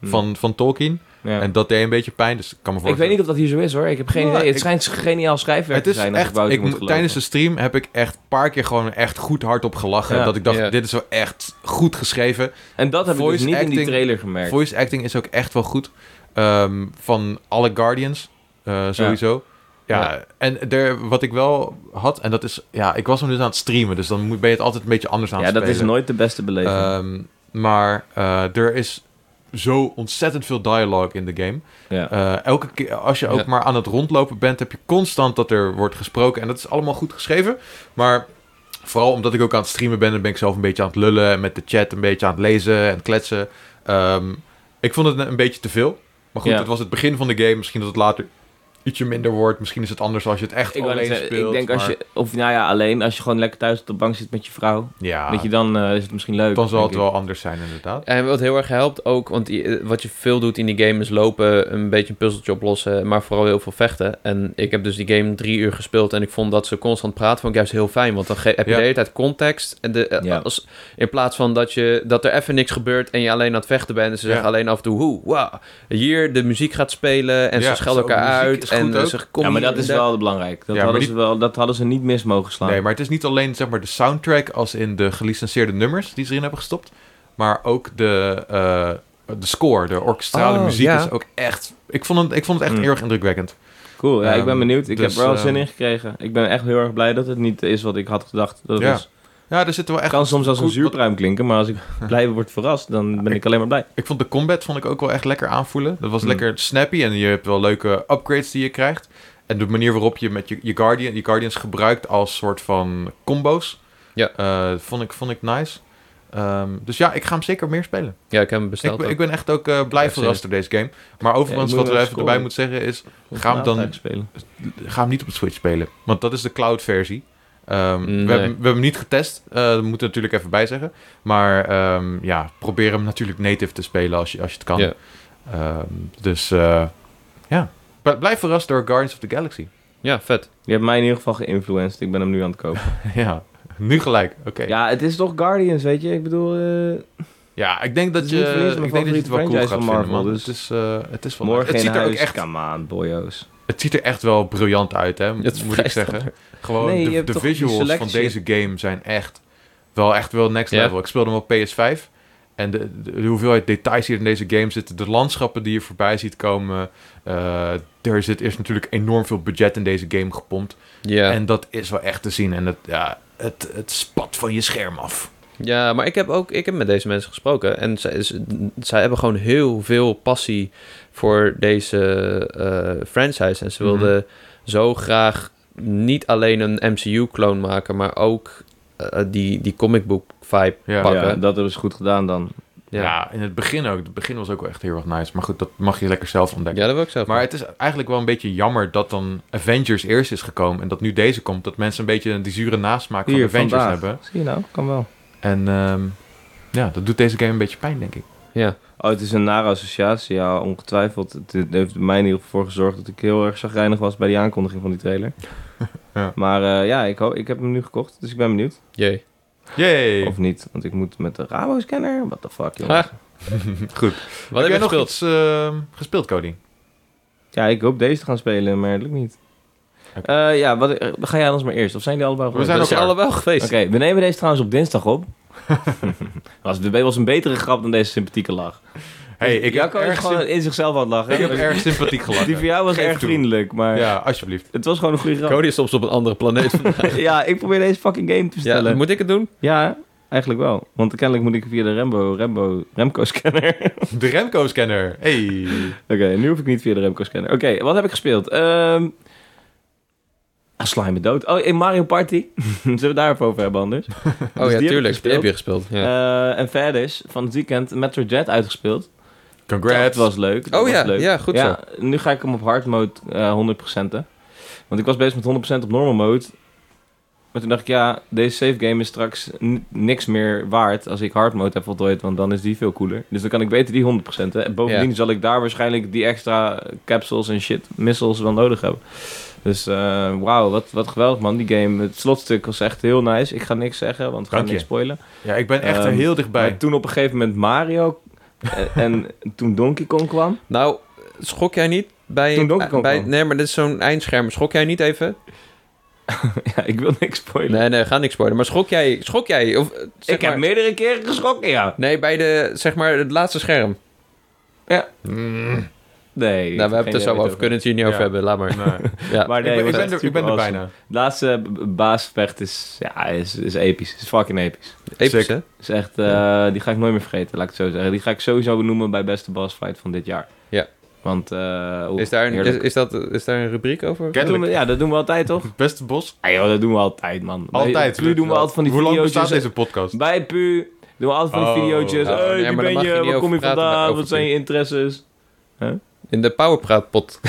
[SPEAKER 2] Hm.
[SPEAKER 1] van, van Tolkien.
[SPEAKER 2] Ja.
[SPEAKER 1] En dat deed een beetje pijn, dus ik kan me
[SPEAKER 2] ik
[SPEAKER 1] voorstellen.
[SPEAKER 2] weet niet of dat hier zo is hoor. Ik heb geen
[SPEAKER 1] Nou,
[SPEAKER 2] idee. Het
[SPEAKER 1] ik-
[SPEAKER 2] schijnt geniaal schrijfwerk
[SPEAKER 1] Het is
[SPEAKER 2] te zijn. als
[SPEAKER 1] echt,
[SPEAKER 2] Wouter
[SPEAKER 1] ik,
[SPEAKER 2] moet
[SPEAKER 1] mo-
[SPEAKER 2] geloven.
[SPEAKER 1] tijdens de stream heb ik echt een paar keer gewoon echt goed hardop gelachen.
[SPEAKER 2] Ja.
[SPEAKER 1] dat ik dacht,
[SPEAKER 3] Ja.
[SPEAKER 1] dit is wel echt goed geschreven.
[SPEAKER 2] En dat heb ik dus
[SPEAKER 1] voice
[SPEAKER 2] niet in die
[SPEAKER 1] acting-
[SPEAKER 2] trailer gemerkt.
[SPEAKER 1] Voice acting is ook echt wel goed. Ehm, van alle Guardians, eh, sowieso. Ja, en er, wat ik wel had, en dat is, ja, ik was hem dus aan het streamen. Dus dan moet, ben je het altijd een beetje anders aan
[SPEAKER 2] ja,
[SPEAKER 1] het
[SPEAKER 2] dat
[SPEAKER 1] spelen.
[SPEAKER 2] is nooit de beste beleving.
[SPEAKER 1] Ehm, maar eh, er is zo ontzettend veel dialogue in de game.
[SPEAKER 2] ja.
[SPEAKER 1] Eh, elke keer, als je ook
[SPEAKER 3] Ja.
[SPEAKER 1] maar aan het rondlopen bent, heb je constant dat er wordt gesproken. En dat is allemaal goed geschreven. Maar vooral omdat ik ook aan het streamen ben, dan ben ik zelf een beetje aan het lullen. En met de chat een beetje aan het lezen en kletsen. Ehm, ik vond het een- een beetje te veel. Maar goed,
[SPEAKER 2] Ja.
[SPEAKER 1] het was het begin van de game. Misschien dat het later ietsje minder wordt. Misschien is het anders als je het echt
[SPEAKER 2] Ik, wou net
[SPEAKER 1] alleen
[SPEAKER 2] zeggen,
[SPEAKER 1] speelt.
[SPEAKER 2] ik denk als
[SPEAKER 1] maar-
[SPEAKER 2] je, of nou ja, alleen als je gewoon lekker thuis op de bank zit met je vrouw,
[SPEAKER 1] Ja,
[SPEAKER 2] weet je, dan eh, is het misschien leuk.
[SPEAKER 1] dan zal
[SPEAKER 2] denk
[SPEAKER 1] het
[SPEAKER 2] ik.
[SPEAKER 1] wel anders zijn inderdaad.
[SPEAKER 3] En wat heel erg helpt ook, want die- wat je veel doet in die game is lopen, een beetje een puzzeltje oplossen, maar vooral heel veel vechten. En ik heb dus die game drie uur gespeeld en ik vond dat ze constant praten, vond ik juist heel fijn, want dan ge- heb je
[SPEAKER 1] Ja.
[SPEAKER 3] de hele tijd context. En de, eh,
[SPEAKER 2] Ja.
[SPEAKER 3] als, in plaats van dat, je, dat er even niks gebeurt en je alleen aan het vechten bent en ze zeggen
[SPEAKER 1] Ja.
[SPEAKER 3] alleen af en toe, hoe, wow. Hier de muziek gaat spelen en
[SPEAKER 1] Ja,
[SPEAKER 3] ze schelden
[SPEAKER 1] zo,
[SPEAKER 3] elkaar
[SPEAKER 1] muziek
[SPEAKER 3] uit
[SPEAKER 1] is
[SPEAKER 3] en
[SPEAKER 1] goed
[SPEAKER 3] eh,
[SPEAKER 1] ook.
[SPEAKER 3] ze kom
[SPEAKER 2] ja, maar
[SPEAKER 3] hier
[SPEAKER 2] dat is
[SPEAKER 3] en daar.
[SPEAKER 2] wel belangrijk. Dat,
[SPEAKER 1] Ja, maar
[SPEAKER 2] hadden
[SPEAKER 1] die-
[SPEAKER 2] ze wel, dat hadden ze niet mis mogen slaan.
[SPEAKER 1] Nee, maar het is niet alleen zeg maar, de soundtrack als in de gelicenseerde nummers die ze erin hebben gestopt. Maar ook de, eh, de score, de orkestrale
[SPEAKER 3] Oh,
[SPEAKER 1] muziek
[SPEAKER 3] ja.
[SPEAKER 1] is ook echt... Ik vond het, ik vond het echt
[SPEAKER 2] Mm.
[SPEAKER 1] heel erg indrukwekkend.
[SPEAKER 2] Cool, ja,
[SPEAKER 1] Ehm,
[SPEAKER 2] ik ben benieuwd. Ik
[SPEAKER 1] dus,
[SPEAKER 2] heb er wel zin
[SPEAKER 1] ehm,
[SPEAKER 2] in gekregen. Ik ben echt heel erg blij dat het niet is wat ik had gedacht dat het
[SPEAKER 1] Ja.
[SPEAKER 2] was.
[SPEAKER 1] Ja, er zitten wel
[SPEAKER 2] Het
[SPEAKER 1] echt...
[SPEAKER 2] kan soms als een
[SPEAKER 1] Goed,
[SPEAKER 2] zuurpruim klinken, maar als ik blij word verrast, dan ben ik alleen maar blij.
[SPEAKER 1] Ik vond de combat vond ik ook wel echt lekker aanvoelen. Dat was
[SPEAKER 2] Mm.
[SPEAKER 1] lekker snappy en je hebt wel leuke upgrades die je krijgt. En de manier waarop je met je, je, Guardian, je Guardians gebruikt als soort van combo's.
[SPEAKER 3] Ja.
[SPEAKER 1] Eh, vond, ik, vond ik nice. Ehm, dus ja, ik ga hem zeker meer spelen.
[SPEAKER 3] Ja, ik heb hem
[SPEAKER 1] Ik,
[SPEAKER 3] besteld.
[SPEAKER 1] ben-
[SPEAKER 3] ook.
[SPEAKER 1] ik ben echt ook eh, blij
[SPEAKER 3] Echt zin
[SPEAKER 1] verrast door deze game. Maar overigens,
[SPEAKER 2] Ja, ik
[SPEAKER 1] wat
[SPEAKER 2] moet
[SPEAKER 1] we even
[SPEAKER 2] hem even
[SPEAKER 1] erbij
[SPEAKER 2] scoren.
[SPEAKER 1] moeten zeggen is... Gaan we
[SPEAKER 2] Nou,
[SPEAKER 1] dan-
[SPEAKER 2] tijd spelen?
[SPEAKER 1] ga hem niet op de Switch spelen. Want dat is de cloud versie. Ehm,
[SPEAKER 3] Nee.
[SPEAKER 1] we, hebben, we hebben hem niet getest. eh, dat moeten we natuurlijk even bijzeggen. Maar ehm, ja, probeer hem natuurlijk native te spelen als je, als je het kan.
[SPEAKER 3] Ja.
[SPEAKER 1] Ehm, dus eh, ja. B- Blijf verrast door Guardians of the Galaxy.
[SPEAKER 3] Ja, vet.
[SPEAKER 2] Je hebt mij in ieder geval geïnfluenced. Ik ben hem nu aan het kopen.
[SPEAKER 1] ja, nu gelijk. Oké. Ja.
[SPEAKER 2] Ja, het is toch Guardians, weet je? Ik bedoel, eh,
[SPEAKER 1] ik denk dat
[SPEAKER 2] Het
[SPEAKER 1] je,
[SPEAKER 2] is niet voor niets
[SPEAKER 1] ik denk
[SPEAKER 2] mijn
[SPEAKER 1] dat je het
[SPEAKER 2] favoriete
[SPEAKER 1] wel cool gaat
[SPEAKER 2] franchise van
[SPEAKER 1] vinden, man.
[SPEAKER 2] Marvel, dus
[SPEAKER 1] Het, is, eh, het is wel leuk.
[SPEAKER 2] morgen
[SPEAKER 1] Het ziet
[SPEAKER 2] in
[SPEAKER 1] er ook
[SPEAKER 2] huis.
[SPEAKER 1] echt,
[SPEAKER 2] Come on, boyo's.
[SPEAKER 1] het ziet er echt wel briljant uit, hè,
[SPEAKER 3] Het is
[SPEAKER 1] moet
[SPEAKER 3] vrij
[SPEAKER 1] ik zeggen. Gewoon
[SPEAKER 2] Nee, je
[SPEAKER 1] de,
[SPEAKER 2] hebt
[SPEAKER 1] de
[SPEAKER 2] toch die
[SPEAKER 1] visuals van deze
[SPEAKER 2] selectie.
[SPEAKER 1] game zijn echt wel echt wel next
[SPEAKER 3] Ja.
[SPEAKER 1] level. Ik speelde hem op PS5 en de, de- de hoeveelheid details hier in deze game zitten, de landschappen die je voorbij ziet komen, eh, er zit is natuurlijk enorm veel budget in deze game gepompt
[SPEAKER 3] Ja.
[SPEAKER 1] en dat is wel echt te zien en het, ja, het, het spat van je scherm af.
[SPEAKER 3] Ja, maar ik heb ook ik heb met deze mensen gesproken. En zij, z- zij hebben gewoon heel veel passie voor deze eh, franchise. En ze
[SPEAKER 1] Mhm.
[SPEAKER 3] wilden zo graag niet alleen een MCU-kloon maken, maar ook eh, die, die comic book vibe
[SPEAKER 1] Ja.
[SPEAKER 3] pakken.
[SPEAKER 2] Ja, dat hebben ze goed gedaan dan.
[SPEAKER 1] Ja.
[SPEAKER 3] Ja.
[SPEAKER 1] in het begin ook. Het begin was ook wel echt heel erg nice, maar goed, dat mag je lekker zelf ontdekken.
[SPEAKER 3] Ja, dat wil ik zelf.
[SPEAKER 1] Maar het is eigenlijk wel een beetje jammer dat dan Avengers eerst is gekomen en dat nu deze komt. Dat mensen een beetje die zure nasmaak van
[SPEAKER 2] Hier,
[SPEAKER 1] Avengers
[SPEAKER 2] vandaag.
[SPEAKER 1] hebben.
[SPEAKER 2] Zie je nou? Kan wel.
[SPEAKER 1] En ehm, ja, dat doet deze game een beetje pijn, denk ik.
[SPEAKER 3] ja.
[SPEAKER 2] Oh, het is een nare associatie, ja, ongetwijfeld. Het, het heeft er mij in ieder geval voor gezorgd dat ik heel erg zagrijnig was bij die aankondiging van die trailer.
[SPEAKER 1] Ja.
[SPEAKER 2] Maar eh, ja, ik, ho- ik heb hem nu gekocht, dus ik ben benieuwd.
[SPEAKER 3] Jee.
[SPEAKER 1] Yay!
[SPEAKER 2] Of niet, want ik moet met de Rabo-scanner. What the fuck, jongens.
[SPEAKER 3] Ah,
[SPEAKER 1] Goed.
[SPEAKER 3] Wat heb
[SPEAKER 1] jij
[SPEAKER 3] je
[SPEAKER 1] nog
[SPEAKER 3] gespeeld?
[SPEAKER 1] iets ehm, gespeeld, Cody?
[SPEAKER 2] Ja, ik hoop deze te gaan spelen, maar dat lukt niet. Eh, ja, wat, eh, ga jij anders maar eerst? Of zijn die allebei
[SPEAKER 1] We
[SPEAKER 2] geweest?
[SPEAKER 1] zijn
[SPEAKER 3] We
[SPEAKER 1] nog
[SPEAKER 3] zijn
[SPEAKER 1] klaar.
[SPEAKER 3] allebei geweest.
[SPEAKER 2] Oké, we nemen deze trouwens op dinsdag op. was, was een betere grap dan deze sympathieke lach.
[SPEAKER 1] Hey, ik heb
[SPEAKER 2] Jacco is
[SPEAKER 1] erg,
[SPEAKER 2] gewoon
[SPEAKER 1] symp-
[SPEAKER 2] in zichzelf aan het lachen.
[SPEAKER 1] ik heb
[SPEAKER 2] Dus
[SPEAKER 1] erg sympathiek gelachen.
[SPEAKER 2] Die van jou was
[SPEAKER 1] Geef
[SPEAKER 2] erg
[SPEAKER 1] toe.
[SPEAKER 2] vriendelijk, maar
[SPEAKER 1] Ja, alsjeblieft.
[SPEAKER 2] het was gewoon een goede grap.
[SPEAKER 3] Cody is soms op een andere planeet.
[SPEAKER 2] ja, ik probeer deze fucking game te
[SPEAKER 3] ja,
[SPEAKER 2] bestellen. Ja,
[SPEAKER 3] moet ik het doen?
[SPEAKER 2] Dus eigenlijk wel. Want kennelijk moet ik via de Rembo, Rembo, Remco-scanner. Oké,
[SPEAKER 1] De Remco-scanner. Hey.
[SPEAKER 2] nu hoef ik niet via de Remco-scanner. Oké, wat heb ik gespeeld? Ehm ah, sla je me dood. Oh, in Mario Party. Zullen we het daarover over hebben anders?
[SPEAKER 3] Oh
[SPEAKER 2] die
[SPEAKER 3] ja,
[SPEAKER 2] heb ik
[SPEAKER 3] tuurlijk. Die
[SPEAKER 2] gespeeld.
[SPEAKER 3] heb je gespeeld. Ja.
[SPEAKER 2] Eh, en verder is van het weekend Metro Jet uitgespeeld.
[SPEAKER 1] Congrats.
[SPEAKER 2] Dat was leuk. dat
[SPEAKER 3] Oh
[SPEAKER 2] was
[SPEAKER 3] ja,
[SPEAKER 2] leuk.
[SPEAKER 3] ja, goed
[SPEAKER 2] Nu ga ik hem op hard mode eh 100%. en. Want ik was bezig met 100% op normal mode. Maar toen dacht ik, ja, deze save game is straks n- niks meer waard als ik hard mode heb voltooid, want dan is die veel cooler. Dus dan kan ik beter die 100%. Hè. En bovendien
[SPEAKER 3] Ja.
[SPEAKER 2] zal ik daar waarschijnlijk die extra capsules en shit, missiles wel nodig hebben. Dus eh, wauw, wat, wat geweldig man, die game. Het slotstuk was echt heel nice. Ik ga niks zeggen, want ik ga
[SPEAKER 1] Dank je.
[SPEAKER 2] niks spoilen.
[SPEAKER 1] Ja, ik ben echt er
[SPEAKER 2] Ehm,
[SPEAKER 1] heel dichtbij.
[SPEAKER 2] Maar toen op een gegeven moment Mario eh, en toen Donkey Kong kwam.
[SPEAKER 3] Nou, schok jij niet bij...
[SPEAKER 2] Toen Donkey Kong
[SPEAKER 3] bij
[SPEAKER 2] kwam.
[SPEAKER 3] Nee, maar dit is zo'n eindscherm. Schok jij niet even?
[SPEAKER 2] Ja, ik wil niks spoilen.
[SPEAKER 3] Nee, nee, ga niks spoilen. Maar schok jij... Schok jij of, eh, zeg
[SPEAKER 2] ik heb
[SPEAKER 3] maar-
[SPEAKER 2] meerdere keren geschrokken, ja.
[SPEAKER 3] Nee, bij de, zeg maar, het laatste scherm.
[SPEAKER 1] Mm,
[SPEAKER 2] Nee. ik
[SPEAKER 3] nou,
[SPEAKER 2] heb
[SPEAKER 3] we hebben het
[SPEAKER 2] geen
[SPEAKER 3] er
[SPEAKER 2] idee
[SPEAKER 3] zo over.
[SPEAKER 2] wat
[SPEAKER 3] We kunnen het hier niet over
[SPEAKER 1] Ja.
[SPEAKER 3] hebben. Laat maar.
[SPEAKER 1] nee.
[SPEAKER 3] Ja.
[SPEAKER 2] Maar nee,
[SPEAKER 1] ik ben, ik
[SPEAKER 2] was
[SPEAKER 1] ben
[SPEAKER 2] echt
[SPEAKER 1] er, ik ben er
[SPEAKER 2] super
[SPEAKER 1] bijna.
[SPEAKER 2] awesome. Laatste b- baasvecht is, ja, is, is episch. Is fucking episch.
[SPEAKER 3] Episch,
[SPEAKER 1] sick.
[SPEAKER 3] hè?
[SPEAKER 2] Is echt, eh, die ga ik nooit meer vergeten, laat ik het zo zeggen. Die ga ik sowieso benoemen bij beste boss fight van dit jaar.
[SPEAKER 3] Ja.
[SPEAKER 2] Want, eh oeh,
[SPEAKER 3] Is daar, een, is,
[SPEAKER 2] heerlijk.
[SPEAKER 3] is, dat, is daar een rubriek over?
[SPEAKER 1] Ken-
[SPEAKER 2] Dat doen we, ja, dat doen we altijd, toch?
[SPEAKER 1] Beste bos.
[SPEAKER 2] Ah, joh, dat doen we altijd, man. Bij
[SPEAKER 1] Altijd.
[SPEAKER 2] Pu doen we altijd van die
[SPEAKER 1] Hoe lang
[SPEAKER 2] video's.
[SPEAKER 1] bestaat deze podcast?
[SPEAKER 2] Bij Pu doen we altijd van die
[SPEAKER 1] Oh.
[SPEAKER 2] video's.
[SPEAKER 1] Oh,
[SPEAKER 2] Hey,
[SPEAKER 3] nee,
[SPEAKER 2] wie
[SPEAKER 3] Nou, maar
[SPEAKER 2] ben
[SPEAKER 3] daar mag je
[SPEAKER 2] je?
[SPEAKER 3] niet
[SPEAKER 2] Waar
[SPEAKER 3] over
[SPEAKER 2] kom je
[SPEAKER 3] praten, maar
[SPEAKER 2] vandaan?
[SPEAKER 3] over
[SPEAKER 2] Wat zijn
[SPEAKER 3] Pu.
[SPEAKER 2] je interesses?
[SPEAKER 3] In de Powerpraatpot.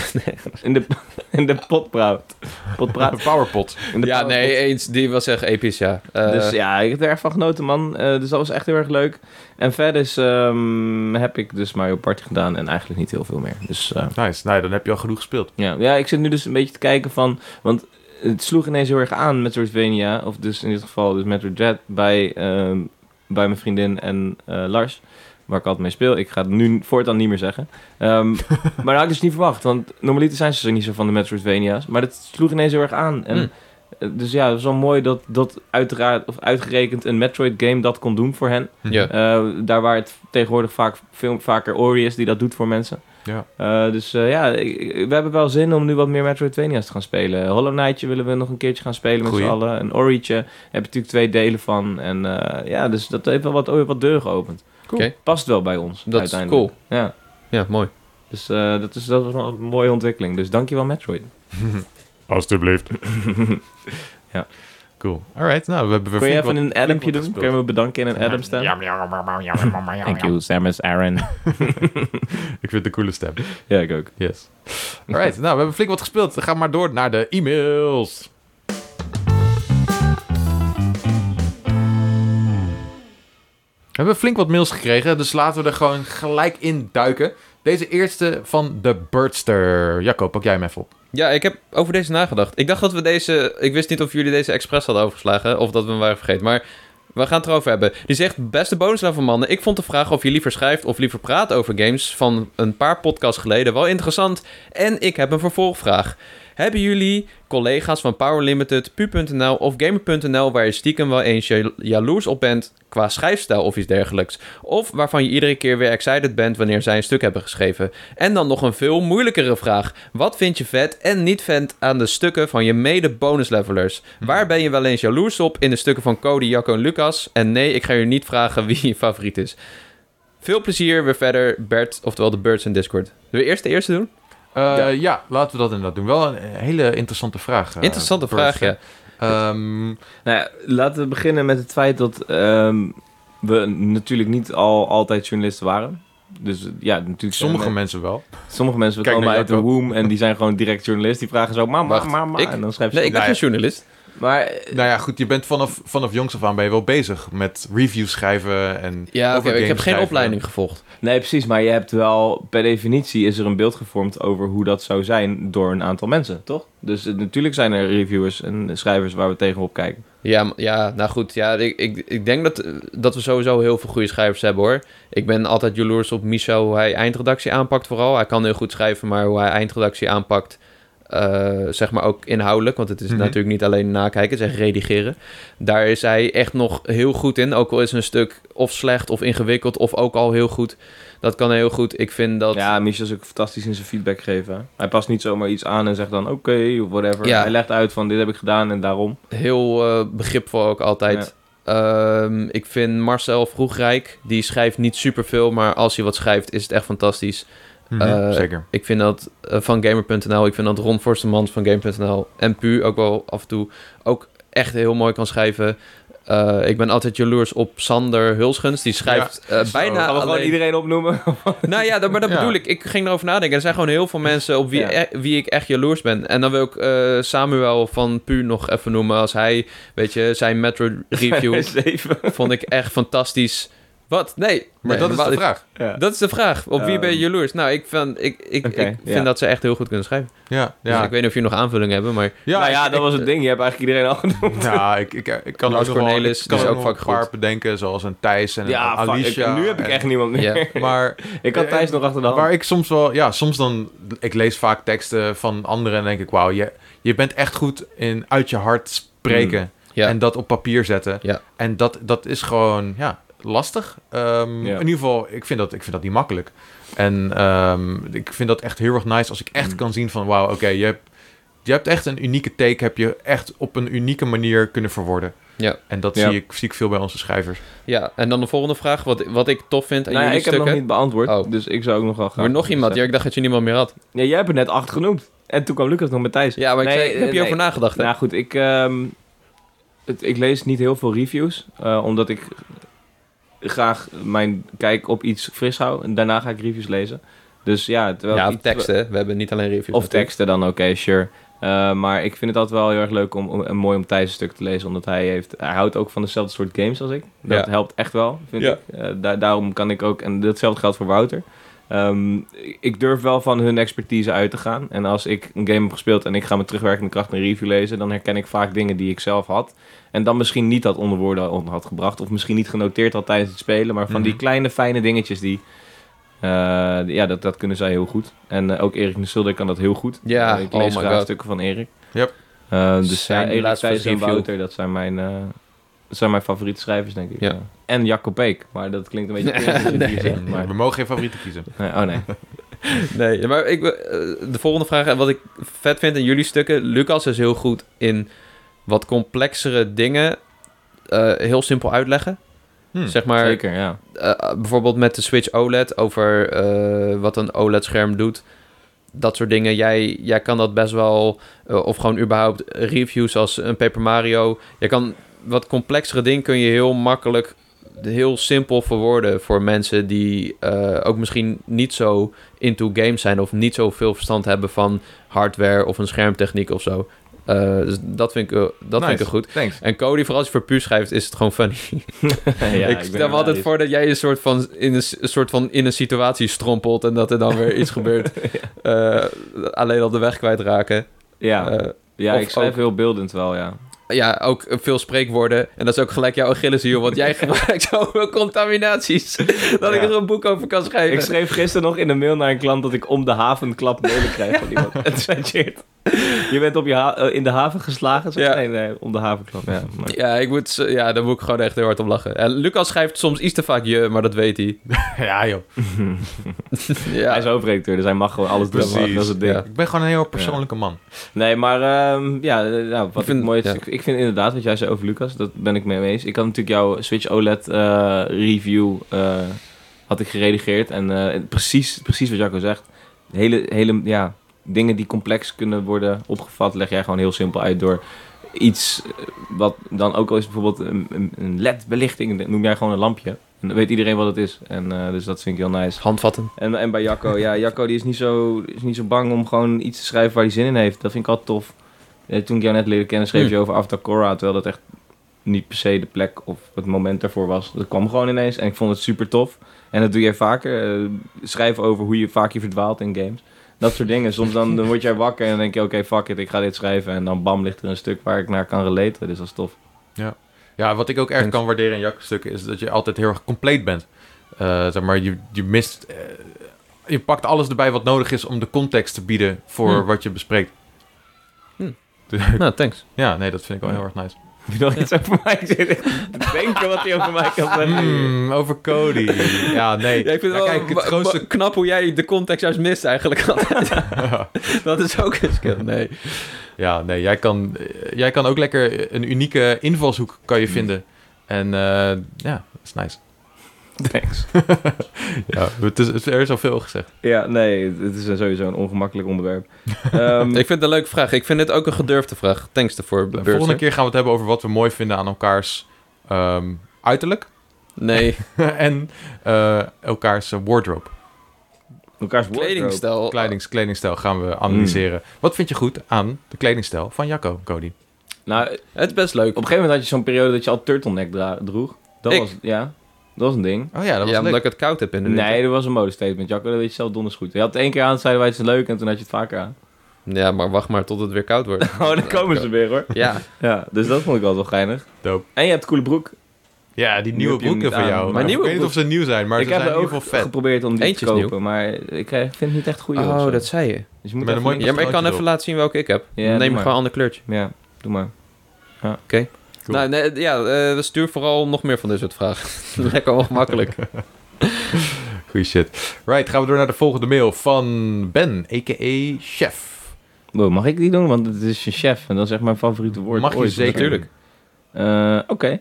[SPEAKER 2] In de, in de potpraat. Potpraat.
[SPEAKER 1] Powerpot.
[SPEAKER 2] In de
[SPEAKER 3] ja,
[SPEAKER 2] potpraat.
[SPEAKER 3] nee, eens. Die was echt episch, ja. Eh,
[SPEAKER 2] Dus ja, ik heb er erg van genoten, man. Eh, dus dat was echt heel erg leuk. En verder is, ehm, heb ik dus Mario Party gedaan en eigenlijk niet heel veel meer. Dus eh,
[SPEAKER 1] Nice. Nou, ja, dan heb je al genoeg gespeeld.
[SPEAKER 2] ja. ja, ik zit nu dus een beetje te kijken van... Want het sloeg ineens heel erg aan met Metroidvania. Of dus in dit geval dus Metroid Dread bij, ehm, bij mijn vriendin en eh, Lars. Waar ik altijd mee speel. Ik ga het nu voortaan niet meer zeggen. Ehm, maar dat had ik dus niet verwacht. Want normaliter zijn ze er niet zo van de Metroidvania's. Maar dat sloeg ineens heel erg aan. En
[SPEAKER 3] Hmm.
[SPEAKER 2] Eh, Dus ja, het is wel mooi dat, dat uiteraard, of uitgerekend een Metroid-game dat kon doen voor hen.
[SPEAKER 3] Ja.
[SPEAKER 2] Eh, daar waar het tegenwoordig vaak, veel vaker Ori is die dat doet voor mensen.
[SPEAKER 1] Ja.
[SPEAKER 2] Eh, dus eh, ja, ik- ik- we hebben wel zin om nu wat meer Metroidvania's te gaan spelen. Hollow Knightje willen we nog een keertje gaan spelen
[SPEAKER 1] Goeie.
[SPEAKER 2] met z'n allen. Een Ori'tje, daar heb je natuurlijk twee delen van. En eh, ja, dus dat heeft wel wat, wat deuren geopend.
[SPEAKER 3] Cool. Oké.
[SPEAKER 2] Past wel bij ons
[SPEAKER 3] Dat is
[SPEAKER 2] uiteindelijk.
[SPEAKER 3] cool.
[SPEAKER 2] Ja,
[SPEAKER 3] Ja, mooi.
[SPEAKER 2] dus eh, dat, is, dat was wel een mooie ontwikkeling. Dus dankjewel Metroid.
[SPEAKER 1] Alsjeblieft.
[SPEAKER 2] Ja.
[SPEAKER 1] Cool. Alright, nou, we hebben weer
[SPEAKER 2] Kun je
[SPEAKER 1] flink
[SPEAKER 2] even
[SPEAKER 1] wat-
[SPEAKER 2] een Adampje
[SPEAKER 1] wat
[SPEAKER 2] doen?
[SPEAKER 1] gespeeld.
[SPEAKER 2] Kunnen we bedanken in een Adam stem? Thank you, Samus Aaron.
[SPEAKER 1] Ik vind het een coole stem.
[SPEAKER 2] ja, ik ook.
[SPEAKER 1] Yes. Alright, nou, we hebben flink wat gespeeld. Ga maar door naar de e-mails. We hebben flink wat mails gekregen, dus laten we er gewoon gelijk in duiken. Deze eerste van de Birdster. Jacco, pak jij hem even op.
[SPEAKER 3] Ja, ik heb over deze nagedacht. Ik dacht dat we deze... Ik wist niet of jullie deze expres hadden overgeslagen of dat we hem waren vergeten, maar... We gaan het erover hebben. Die zegt, beste bonuslevel mannen, ik vond de vraag of je liever schrijft of liever praat over games van een paar podcasts geleden wel interessant. En ik heb een vervolgvraag. Hebben jullie collega's van Power Limited, Pu.nl of Gamer.nl waar je stiekem wel eens jal- jaloers op bent qua schrijfstijl of iets dergelijks? Of waarvan je iedere keer weer excited bent wanneer zij een stuk hebben geschreven? En dan nog een veel moeilijkere vraag. Wat vind je vet en niet vet aan de stukken van je mede-bonuslevelers?
[SPEAKER 1] Mhm.
[SPEAKER 3] Waar ben je wel eens jaloers op in de stukken van Cody, Jacco en Lucas? En nee, ik ga je niet vragen wie je favoriet is. Veel plezier weer verder, Bert, oftewel de Birds in Discord. Zullen we eerst de eerste doen?
[SPEAKER 1] Eh, ja. laten we dat inderdaad doen. Wel een eh, hele interessante vraag. eh,
[SPEAKER 3] Interessante vraag,
[SPEAKER 1] Birdster.
[SPEAKER 3] ja.
[SPEAKER 1] Ehm,
[SPEAKER 2] Nou ja, laten we beginnen met het feit dat ehm, we natuurlijk niet al altijd journalisten waren. Dus ja, natuurlijk...
[SPEAKER 1] sommige
[SPEAKER 2] eh,
[SPEAKER 1] mensen wel.
[SPEAKER 2] sommige mensen
[SPEAKER 1] Kijk
[SPEAKER 2] komen
[SPEAKER 1] naar
[SPEAKER 2] uit de
[SPEAKER 1] Jacob.
[SPEAKER 2] womb en die zijn gewoon direct journalist. Die vragen zo, mama,
[SPEAKER 3] Wacht,
[SPEAKER 2] mama,
[SPEAKER 3] ik?
[SPEAKER 2] en dan schrijven ze...
[SPEAKER 3] Nee, ik ben
[SPEAKER 1] Nou ja.
[SPEAKER 3] geen journalist.
[SPEAKER 2] Maar eh,
[SPEAKER 1] Nou ja, goed, je bent vanaf, vanaf jongs af aan ben je wel bezig met reviews schrijven en
[SPEAKER 3] Ja,
[SPEAKER 1] over
[SPEAKER 3] oké, ik
[SPEAKER 1] games
[SPEAKER 3] heb geen
[SPEAKER 1] schrijven.
[SPEAKER 3] opleiding gevolgd.
[SPEAKER 2] Nee, precies. Maar je hebt wel, per definitie is er een beeld gevormd over hoe dat zou zijn door een aantal mensen, toch? Dus eh, natuurlijk zijn er reviewers en schrijvers waar we tegenop kijken.
[SPEAKER 3] Ja, m- ja, nou goed. Ja, ik, ik, ik denk dat, eh, dat we sowieso heel veel goede schrijvers hebben hoor. Ik ben altijd jaloers op Michel, hoe hij eindredactie aanpakt vooral. Hij kan heel goed schrijven, maar hoe hij eindredactie aanpakt, eh, zeg maar ook inhoudelijk. Want het is
[SPEAKER 1] Mhm.
[SPEAKER 3] natuurlijk niet alleen nakijken, het is echt redigeren. Daar is hij echt nog heel goed in. Ook al is een stuk of slecht of ingewikkeld of ook al heel goed. Dat kan hij heel goed. Ik vind dat...
[SPEAKER 2] Ja, Michel is ook fantastisch in zijn feedback geven. hè. Hij past niet zomaar iets aan en zegt dan oké of whatever.
[SPEAKER 3] Ja.
[SPEAKER 2] Hij legt uit van dit heb ik gedaan en daarom.
[SPEAKER 3] heel eh, begripvol ook altijd. Ehm, ik vind Marcel Vroegrijk, die schrijft niet superveel, maar als hij wat schrijft is het echt fantastisch.
[SPEAKER 1] Mhm,
[SPEAKER 3] Eh,
[SPEAKER 1] Zeker.
[SPEAKER 3] Ik vind dat eh, van Gamer.nl, ik vind dat Ron Forstemans van Gamer.nl en Pu ook wel af en toe ook echt heel mooi kan schrijven. Eh, ik ben altijd jaloers op Sander Hulsgens, die schrijft eh,
[SPEAKER 1] Zo.
[SPEAKER 3] bijna
[SPEAKER 2] Gaan we gewoon
[SPEAKER 3] alleen...
[SPEAKER 2] iedereen opnoemen?
[SPEAKER 3] Nou ja, dat, maar dat
[SPEAKER 1] Ja.
[SPEAKER 3] bedoel ik. Ik ging erover nadenken. Er zijn gewoon heel veel mensen op wie,
[SPEAKER 2] Ja.
[SPEAKER 3] e- wie ik echt jaloers ben. En dan wil ik eh, Samuel van Pu nog even noemen. Als hij, weet je, zijn Metro review
[SPEAKER 2] Zeven.
[SPEAKER 3] vond ik echt fantastisch. Wat? Nee.
[SPEAKER 1] Maar
[SPEAKER 3] Nee,
[SPEAKER 1] dat is
[SPEAKER 3] wa-
[SPEAKER 1] de vraag.
[SPEAKER 2] Ja.
[SPEAKER 3] Dat is de vraag. Op wie ben je
[SPEAKER 2] Ehm.
[SPEAKER 3] jaloers? Nou, ik, vind, ik, ik,
[SPEAKER 2] Oké,
[SPEAKER 3] ik
[SPEAKER 2] ja.
[SPEAKER 3] vind dat ze echt heel goed kunnen schrijven.
[SPEAKER 1] Ja,
[SPEAKER 3] Dus
[SPEAKER 1] ja.
[SPEAKER 3] ik weet niet of jullie nog aanvullingen hebben, maar...
[SPEAKER 1] ja,
[SPEAKER 2] nou ja,
[SPEAKER 1] ik-
[SPEAKER 2] dat was het ding. Je hebt eigenlijk iedereen al genoemd.
[SPEAKER 1] Nou, ik, ik, ik kan
[SPEAKER 3] Lars
[SPEAKER 1] ook nog wel-
[SPEAKER 3] Cornelis,
[SPEAKER 1] ik kan
[SPEAKER 3] die is
[SPEAKER 1] ook
[SPEAKER 3] ook
[SPEAKER 1] nog
[SPEAKER 3] vaak
[SPEAKER 1] een paar
[SPEAKER 3] goed.
[SPEAKER 1] bedenken, zoals een Thijs en
[SPEAKER 2] Ja,
[SPEAKER 1] een
[SPEAKER 2] fuck,
[SPEAKER 1] Alicia.
[SPEAKER 2] ik- nu heb ik
[SPEAKER 1] en-
[SPEAKER 2] echt niemand meer.
[SPEAKER 3] Ja.
[SPEAKER 1] Maar
[SPEAKER 2] Ik had Thijs nog achter de hand.
[SPEAKER 1] waar ik soms wel, ja, soms dan, ik lees vaak teksten van anderen en denk ik, wauw, je, je bent echt goed in uit je hart spreken
[SPEAKER 3] Ja.
[SPEAKER 1] en dat op papier zetten.
[SPEAKER 3] Ja.
[SPEAKER 1] En dat, dat is gewoon, ja, lastig. Ehm,
[SPEAKER 2] Ja.
[SPEAKER 1] In ieder geval, ik vind dat, ik vind dat niet makkelijk. En ehm, ik vind dat echt heel erg nice als ik echt
[SPEAKER 2] Mm.
[SPEAKER 1] kan zien van, wauw, oké, je hebt je hebt echt een unieke take, heb je echt op een unieke manier kunnen verwoorden.
[SPEAKER 3] Ja.
[SPEAKER 1] En dat
[SPEAKER 2] Ja.
[SPEAKER 1] zie, ik, zie ik veel bij onze schrijvers.
[SPEAKER 3] Ja, en dan de volgende vraag. Wat, wat ik tof vind aan
[SPEAKER 2] Nou ja, ik
[SPEAKER 3] jullie
[SPEAKER 2] heb nog
[SPEAKER 3] stukken...
[SPEAKER 2] niet dus, beantwoord,
[SPEAKER 3] Oh.
[SPEAKER 2] dus ik zou ook nog wel gaan.
[SPEAKER 3] Maar nog iemand. Ja, ik dacht dat je niemand meer had.
[SPEAKER 2] Ja, jij hebt er net acht genoemd. En toen kwam Lucas nog met Thijs.
[SPEAKER 3] Ja, maar ik
[SPEAKER 2] Nee,
[SPEAKER 3] zei, heb je
[SPEAKER 2] eh, nee.
[SPEAKER 3] over nagedacht, hè?
[SPEAKER 2] Nou goed, ik, ehm, het, ik lees niet heel veel reviews, eh, omdat ik graag mijn kijk op iets fris hou. En daarna ga ik reviews lezen. Dus ja, terwijl
[SPEAKER 3] ja,
[SPEAKER 2] ik
[SPEAKER 3] of
[SPEAKER 2] iets-
[SPEAKER 3] teksten. hè? We hebben niet alleen reviews.
[SPEAKER 2] Of
[SPEAKER 3] natuurlijk.
[SPEAKER 2] teksten dan, oké, sure. Eh, maar ik vind het altijd wel heel erg leuk om, om- en mooi om Thijs een stuk te lezen. Omdat hij, heeft, hij houdt ook van dezelfde soort games als ik. Dat
[SPEAKER 3] Ja.
[SPEAKER 2] helpt echt wel, vind
[SPEAKER 3] Ja.
[SPEAKER 2] ik. Eh, da- daarom kan ik ook... En datzelfde geldt voor Wouter. Ehm, ik- ik durf wel van hun expertise uit te gaan. En als ik een game heb gespeeld en ik ga met terugwerkende kracht een review lezen... dan herken ik vaak dingen die ik zelf had. En dan misschien niet dat onder woorden on- had gebracht. Of misschien niet genoteerd had tijdens het spelen. Maar van die
[SPEAKER 1] Mhm.
[SPEAKER 2] kleine fijne dingetjes die... eh, ja, dat, dat kunnen zij heel goed. En eh, ook Erik Nusilder kan dat heel goed.
[SPEAKER 3] Ja,
[SPEAKER 2] ik
[SPEAKER 3] oh
[SPEAKER 2] lees
[SPEAKER 3] my
[SPEAKER 2] graag
[SPEAKER 3] God.
[SPEAKER 2] stukken van Erik.
[SPEAKER 1] Yep.
[SPEAKER 2] Eh, dus
[SPEAKER 3] Zijn
[SPEAKER 2] zijn Erik
[SPEAKER 3] laatste
[SPEAKER 2] Thijssen en
[SPEAKER 3] review.
[SPEAKER 2] Wouter, dat zijn mijn, eh, dat zijn mijn favoriete schrijvers, denk ik.
[SPEAKER 3] Ja.
[SPEAKER 2] Eh, En Jacob Beek, maar dat klinkt een beetje... cringe als je het hier zegt, maar-
[SPEAKER 1] We mogen geen favorieten kiezen.
[SPEAKER 2] nee, oh nee.
[SPEAKER 3] Nee, maar ik, wil- eh, de volgende vraag, en wat ik vet vind in jullie stukken, Lucas is heel goed in wat complexere dingen eh, heel simpel uitleggen.
[SPEAKER 1] Hm.
[SPEAKER 3] Zeg maar,
[SPEAKER 2] Zeker, ja.
[SPEAKER 3] eh, bijvoorbeeld met de Switch OLED over eh, wat een OLED-scherm doet. Dat soort dingen. Jij, jij kan dat best wel, eh, of gewoon überhaupt reviews als een Paper Mario. Je kan wat complexere dingen kun je heel makkelijk, heel simpel verwoorden voor mensen die eh, ook misschien niet zo into games zijn of niet zoveel verstand hebben van hardware of een schermtechniek of zo. Eh, dus dat vind ik, eh, dat vind ik
[SPEAKER 1] Nice.
[SPEAKER 3] er goed.
[SPEAKER 1] Thanks.
[SPEAKER 3] En Cody, vooral als je voor puur schrijft, is het gewoon funny
[SPEAKER 2] ja
[SPEAKER 3] ik stel me altijd voor dat jij een soort van in een, s- een soort van in een situatie strompelt en dat er dan weer iets gebeurt. Eh, alleen al de weg kwijtraken.
[SPEAKER 2] Ja,
[SPEAKER 3] Eh,
[SPEAKER 2] ja
[SPEAKER 3] of
[SPEAKER 2] ik schrijf
[SPEAKER 3] ook-
[SPEAKER 2] heel beeldend wel, ja.
[SPEAKER 3] ja, ook veel spreekwoorden. En dat is ook gelijk jouw Achilleshiel, want jij gebruikt zoveel contaminaties dat ik
[SPEAKER 2] Ja.
[SPEAKER 3] er een boek over kan schrijven.
[SPEAKER 2] Ik schreef gisteren nog in de mail naar een klant dat ik om de havenklap mailen krijg van iemand. Het is echt shit. Je bent op je ha- eh, in de haven geslagen? Zeg,
[SPEAKER 3] Ja.
[SPEAKER 2] Nee, nee, om de havenklap. Ja, maar-
[SPEAKER 3] ja, ik moet, z- ja, daar moet ik gewoon echt heel hard om lachen. En Lucas schrijft soms iets te vaak je, maar dat weet hij.
[SPEAKER 1] Hm. ja, joh.
[SPEAKER 3] Ja,
[SPEAKER 2] Hij is hoofdredacteur, dus hij mag gewoon alles doen.
[SPEAKER 1] Precies,
[SPEAKER 2] Dat is het ding.
[SPEAKER 3] ja.
[SPEAKER 1] Ik ben gewoon een heel persoonlijke man.
[SPEAKER 2] Nee, maar ehm, ja, eh, nou, wat
[SPEAKER 3] Ik vind-
[SPEAKER 2] ik mooi is,
[SPEAKER 3] ja.
[SPEAKER 2] ik, ik vind inderdaad wat jij zei over Lucas, dat ben ik mee eens. Ik had natuurlijk jouw Switch OLED eh, review eh, had ik geredigeerd en eh, precies, precies wat Jacco zegt. Hele, hele ja, dingen die complex kunnen worden opgevat, leg jij gewoon heel simpel uit door iets eh, wat dan ook al is bijvoorbeeld een, een- een LED-belichting, dat noem jij gewoon een lampje. En dan weet iedereen wat het is. En, eh, dus dat vind ik heel nice.
[SPEAKER 3] handvatten.
[SPEAKER 2] En, en bij Jacco, ja, Jacco die is, niet zo, is niet zo bang om gewoon iets te schrijven waar hij zin in heeft. Dat vind ik altijd tof. Eh, toen ik jou net leerde kennen, schreef
[SPEAKER 3] Hmm.
[SPEAKER 2] je over Avtakora, terwijl dat echt niet per se de plek of het moment daarvoor was. Dat kwam gewoon ineens en ik vond het super tof. En dat doe jij vaker. eh, schrijven over hoe je vaak je verdwaalt in games. Dat soort dingen. Soms dan, dan word jij wakker en dan denk je, oké, fuck it, ik ga dit schrijven. En dan bam, ligt er een stuk waar ik naar kan relaten. Dus dat is tof.
[SPEAKER 1] Ja, wat ik ook erg
[SPEAKER 3] Thanks.
[SPEAKER 1] kan waarderen in Jacques' stukken is dat je altijd heel erg compleet bent. Eh, zeg maar, je, je mist... eh, je pakt alles erbij wat nodig is om de context te bieden voor
[SPEAKER 3] Hm.
[SPEAKER 1] wat je bespreekt.
[SPEAKER 3] Hm.
[SPEAKER 1] Dus-
[SPEAKER 3] Nou, thanks.
[SPEAKER 1] ja, nee, dat vind ik wel heel erg nice.
[SPEAKER 2] Heb je nog iets over mij te denken wat hij over mij kan zeggen?
[SPEAKER 1] Mm, over Cody. Ja, nee.
[SPEAKER 3] Ja, ik vind
[SPEAKER 1] Ja,
[SPEAKER 3] het wel
[SPEAKER 1] kijk, het
[SPEAKER 3] wa-
[SPEAKER 1] grootste...
[SPEAKER 3] wa- knap hoe jij de context juist mist eigenlijk altijd.
[SPEAKER 1] Ja.
[SPEAKER 3] dat is ook een skill. Nee.
[SPEAKER 1] Ja, nee, jij kan, eh, jij kan ook lekker een unieke invalshoek kan je vinden. En eh, ja, dat is nice.
[SPEAKER 2] Thanks.
[SPEAKER 1] Ja, het is, het- er is al veel gezegd.
[SPEAKER 2] Ja, nee, het- het is sowieso een ongemakkelijk onderwerp. Ehm,
[SPEAKER 3] Ik vind het een leuke vraag. Ik vind het ook een gedurfde vraag. Thanks ervoor,
[SPEAKER 1] De
[SPEAKER 3] Beurzer.
[SPEAKER 1] volgende keer gaan we het hebben over wat we mooi vinden aan elkaars ehm, uiterlijk.
[SPEAKER 3] Nee,
[SPEAKER 1] en eh, elkaars eh, wardrobe,
[SPEAKER 2] Oh. elkaars wardrobe.
[SPEAKER 3] kledingstijl.
[SPEAKER 1] kledings, kledingstijl gaan we analyseren.
[SPEAKER 2] Mm.
[SPEAKER 1] Wat vind je goed aan de kledingstijl van Jacco, Cody?
[SPEAKER 2] Nou, op
[SPEAKER 3] Het is best leuk.
[SPEAKER 2] een gegeven moment had je zo'n periode dat je al turtleneck dra- droeg. Dat
[SPEAKER 3] Ik?
[SPEAKER 2] was, ja, dat was een ding.
[SPEAKER 1] Oh ja, dat was
[SPEAKER 3] ja,
[SPEAKER 1] leuk.
[SPEAKER 3] omdat ik het koud heb in de
[SPEAKER 2] Nee,
[SPEAKER 3] winter.
[SPEAKER 2] dat was een modestatement, Jacco. Dat weet je zelf donders goed. Je had het één keer aan, zeiden wij het is leuk, en toen had je het vaker aan.
[SPEAKER 3] Ja, maar wacht maar tot het weer koud wordt.
[SPEAKER 2] Oh, dan komen ze weer, hoor.
[SPEAKER 3] Ja,
[SPEAKER 2] Ja, dus dat vond ik wel wel geinig.
[SPEAKER 1] Dope.
[SPEAKER 2] En je hebt een coole broek.
[SPEAKER 1] Ja, die
[SPEAKER 2] Nu
[SPEAKER 1] nieuwe
[SPEAKER 2] heb je hem
[SPEAKER 1] broeken
[SPEAKER 2] niet
[SPEAKER 1] van
[SPEAKER 2] aan,
[SPEAKER 1] jou.
[SPEAKER 2] maar
[SPEAKER 1] ik
[SPEAKER 3] nieuwe
[SPEAKER 1] weet niet of
[SPEAKER 3] broeken-
[SPEAKER 1] ze nieuw zijn, maar
[SPEAKER 2] ik
[SPEAKER 1] ze
[SPEAKER 2] heb
[SPEAKER 1] zijn in
[SPEAKER 2] er
[SPEAKER 1] ieder
[SPEAKER 2] ook
[SPEAKER 1] geval vet.
[SPEAKER 2] geprobeerd om die
[SPEAKER 3] Eentje
[SPEAKER 2] te
[SPEAKER 3] is
[SPEAKER 2] kopen, maar ik eh, vind het niet echt goed.
[SPEAKER 3] oh, dat zei je.
[SPEAKER 2] Dus je moet
[SPEAKER 1] Met een
[SPEAKER 2] even
[SPEAKER 1] mooi-
[SPEAKER 2] niet-
[SPEAKER 3] Ja, maar ik kan
[SPEAKER 1] erop.
[SPEAKER 3] even laten zien welke ik heb.
[SPEAKER 2] Ja, doe
[SPEAKER 3] Neem
[SPEAKER 2] maar.
[SPEAKER 3] gewoon een ander kleurtje.
[SPEAKER 2] Ja, doe maar.
[SPEAKER 1] Cool.
[SPEAKER 3] Nou, nee, ja, eh, stuur vooral nog meer van dit soort vragen. Lekker ongemakkelijk.
[SPEAKER 1] Goeie shit. Right, gaan we door naar de volgende mail van Ben, a.k.a. Chef.
[SPEAKER 2] Wow, mag ik die doen? Want het is je chef en dat is echt mijn favoriete woord.
[SPEAKER 1] Mag je
[SPEAKER 2] ooit.
[SPEAKER 1] zeker.
[SPEAKER 3] Natuurlijk.
[SPEAKER 2] Eh, Oké.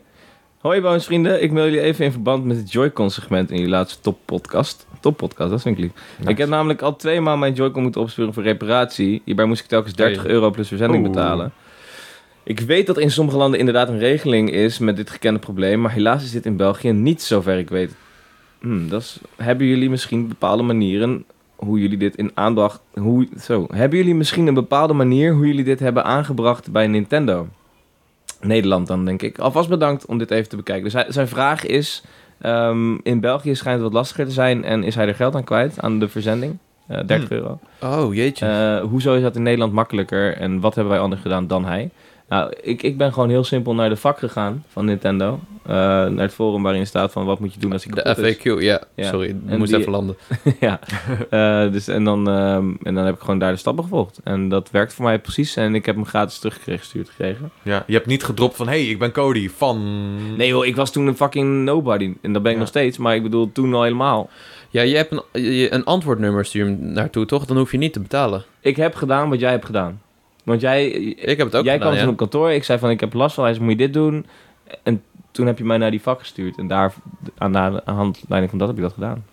[SPEAKER 2] Hoi Bones-vrienden, ik mail jullie even in verband met het Joy-Con-segment in jullie laatste toppodcast. Toppodcast, dat vind ik lief.
[SPEAKER 1] Nice.
[SPEAKER 2] Ik heb namelijk al twee maal mijn Joy-Con moeten opsturen voor reparatie. Hierbij moest ik telkens 30
[SPEAKER 3] Oei.
[SPEAKER 2] euro plus verzending
[SPEAKER 1] Oeh.
[SPEAKER 2] betalen. Ik weet dat in sommige landen inderdaad een regeling is met dit gekende probleem, maar helaas is dit in België niet zover ik weet. Hmm, dat is, hebben jullie misschien bepaalde manieren hoe jullie dit in aandacht... Hoe, zo, hebben jullie misschien een bepaalde manier hoe jullie dit hebben aangebracht bij Nintendo? Nederland dan, denk ik. Alvast bedankt om dit even te bekijken. Dus hij- zijn vraag is... ehm, in België schijnt het wat lastiger te zijn en is hij er geld aan kwijt aan de verzending? Eh, 30 euro.
[SPEAKER 3] Oh, jeetje.
[SPEAKER 2] Eh, hoezo is dat in Nederland makkelijker en wat hebben wij anders gedaan dan hij? Eh, Nou, ik, ik ben gewoon heel simpel naar de vak gegaan van Nintendo. Eh, naar het forum waarin staat van wat moet je doen als je
[SPEAKER 3] De
[SPEAKER 2] kapot is.
[SPEAKER 3] FAQ, ja.
[SPEAKER 2] Ja.
[SPEAKER 3] Sorry, ik
[SPEAKER 2] En
[SPEAKER 3] moest
[SPEAKER 2] die-
[SPEAKER 3] even landen.
[SPEAKER 2] ja. Eh, dus, en, dan, ehm, en dan heb ik gewoon daar de stappen gevolgd. En dat werkt voor mij precies. En ik heb hem gratis teruggekregen, gestuurd gekregen.
[SPEAKER 1] Ja, je hebt niet gedropt van, hey, ik ben Cody van...
[SPEAKER 2] Nee joh, ik was toen een fucking nobody. En dat ben ik
[SPEAKER 1] Ja.
[SPEAKER 2] nog steeds. Maar ik bedoel, toen al helemaal.
[SPEAKER 3] Ja, je hebt een, je- een antwoordnummer stuur je hem naartoe, toch? Dan hoef je niet te betalen.
[SPEAKER 2] Ik heb gedaan wat jij hebt gedaan. Want jij,
[SPEAKER 3] Ik heb het ook
[SPEAKER 2] jij
[SPEAKER 3] gedaan,
[SPEAKER 2] kwam
[SPEAKER 3] ja.
[SPEAKER 2] toen op kantoor. Ik zei van, ik heb last van. Hij zei, moet je dit doen? En toen heb je mij naar die vak gestuurd. En daar, aan de aan de handleiding van dat, heb ik dat gedaan.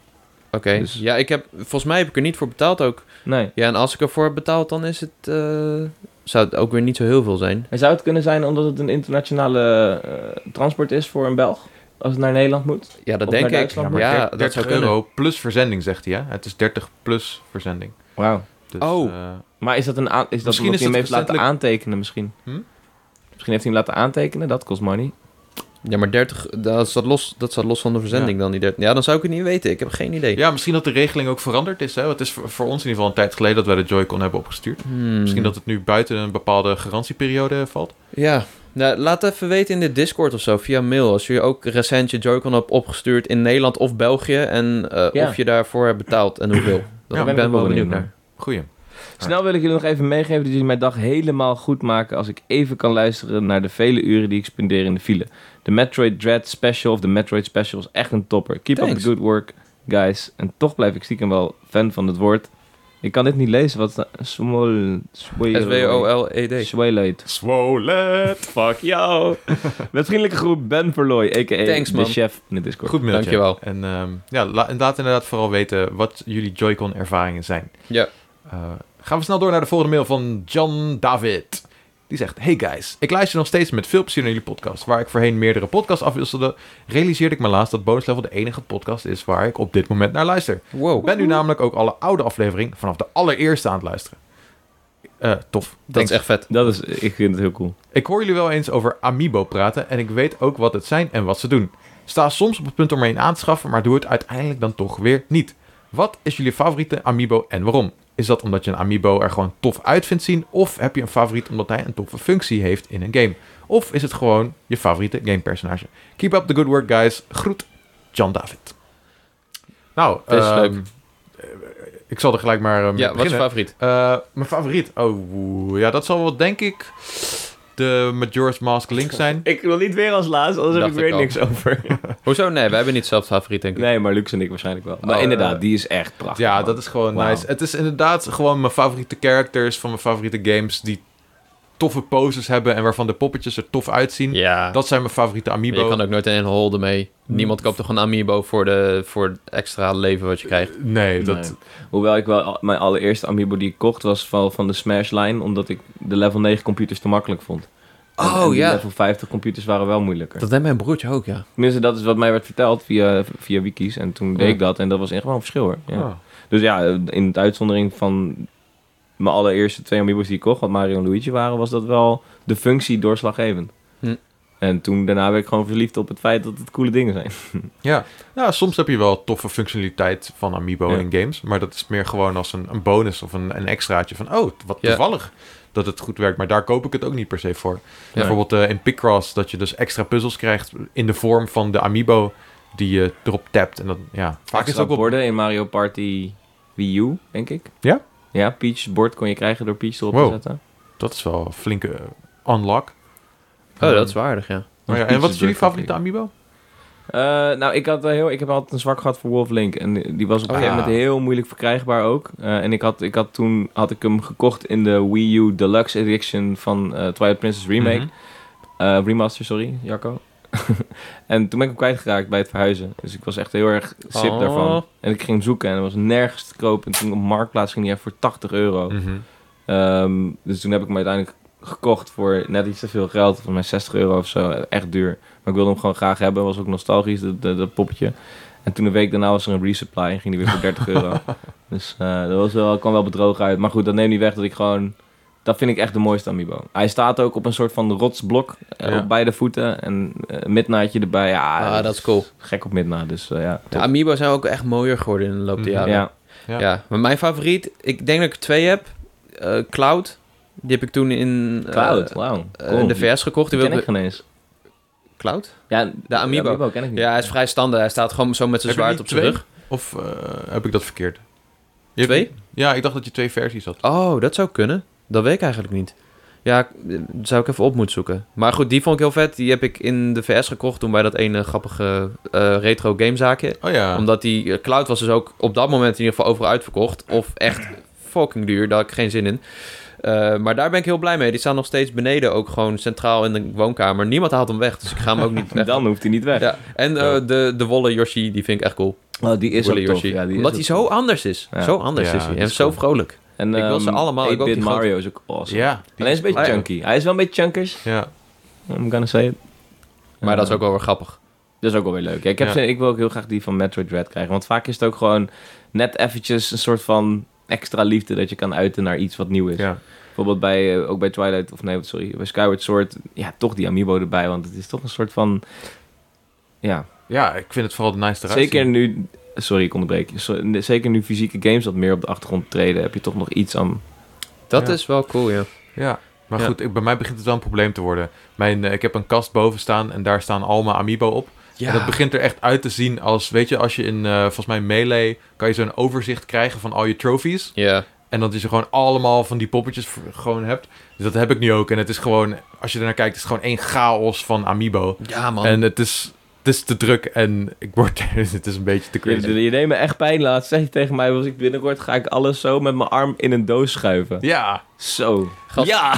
[SPEAKER 3] Oké.
[SPEAKER 2] Dus-
[SPEAKER 3] Ja, ik heb, volgens mij heb ik er niet voor betaald ook.
[SPEAKER 2] Nee.
[SPEAKER 3] Ja, en als ik ervoor heb betaald, dan is het... eh, zou het ook weer niet zo heel veel zijn.
[SPEAKER 2] En zou het kunnen zijn omdat het een internationale eh, transport is voor een Belg? Als het naar Nederland moet?
[SPEAKER 3] Ja, dat
[SPEAKER 2] Of
[SPEAKER 3] denk
[SPEAKER 2] naar
[SPEAKER 3] ik.
[SPEAKER 2] Duitsland,
[SPEAKER 3] Ja,
[SPEAKER 2] maar
[SPEAKER 1] der-
[SPEAKER 3] dat zou kunnen.
[SPEAKER 1] euro plus verzending, zegt hij. Hè? Het is 30 plus verzending.
[SPEAKER 2] Wauw.
[SPEAKER 1] Dus,
[SPEAKER 3] Oh.
[SPEAKER 1] eh,
[SPEAKER 2] Maar is dat een aan, is dat
[SPEAKER 1] Misschien
[SPEAKER 2] omdat
[SPEAKER 1] is
[SPEAKER 2] hij hem
[SPEAKER 1] dat
[SPEAKER 2] heeft laten
[SPEAKER 1] recentelijk-
[SPEAKER 2] aantekenen misschien?
[SPEAKER 1] Hm?
[SPEAKER 2] Misschien heeft hij hem laten aantekenen, dat kost money.
[SPEAKER 3] Ja, maar 30, dat staat los, dat staat los van de verzending dan. Die 30. Ja, dan zou ik het niet weten. Ik heb geen idee.
[SPEAKER 1] ja, misschien dat de regeling ook veranderd is. Hè? Want Het is voor, voor ons in ieder geval een tijd geleden dat wij de Joy-Con hebben opgestuurd.
[SPEAKER 3] Hmm.
[SPEAKER 1] Misschien dat het nu buiten een bepaalde garantieperiode valt.
[SPEAKER 3] Ja, nou, laat even weten in de Discord of zo, via mail. Als je ook recent je Joy-Con hebt opgestuurd in Nederland of België... en eh,
[SPEAKER 2] Ja.
[SPEAKER 3] of je daarvoor hebt betaald en hoeveel. Dan
[SPEAKER 1] ben ik
[SPEAKER 3] ben ik
[SPEAKER 2] ook
[SPEAKER 3] wel benieuwd
[SPEAKER 2] naar.
[SPEAKER 3] naar.
[SPEAKER 1] Goeie.
[SPEAKER 2] Snel wil ik jullie nog even meegeven dat jullie mijn dag helemaal goed maken als ik even kan luisteren naar de vele uren die ik spendeer in de file. De Metroid Dread Special of de Metroid Special is echt een topper. Keep up
[SPEAKER 3] Thanks.
[SPEAKER 2] the good work, guys. En toch blijf ik stiekem wel fan van het woord. Ik kan dit niet lezen, wat... Smol...
[SPEAKER 3] S-W-O-L-E-D.
[SPEAKER 2] Swaylight.
[SPEAKER 1] Swolet.
[SPEAKER 2] Fuck jou. Met vriendelijke groep Ben Verlooy, a.k.a.
[SPEAKER 3] Thanks,
[SPEAKER 2] de
[SPEAKER 3] man.
[SPEAKER 2] chef in de Discord.
[SPEAKER 1] Goed mailtje.
[SPEAKER 3] Dankjewel.
[SPEAKER 1] En ehm, ja, la- en laat inderdaad vooral weten wat jullie Joy-Con ervaringen zijn.
[SPEAKER 3] Ja.
[SPEAKER 1] Eh, gaan we snel door naar de volgende mail van John David. Die zegt, hey guys, ik luister nog steeds met veel plezier naar jullie podcast. Waar ik voorheen meerdere podcasts afwisselde, realiseerde ik me laatst dat Bonus Level de enige podcast is waar ik op dit moment naar luister. Ik
[SPEAKER 3] Wow,
[SPEAKER 1] ben nu namelijk ook alle oude afleveringen vanaf de allereerste aan het luisteren. Eh, tof.
[SPEAKER 3] dat is
[SPEAKER 1] Thanks.
[SPEAKER 3] echt vet.
[SPEAKER 2] Dat is, ik vind het heel cool.
[SPEAKER 1] Ik hoor jullie wel eens over Amiibo praten en ik weet ook wat het zijn en wat ze doen. Sta soms op het punt om er een aan te schaffen, maar doe het uiteindelijk dan toch weer niet. Wat is jullie favoriete Amiibo en waarom? Is dat omdat je een Amiibo er gewoon tof uit vindt zien? Of heb je een favoriet omdat hij een toffe functie heeft in een game? Of is het gewoon je favoriete gamepersonage? Keep up the good work, guys. Groet, John David. Nou,
[SPEAKER 3] Best
[SPEAKER 1] ehm,
[SPEAKER 3] leuk.
[SPEAKER 1] eh, ik zal er gelijk maar eh, mee
[SPEAKER 3] Ja, wat is je
[SPEAKER 1] beginnen.
[SPEAKER 3] favoriet?
[SPEAKER 1] Eh, mijn favoriet? Oh, oeh, ja, dat zal wel denk ik de Majora's Mask Link zijn.
[SPEAKER 2] Ik wil niet weer als laatst, anders
[SPEAKER 3] heb ik weer niks
[SPEAKER 2] over.
[SPEAKER 3] Hoezo? Nee, wij hebben niet zelf favoriet, denk ik.
[SPEAKER 2] nee, maar Lux en ik waarschijnlijk wel. Maar
[SPEAKER 1] Oh,
[SPEAKER 2] inderdaad,
[SPEAKER 1] eh,
[SPEAKER 2] die is echt prachtig.
[SPEAKER 1] Ja,
[SPEAKER 2] man.
[SPEAKER 1] dat is gewoon
[SPEAKER 2] Wauw.
[SPEAKER 1] nice. Het is inderdaad gewoon mijn favoriete characters van mijn favoriete games die toffe poses hebben en waarvan de poppetjes er tof uitzien.
[SPEAKER 3] Ja,
[SPEAKER 1] Dat zijn mijn favoriete
[SPEAKER 3] Maar je
[SPEAKER 1] amiibo.
[SPEAKER 3] kan ook nooit een holde mee. Niemand koopt toch een amiibo voor, de, voor het extra leven wat je krijgt.
[SPEAKER 1] Nee, dat...
[SPEAKER 2] Nee. Hoewel ik wel al- mijn allereerste amiibo die ik kocht was van, van de Smash Line, omdat ik de level 9 computers te makkelijk vond. En-
[SPEAKER 3] Oh,
[SPEAKER 2] en die
[SPEAKER 3] ja.
[SPEAKER 2] level 50 computers waren wel moeilijker.
[SPEAKER 3] Dat deed mijn broertje ook, ja.
[SPEAKER 2] Tenminste, dat is wat mij werd verteld via, via wikis. En toen deed
[SPEAKER 3] Ja.
[SPEAKER 2] ik dat en dat was echt wel een verschil hoor. Ja.
[SPEAKER 1] Oh.
[SPEAKER 2] Dus ja, in de uitzondering van mijn allereerste twee amiibo's die ik kocht, wat Mario en Luigi waren, was dat wel de functie doorslaggevend.
[SPEAKER 3] Hm.
[SPEAKER 2] En toen daarna werd ik gewoon verliefd op het feit dat het coole dingen zijn.
[SPEAKER 1] Ja. ja, soms heb je wel toffe functionaliteit van amiibo
[SPEAKER 2] Ja.
[SPEAKER 1] in games, maar dat is meer gewoon als een, een bonus of een, een extraatje van, oh, wat
[SPEAKER 3] Ja.
[SPEAKER 1] toevallig dat het goed werkt, maar daar koop ik het ook niet per se voor. Bijvoorbeeld eh, in Picross dat je dus extra puzzels krijgt in de vorm van de amiibo die je erop tapt. En dat, ja, vaak is het ook wel...
[SPEAKER 2] borden in Mario Party Wii U, denk ik.
[SPEAKER 1] Ja?
[SPEAKER 2] Ja, Peach bord kon je krijgen door Peach erop
[SPEAKER 1] Wow.
[SPEAKER 2] te zetten.
[SPEAKER 1] Dat is wel een flinke eh, unlock.
[SPEAKER 3] Oh, dat is waardig, ja.
[SPEAKER 1] Maar ja, en wat is jullie favoriete amiibo?
[SPEAKER 2] Eh, nou, ik, had, eh, heel, ik heb altijd een zwak gehad voor Wolf Link. En die was op een
[SPEAKER 1] Oh,
[SPEAKER 2] gegeven
[SPEAKER 1] ja.
[SPEAKER 2] moment heel moeilijk verkrijgbaar ook. Eh, en ik had, ik had toen had ik hem gekocht in de Wii U Deluxe Edition van eh, Twilight Princess Remake.
[SPEAKER 1] Mhm.
[SPEAKER 2] Eh, remaster, sorry, Jacco. en toen ben ik hem kwijtgeraakt bij het verhuizen. Dus ik was echt heel erg sip
[SPEAKER 3] Oh.
[SPEAKER 2] daarvan. En ik ging hem zoeken en er was nergens te koop. En toen op Marktplaats ging hij echt voor 80 euro.
[SPEAKER 1] Mhm.
[SPEAKER 2] Ehm, dus toen heb ik hem uiteindelijk gekocht voor net iets te veel geld. Volgens mij 60 euro of zo. Echt duur. Maar ik wilde hem gewoon graag hebben. Was ook nostalgisch, dat, dat, dat poppetje. En toen een week daarna was er een resupply en ging die weer voor 30 euro. Dus eh dat was wel, kwam wel bedrogen uit. Maar goed, dat neemt niet weg dat ik gewoon... Dat vind ik echt de mooiste amiibo. Hij staat ook op een soort van rotsblok eh,
[SPEAKER 1] Ja.
[SPEAKER 2] op beide voeten. En eh, een midnaatje erbij. Ja,
[SPEAKER 3] Ah, dat is cool.
[SPEAKER 2] Gek op midnaat, dus eh, ja.
[SPEAKER 3] De Amiibo zijn ook echt mooier geworden in de loop der
[SPEAKER 1] Mhm.
[SPEAKER 3] jaren.
[SPEAKER 2] ja.
[SPEAKER 3] Ja, maar mijn favoriet, ik denk dat ik er twee heb. Eh, Cloud Die heb ik toen in eh,
[SPEAKER 5] Cloud, wauw.
[SPEAKER 3] eh,
[SPEAKER 5] Cool.
[SPEAKER 3] de VS gekocht. Die
[SPEAKER 5] Die ken
[SPEAKER 3] wilde...
[SPEAKER 5] ik geen eens.
[SPEAKER 3] Cloud?
[SPEAKER 5] Ja,
[SPEAKER 3] de Amiibo.
[SPEAKER 5] ken ik niet.
[SPEAKER 3] Ja, hij is vrij standaard. Hij staat gewoon zo met zijn
[SPEAKER 1] Heb je
[SPEAKER 3] zwaard
[SPEAKER 1] niet
[SPEAKER 3] op zijn
[SPEAKER 1] twee?
[SPEAKER 3] rug.
[SPEAKER 1] Of eh, heb ik dat verkeerd? Je hebt-
[SPEAKER 3] Twee?
[SPEAKER 1] Ja, ik dacht dat je twee versies had.
[SPEAKER 3] Oh, dat zou kunnen. Dat weet ik eigenlijk niet. Ja, ik- eh, zou ik even op moeten zoeken. Maar goed, die vond ik heel vet. Die heb ik in de VS gekocht toen bij dat ene grappige eh, retro gamezaakje.
[SPEAKER 1] Oh ja.
[SPEAKER 3] Omdat die eh, cloud was dus ook op dat moment in ieder geval overal uitverkocht. Of echt fucking duur, daar had ik geen zin in. Eh, maar daar ben ik heel blij mee. Die staan nog steeds beneden, ook gewoon centraal in de woonkamer. Niemand haalt hem weg, dus ik ga hem ook niet weg.
[SPEAKER 2] Dan hoeft hij niet weg.
[SPEAKER 3] Ja. En eh, de, de wollen Yoshi, die vind ik echt cool.
[SPEAKER 2] Oh, die
[SPEAKER 3] Wollen
[SPEAKER 2] ook tof.
[SPEAKER 3] Yoshi.
[SPEAKER 2] Ja, die is
[SPEAKER 3] Omdat
[SPEAKER 2] ook
[SPEAKER 3] hij
[SPEAKER 2] tof.
[SPEAKER 3] zo anders is.
[SPEAKER 2] Ja.
[SPEAKER 3] Zo anders
[SPEAKER 1] Ja,
[SPEAKER 3] is hij.
[SPEAKER 1] dat
[SPEAKER 3] En
[SPEAKER 1] is
[SPEAKER 3] zo
[SPEAKER 1] cool.
[SPEAKER 3] vrolijk.
[SPEAKER 2] En,
[SPEAKER 3] Ik wil ze
[SPEAKER 2] ehm,
[SPEAKER 3] allemaal, ik wil ook
[SPEAKER 2] 8-bit
[SPEAKER 3] die grote-
[SPEAKER 2] Mario is ook awesome.
[SPEAKER 1] Ja. die-
[SPEAKER 2] Alleen is een beetje
[SPEAKER 3] Ah, ja.
[SPEAKER 2] chunky. Hij is wel een beetje chunkers.
[SPEAKER 1] Ja.
[SPEAKER 2] I'm gonna say it.
[SPEAKER 3] Maar
[SPEAKER 2] Eh,
[SPEAKER 3] dat is ook wel weer grappig.
[SPEAKER 2] Dat is ook wel weer leuk. Ja, ik, heb
[SPEAKER 1] Ja.
[SPEAKER 2] zin- ik wil ook heel graag die van Metroid Dread krijgen. Want vaak is het ook gewoon net eventjes een soort van extra liefde dat je kan uiten naar iets wat nieuw is.
[SPEAKER 1] ja.
[SPEAKER 2] Bijvoorbeeld bij, eh, ook bij Twilight, of nee, sorry, bij Skyward Sword. Ja, toch die Amiibo erbij, want het is toch een soort van... Ja,
[SPEAKER 1] Ja, ik vind het vooral nice eruit
[SPEAKER 2] zeker
[SPEAKER 1] zien.
[SPEAKER 2] nu... Sorry, ik onderbreek. je. Zo- ne- Zeker nu fysieke games wat meer op de achtergrond treden, heb je toch nog iets aan...
[SPEAKER 3] Dat
[SPEAKER 1] Ja.
[SPEAKER 3] is wel cool, ja.
[SPEAKER 1] Ja. Maar
[SPEAKER 3] Ja.
[SPEAKER 1] goed, ik, bij mij begint het wel een probleem te worden. Mijn, eh, ik heb een kast boven staan en daar staan al mijn Amiibo op. En dat begint er echt uit te zien als, weet je, als je in, eh, volgens mij Melee, kan je zo'n overzicht krijgen van al je trophies.
[SPEAKER 3] Ja.
[SPEAKER 1] En dat je ze gewoon allemaal van die poppetjes v- gewoon hebt. Dus dat heb ik nu ook. En het is gewoon, als je ernaar kijkt, is het gewoon één chaos van Amiibo.
[SPEAKER 3] Ja, man.
[SPEAKER 1] En het is, het is te druk en ik word, het is een beetje te cringe.
[SPEAKER 2] Je, je neemt me echt pijn laat. Zeg je tegen mij, als ik binnenkort ga ik alles zo met mijn arm in een doos schuiven.
[SPEAKER 1] Ja,
[SPEAKER 2] Zo.
[SPEAKER 3] Gast.
[SPEAKER 2] Ja!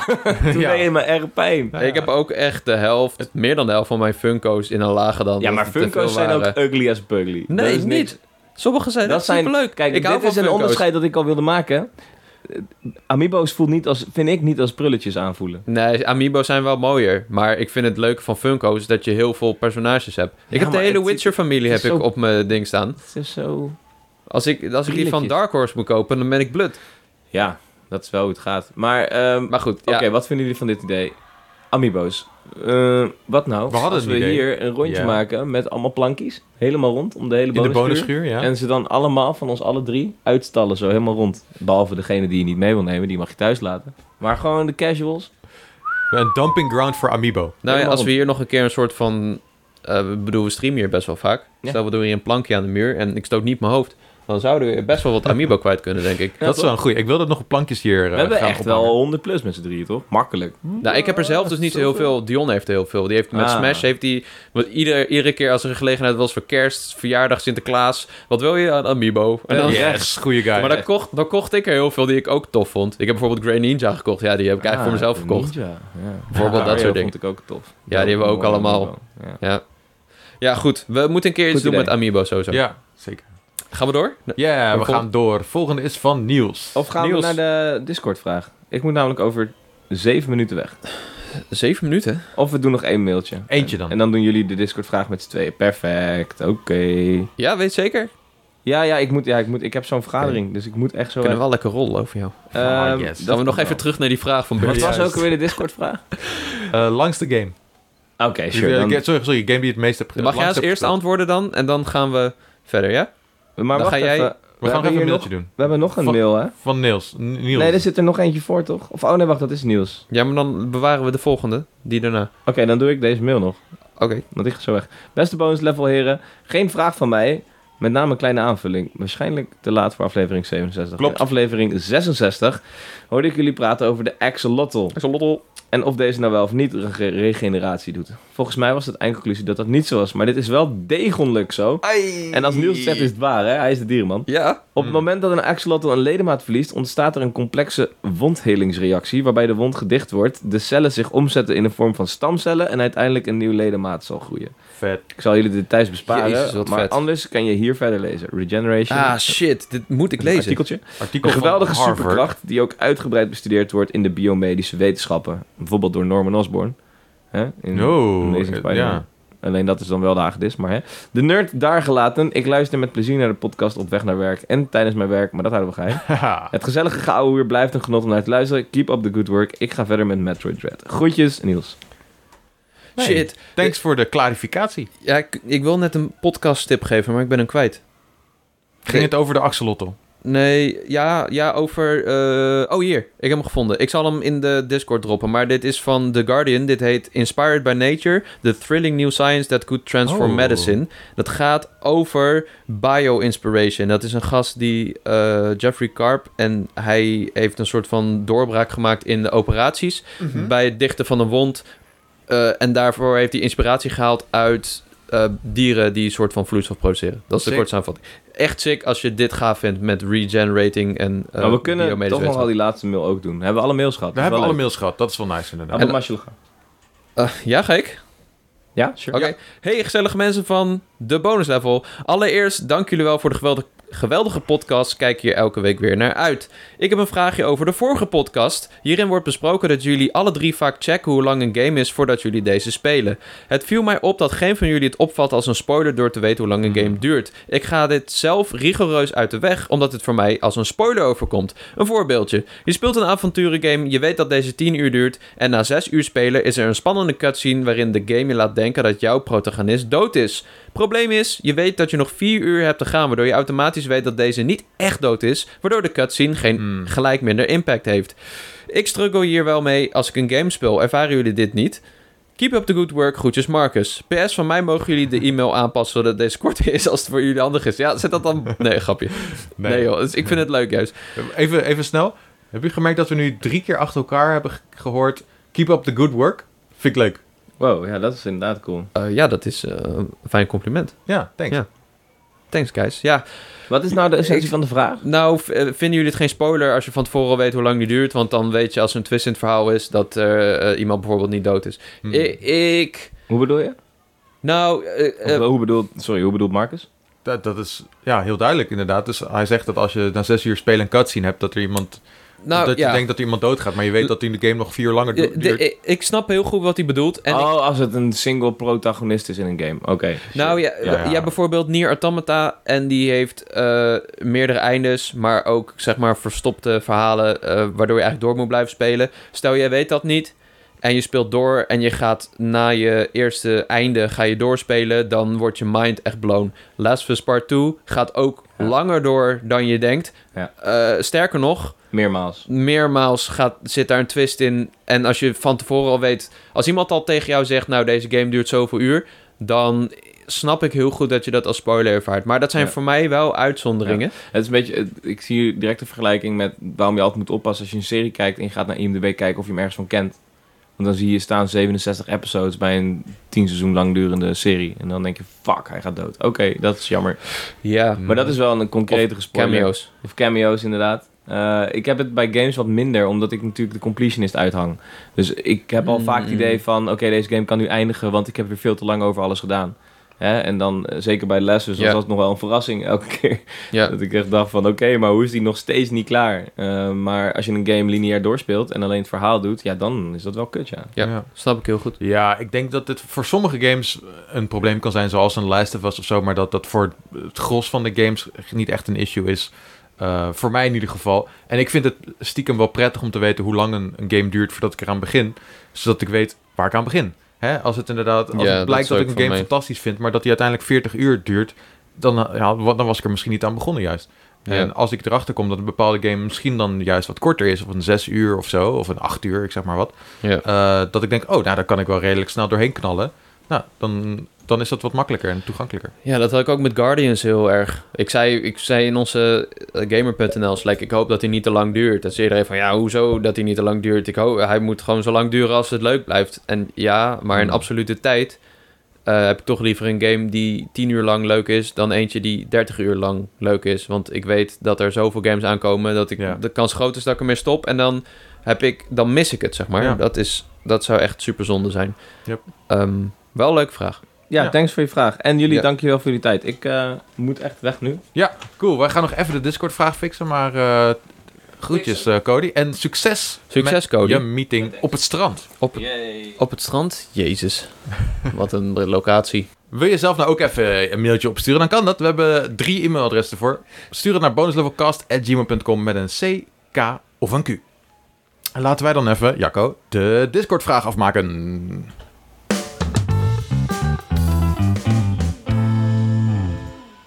[SPEAKER 2] Toen
[SPEAKER 1] Ja.
[SPEAKER 2] deed je me echt pijn.
[SPEAKER 1] Nou
[SPEAKER 3] Ik
[SPEAKER 1] ja.
[SPEAKER 3] heb ook echt de helft, meer dan de helft van mijn Funko's in een lage dan.
[SPEAKER 2] Ja,
[SPEAKER 3] dat
[SPEAKER 2] maar
[SPEAKER 3] het te veel
[SPEAKER 2] Funko's zijn ook
[SPEAKER 3] waren.
[SPEAKER 2] ugly as bugly. Dat
[SPEAKER 3] Nee,
[SPEAKER 2] is niks.
[SPEAKER 3] niet. Sommige zijn
[SPEAKER 2] Dat zijn
[SPEAKER 3] leuk.
[SPEAKER 2] Kijk,
[SPEAKER 3] ik
[SPEAKER 2] dit
[SPEAKER 3] hou
[SPEAKER 2] is
[SPEAKER 3] van
[SPEAKER 2] een
[SPEAKER 3] Funko's.
[SPEAKER 2] onderscheid dat ik al wilde maken. Eh, Amiibo's voelt niet als, vind ik niet als prulletjes aanvoelen.
[SPEAKER 3] Nee, Amiibo zijn wel mooier. Maar ik vind het leuke van Funko's dat je heel veel personages hebt. Ik heb de
[SPEAKER 2] maar
[SPEAKER 3] hele
[SPEAKER 2] het-
[SPEAKER 3] Witcher-familie
[SPEAKER 2] het
[SPEAKER 3] heb
[SPEAKER 2] is
[SPEAKER 3] ik
[SPEAKER 2] zo-
[SPEAKER 3] op mijn ding staan.
[SPEAKER 2] Het is zo...
[SPEAKER 3] Als ik, als ik die van
[SPEAKER 2] Brilletjes.
[SPEAKER 3] Dark Horse moet kopen, dan ben ik blut.
[SPEAKER 2] Ja, dat is wel hoe het gaat. Maar, ehm,
[SPEAKER 3] Maar goed, ja.
[SPEAKER 2] oké, wat vinden jullie van dit idee? Amiibo's. Eh, wat nou?
[SPEAKER 1] We hadden
[SPEAKER 2] als
[SPEAKER 1] een
[SPEAKER 2] we
[SPEAKER 1] idee.
[SPEAKER 2] hier een rondje
[SPEAKER 1] Ja.
[SPEAKER 2] maken met allemaal plankies. Helemaal rond, om de hele
[SPEAKER 1] in de
[SPEAKER 2] bonusschuur.
[SPEAKER 1] bonusschuur, ja.
[SPEAKER 2] En ze dan allemaal van ons alle drie uitstallen, zo helemaal rond. Behalve degene die je niet mee wil nemen, die mag je thuis laten. Maar gewoon de casuals.
[SPEAKER 1] Een dumping ground voor Amiibo.
[SPEAKER 3] nou ja,
[SPEAKER 2] helemaal
[SPEAKER 3] als we hier nog een keer een soort van... eh, Ik bedoel, we streamen hier best wel vaak.
[SPEAKER 2] Ja.
[SPEAKER 3] Stel, we doen hier een plankje aan de muur en ik stoot niet mijn hoofd. Dan zouden we best wel wat Amiibo kwijt kunnen, denk ik.
[SPEAKER 1] dat is
[SPEAKER 2] toch?
[SPEAKER 1] wel een goeie. Ik wil dat nog op plankjes hier eh,
[SPEAKER 2] We hebben
[SPEAKER 1] gaan
[SPEAKER 2] echt
[SPEAKER 1] ophangen.
[SPEAKER 2] wel 100 plus met z'n drieën, toch? Makkelijk.
[SPEAKER 3] Nou, ik heb er zelf dus niet zo heel veel. Dion heeft er heel veel. Die heeft met
[SPEAKER 2] Ah.
[SPEAKER 3] Smash heeft hij. want Ieder, iedere keer als er een gelegenheid was voor kerst, verjaardag, Sinterklaas. Wat wil je aan Amiibo? En dan,
[SPEAKER 1] Yes, goeie guy.
[SPEAKER 3] Maar dan kocht, dan kocht ik er heel veel die ik ook tof vond. Ik heb bijvoorbeeld Grey Ninja gekocht. Ja, die heb ik
[SPEAKER 2] Ah,
[SPEAKER 3] eigenlijk voor mezelf gekocht.
[SPEAKER 2] Ja, ja.
[SPEAKER 3] Bijvoorbeeld dat soort dingen.
[SPEAKER 2] vond ik ook tof.
[SPEAKER 3] Ja, die hebben we ook allemaal.
[SPEAKER 2] Ja.
[SPEAKER 3] Ja. ja, goed. We moeten een keer iets
[SPEAKER 2] Goed
[SPEAKER 3] doen
[SPEAKER 2] idee.
[SPEAKER 3] met Amiibo sowieso.
[SPEAKER 1] Ja, zeker.
[SPEAKER 3] Gaan we door?
[SPEAKER 1] Ja, we
[SPEAKER 3] Volgende-
[SPEAKER 1] gaan door. Volgende is van Niels.
[SPEAKER 2] Of gaan
[SPEAKER 3] Niels.
[SPEAKER 2] we naar de Discord-vraag? Ik moet namelijk over zeven minuten weg.
[SPEAKER 3] Zeven minuten?
[SPEAKER 2] Of we doen nog één mailtje.
[SPEAKER 1] Eentje dan.
[SPEAKER 2] En dan doen jullie de Discord-vraag met z'n tweeën. Perfect, oké.
[SPEAKER 3] Ja, weet zeker.
[SPEAKER 2] Ja, ja, ik, moet, ja ik, moet, ik heb zo'n vergadering, dus ik moet echt zo...
[SPEAKER 3] We kunnen wel lekker rollen over jou.
[SPEAKER 2] Ehm,
[SPEAKER 1] Ah, yes.
[SPEAKER 3] Dan we nog
[SPEAKER 2] wel.
[SPEAKER 3] even terug naar die vraag van
[SPEAKER 2] Wat
[SPEAKER 3] Bert.
[SPEAKER 2] was
[SPEAKER 1] Juist.
[SPEAKER 2] ook alweer de Discord-vraag?
[SPEAKER 1] Eh, langste game.
[SPEAKER 2] Oké, sure.
[SPEAKER 1] Eh,
[SPEAKER 2] dan-
[SPEAKER 1] ge- sorry, sorry, game die het meest hebt
[SPEAKER 3] Mag jij als
[SPEAKER 1] langst hebt
[SPEAKER 3] eerste
[SPEAKER 1] gespeeld.
[SPEAKER 3] antwoorden dan? En dan gaan we verder, ja?
[SPEAKER 2] maar
[SPEAKER 3] dan
[SPEAKER 2] wacht
[SPEAKER 3] ga jij-
[SPEAKER 1] We,
[SPEAKER 2] even.
[SPEAKER 1] gaan nog
[SPEAKER 2] hebben
[SPEAKER 1] even
[SPEAKER 2] hier
[SPEAKER 1] een
[SPEAKER 2] nog-
[SPEAKER 1] mailtje doen.
[SPEAKER 2] We hebben nog een
[SPEAKER 1] Fuck.
[SPEAKER 2] mail, hè?
[SPEAKER 1] Van Niels. N- Niels.
[SPEAKER 2] Nee, er zit er nog eentje voor, toch? Of, oh nee, wacht, dat is nieuws.
[SPEAKER 3] Ja, maar dan bewaren we de volgende. Die daarna.
[SPEAKER 2] Oké, dan doe ik deze mail nog.
[SPEAKER 3] Oké.
[SPEAKER 2] Want ik ga zo weg. Beste bonus level heren, geen vraag van mij. Met name een kleine aanvulling. Waarschijnlijk te laat voor aflevering 67.
[SPEAKER 1] Klopt.
[SPEAKER 2] In aflevering 66 hoorde ik jullie praten over de axolotl. En of deze nou wel of niet rege- regeneratie doet. Volgens mij was de eindconclusie dat dat niet zo was. Maar dit is wel degelijk zo. En als Niels het zegt is het waar, hè? Hij is de dierenman.
[SPEAKER 3] Ja.
[SPEAKER 2] Op het moment dat een axolotl een ledemaat verliest, ontstaat er een complexe wondhelingsreactie waarbij de wond gedicht wordt, de cellen zich omzetten in de vorm van stamcellen en uiteindelijk een nieuw ledemaat zal groeien.
[SPEAKER 1] Vet.
[SPEAKER 2] Ik zal jullie de details besparen,
[SPEAKER 3] Jezus, wat
[SPEAKER 2] maar
[SPEAKER 3] vet.
[SPEAKER 2] anders kan je hier verder lezen. Regeneration.
[SPEAKER 3] Ah, shit. Dit moet ik
[SPEAKER 2] een
[SPEAKER 3] lezen.
[SPEAKER 2] artikeltje.
[SPEAKER 1] Artikel
[SPEAKER 2] Een geweldige
[SPEAKER 1] van Harvard.
[SPEAKER 2] superkracht die ook uitgebreid bestudeerd wordt in de biomedische wetenschappen. Bijvoorbeeld door Norman Osborn. Hè? In
[SPEAKER 1] Oh,
[SPEAKER 2] Amazing
[SPEAKER 1] eh,
[SPEAKER 2] Spider-Man.
[SPEAKER 1] ja.
[SPEAKER 2] Alleen dat is dan wel de hagedis, maar hè. De nerd daar gelaten. Ik luister met plezier naar de podcast op weg naar werk en tijdens mijn werk, maar dat houden we geheim.
[SPEAKER 1] Haha.
[SPEAKER 2] Het gezellige gouden uur blijft een genot om naar te luisteren. Keep up the good work. Ik ga verder met Metroid Dread. Groetjes, Niels.
[SPEAKER 3] Shit.
[SPEAKER 1] Thanks voor de clarificatie.
[SPEAKER 3] Ja, ik, ik wil net een podcast tip geven, maar ik ben hem kwijt.
[SPEAKER 1] Ging het over de axolotl?
[SPEAKER 3] Nee, ja, ja over... eh, oh, hier. Ik heb hem gevonden. Ik zal hem in de Discord droppen. Maar dit is van The Guardian. Dit heet Inspired by Nature. The Thrilling New Science That Could Transform
[SPEAKER 1] Oh.
[SPEAKER 3] Medicine. Dat gaat over bio-inspiration. Dat is een gast die... eh, Jeffrey Karp. En hij heeft een soort van doorbraak gemaakt in de operaties.
[SPEAKER 1] Mhm.
[SPEAKER 3] Bij het dichten van een wond. Eh, en daarvoor heeft hij inspiratie gehaald uit... eh, dieren die een soort van vloeistof produceren. Dat is de
[SPEAKER 1] Sick.
[SPEAKER 3] korte samenvatting echt sick als je dit gaaf vindt met regenerating en eh
[SPEAKER 2] maar Nou, we kunnen
[SPEAKER 3] biomedische
[SPEAKER 2] toch nog al
[SPEAKER 3] wetenschap.
[SPEAKER 2] die laatste mail ook doen. Hebben we alle mails gehad?
[SPEAKER 1] We hebben alle mails gehad. Dat is wel nice inderdaad.
[SPEAKER 2] Abdel
[SPEAKER 3] En-
[SPEAKER 2] Masjoul gaan.
[SPEAKER 3] Eh, ja, gek.
[SPEAKER 2] Ja, sure.
[SPEAKER 3] Oké. Hey, gezellige mensen van de bonus level. Allereerst, dank jullie wel voor de geweldig, geweldige podcast. Kijk hier elke week weer naar uit. Ik heb een vraagje over de vorige podcast. Hierin wordt besproken dat jullie alle drie vaak checken hoe lang een game is voordat jullie deze spelen. Het viel mij op dat geen van jullie het opvat als een spoiler door te weten hoe lang
[SPEAKER 2] Mhm.
[SPEAKER 3] een game duurt. Ik ga dit zelf rigoureus uit de weg, omdat het voor mij als een spoiler overkomt. Een voorbeeldje. Je speelt een avonturengame, je weet dat deze 10 uur duurt... en na 6 uur spelen is er een spannende cutscene... waarin de game je laat denken dat jouw protagonist dood is. Probleem is, je weet dat je nog 4 uur hebt te gaan... waardoor je automatisch weet dat deze niet echt dood is... waardoor de cutscene geen gelijk minder impact heeft. Ik struggle hier wel mee als ik een game speel. Ervaren jullie dit niet? Keep up the good work. Groetjes Marcus. PS, van mij mogen jullie de e-mail aanpassen zodat deze korter is als het voor jullie handig is. Ja, zet dat dan... Nee, grapje. Nee, joh. Dus ik vind het leuk juist.
[SPEAKER 1] Even, even snel. Heb je gemerkt dat we nu drie keer achter elkaar hebben ge- gehoord... Keep up the good work? Vind ik leuk.
[SPEAKER 2] Wow, ja, dat is inderdaad cool.
[SPEAKER 3] Eh, ja, dat is eh, een fijn compliment.
[SPEAKER 1] Ja, thanks.
[SPEAKER 3] Ja. Thanks, guys. Ja,
[SPEAKER 2] Wat is nou de essentie van de vraag?
[SPEAKER 3] nou, v- eh, vinden jullie het geen spoiler als je van tevoren al weet hoe lang die duurt? Want dan weet je als er een twist in het verhaal is dat eh, eh, iemand bijvoorbeeld niet dood is.
[SPEAKER 1] Hmm.
[SPEAKER 3] I- Ik...
[SPEAKER 2] Hoe bedoel je?
[SPEAKER 3] Nou, eh,
[SPEAKER 2] Of,
[SPEAKER 3] eh,
[SPEAKER 2] eh, hoe bedoelt, sorry, hoe bedoelt Marcus?
[SPEAKER 1] Dat, dat is ja, heel duidelijk inderdaad. Dus hij zegt dat als je na zes uur spelen een cutscene hebt... dat, er iemand,
[SPEAKER 3] nou
[SPEAKER 1] dat je
[SPEAKER 3] ja.
[SPEAKER 1] denkt dat er iemand doodgaat... maar je weet dat die in de game nog vier uur langer du-
[SPEAKER 3] Eh, de-
[SPEAKER 1] duurt.
[SPEAKER 3] ik- ik snap heel goed wat hij bedoelt. En ik-
[SPEAKER 2] oh, als het een single protagonist is in een game. Oké.
[SPEAKER 3] Nou ja,
[SPEAKER 1] Ja,
[SPEAKER 3] ja,
[SPEAKER 1] ja.
[SPEAKER 3] bijvoorbeeld Nier Automata. En die heeft eh, meerdere eindes, maar ook zeg maar verstopte verhalen. eh, waardoor je eigenlijk door moet blijven spelen. Stel jij weet dat niet. En je speelt door en je gaat na je eerste einde ga je doorspelen. Dan wordt je mind echt blown. Last of Us Part 2 gaat ook
[SPEAKER 2] Ja.
[SPEAKER 3] langer door dan je denkt.
[SPEAKER 2] Ja.
[SPEAKER 3] Eh, sterker nog,
[SPEAKER 2] Meermaals.
[SPEAKER 3] meermaals gaat, zit daar een twist in. En als je van tevoren al weet... Als iemand al tegen jou zegt, nou, deze game duurt zoveel uur... dan snap ik heel goed dat je dat als spoiler ervaart. Maar dat zijn
[SPEAKER 2] Ja.
[SPEAKER 3] voor mij wel uitzonderingen.
[SPEAKER 2] Het is een beetje, het- ik zie hier direct een vergelijking met waarom je altijd moet oppassen als je een serie kijkt en je gaat naar IMDb kijken of je hem ergens van kent. Want dan zie je staan 67 episodes bij een 10 seizoen lang durende serie. En dan denk je, fuck, hij gaat dood. Oké, dat is jammer.
[SPEAKER 3] Ja,
[SPEAKER 1] Hmm.
[SPEAKER 2] Maar dat is wel een concrete spoiler.
[SPEAKER 3] cameo's.
[SPEAKER 2] Of cameo's, inderdaad. Eh, ik heb het bij games wat minder, omdat ik natuurlijk de completionist uithang. Dus ik heb al
[SPEAKER 3] Mm.
[SPEAKER 2] vaak het idee van... oké, deze game kan nu eindigen, want ik heb weer veel te lang over alles gedaan. Hè? En dan, eh, zeker bij Les, dus
[SPEAKER 3] Ja.
[SPEAKER 2] was dat nog wel een verrassing elke keer.
[SPEAKER 3] Ja.
[SPEAKER 2] Dat ik echt dacht van, oké, maar hoe is die nog steeds niet klaar? Eh, maar als je een game lineair doorspeelt en alleen het verhaal doet... ja, dan is dat wel kut, ja.
[SPEAKER 3] Ja.
[SPEAKER 1] Ja.
[SPEAKER 3] Snap ik heel goed.
[SPEAKER 1] Ja, ik denk dat dit voor sommige games een probleem kan zijn, zoals een Last of Us of zo, maar dat dat voor het gros van de games niet echt een issue is. Eh, voor mij in ieder geval. En ik vind het stiekem wel prettig om te weten hoe lang een, een game duurt voordat ik eraan begin, zodat ik weet waar ik aan begin. Hè? Als het inderdaad als
[SPEAKER 3] Ja,
[SPEAKER 1] het
[SPEAKER 3] dat
[SPEAKER 1] blijkt
[SPEAKER 3] zou
[SPEAKER 1] dat ik
[SPEAKER 3] ik
[SPEAKER 1] een
[SPEAKER 3] van
[SPEAKER 1] game
[SPEAKER 3] mij.
[SPEAKER 1] fantastisch vind, maar dat die uiteindelijk 40 uur duurt, dan, eh, ja, wa- dan was ik er misschien niet aan begonnen juist.
[SPEAKER 3] Ja.
[SPEAKER 1] En als ik erachter kom dat een bepaalde game misschien dan juist wat korter is, of een 6 uur of zo, of een 8 uur, ik zeg maar wat,
[SPEAKER 3] Ja.
[SPEAKER 1] eh, dat ik denk, oh, nou, daar kan ik wel redelijk snel doorheen knallen. Nou, dan, dan is dat wat makkelijker en toegankelijker.
[SPEAKER 3] Ja, dat had ik ook met Guardians heel erg. Ik zei, ik zei in onze eh, gamer.nl slack, ik hoop dat hij niet te lang duurt. En zei iedereen van, ja, hoezo dat hij niet te lang duurt? Ik hoop, hij moet gewoon zo lang duren als het leuk blijft. En ja, maar in
[SPEAKER 1] Hmm.
[SPEAKER 3] absolute tijd eh, heb ik toch liever een game die 10 uur lang leuk is... dan eentje die 30 uur lang leuk is. Want ik weet dat er zoveel games aankomen dat ik,
[SPEAKER 1] Ja.
[SPEAKER 3] de kans groot is dat ik ermee stop. En dan, heb ik, dan mis ik het, zeg maar.
[SPEAKER 1] Ja.
[SPEAKER 3] Dat, is, dat zou echt super zonde zijn.
[SPEAKER 1] Yep.
[SPEAKER 3] Ehm, wel een leuke vraag.
[SPEAKER 2] Ja,
[SPEAKER 1] Ja.
[SPEAKER 2] thanks voor je vraag. En jullie,
[SPEAKER 3] Ja.
[SPEAKER 2] dankjewel voor jullie tijd. Ik eh, moet echt weg nu.
[SPEAKER 1] Ja, cool. Wij gaan nog even de Discord-vraag fixen, maar eh, groetjes, eh, Cody. En succes,
[SPEAKER 3] Succes, Cody.
[SPEAKER 1] je meeting op het strand.
[SPEAKER 3] Op Op het strand? Jezus. Wat een locatie.
[SPEAKER 1] Wil je zelf nou ook even een mailtje opsturen? Dan kan dat. We hebben drie e-mailadressen ervoor. Stuur het naar bonuslevelcast.gmail.com met een C, K of een Q. En laten wij dan even, Jacco, de Discord-vraag afmaken.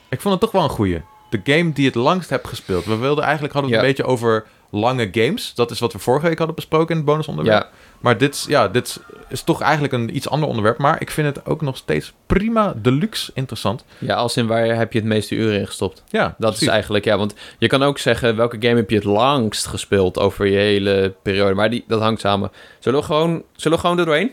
[SPEAKER 1] Ik vond het toch wel een goeie. de game die het langst hebt gespeeld. We wilden eigenlijk hadden we het
[SPEAKER 3] Ja.
[SPEAKER 1] een beetje over lange games. Dat is wat we vorige week hadden besproken in het bonusonderwerp.
[SPEAKER 3] Ja,
[SPEAKER 1] Maar dit, is- ja, dit is- is toch eigenlijk een iets ander onderwerp. Maar ik vind het ook nog steeds prima deluxe interessant.
[SPEAKER 3] ja, als in waar heb je het meeste uren in gestopt?
[SPEAKER 1] Ja,
[SPEAKER 3] Dat
[SPEAKER 1] precies.
[SPEAKER 3] is eigenlijk, ja, want je kan ook zeggen welke game heb je het langst gespeeld over je hele periode. Maar die, dat hangt samen. Zullen we gewoon, zullen we gewoon er doorheen?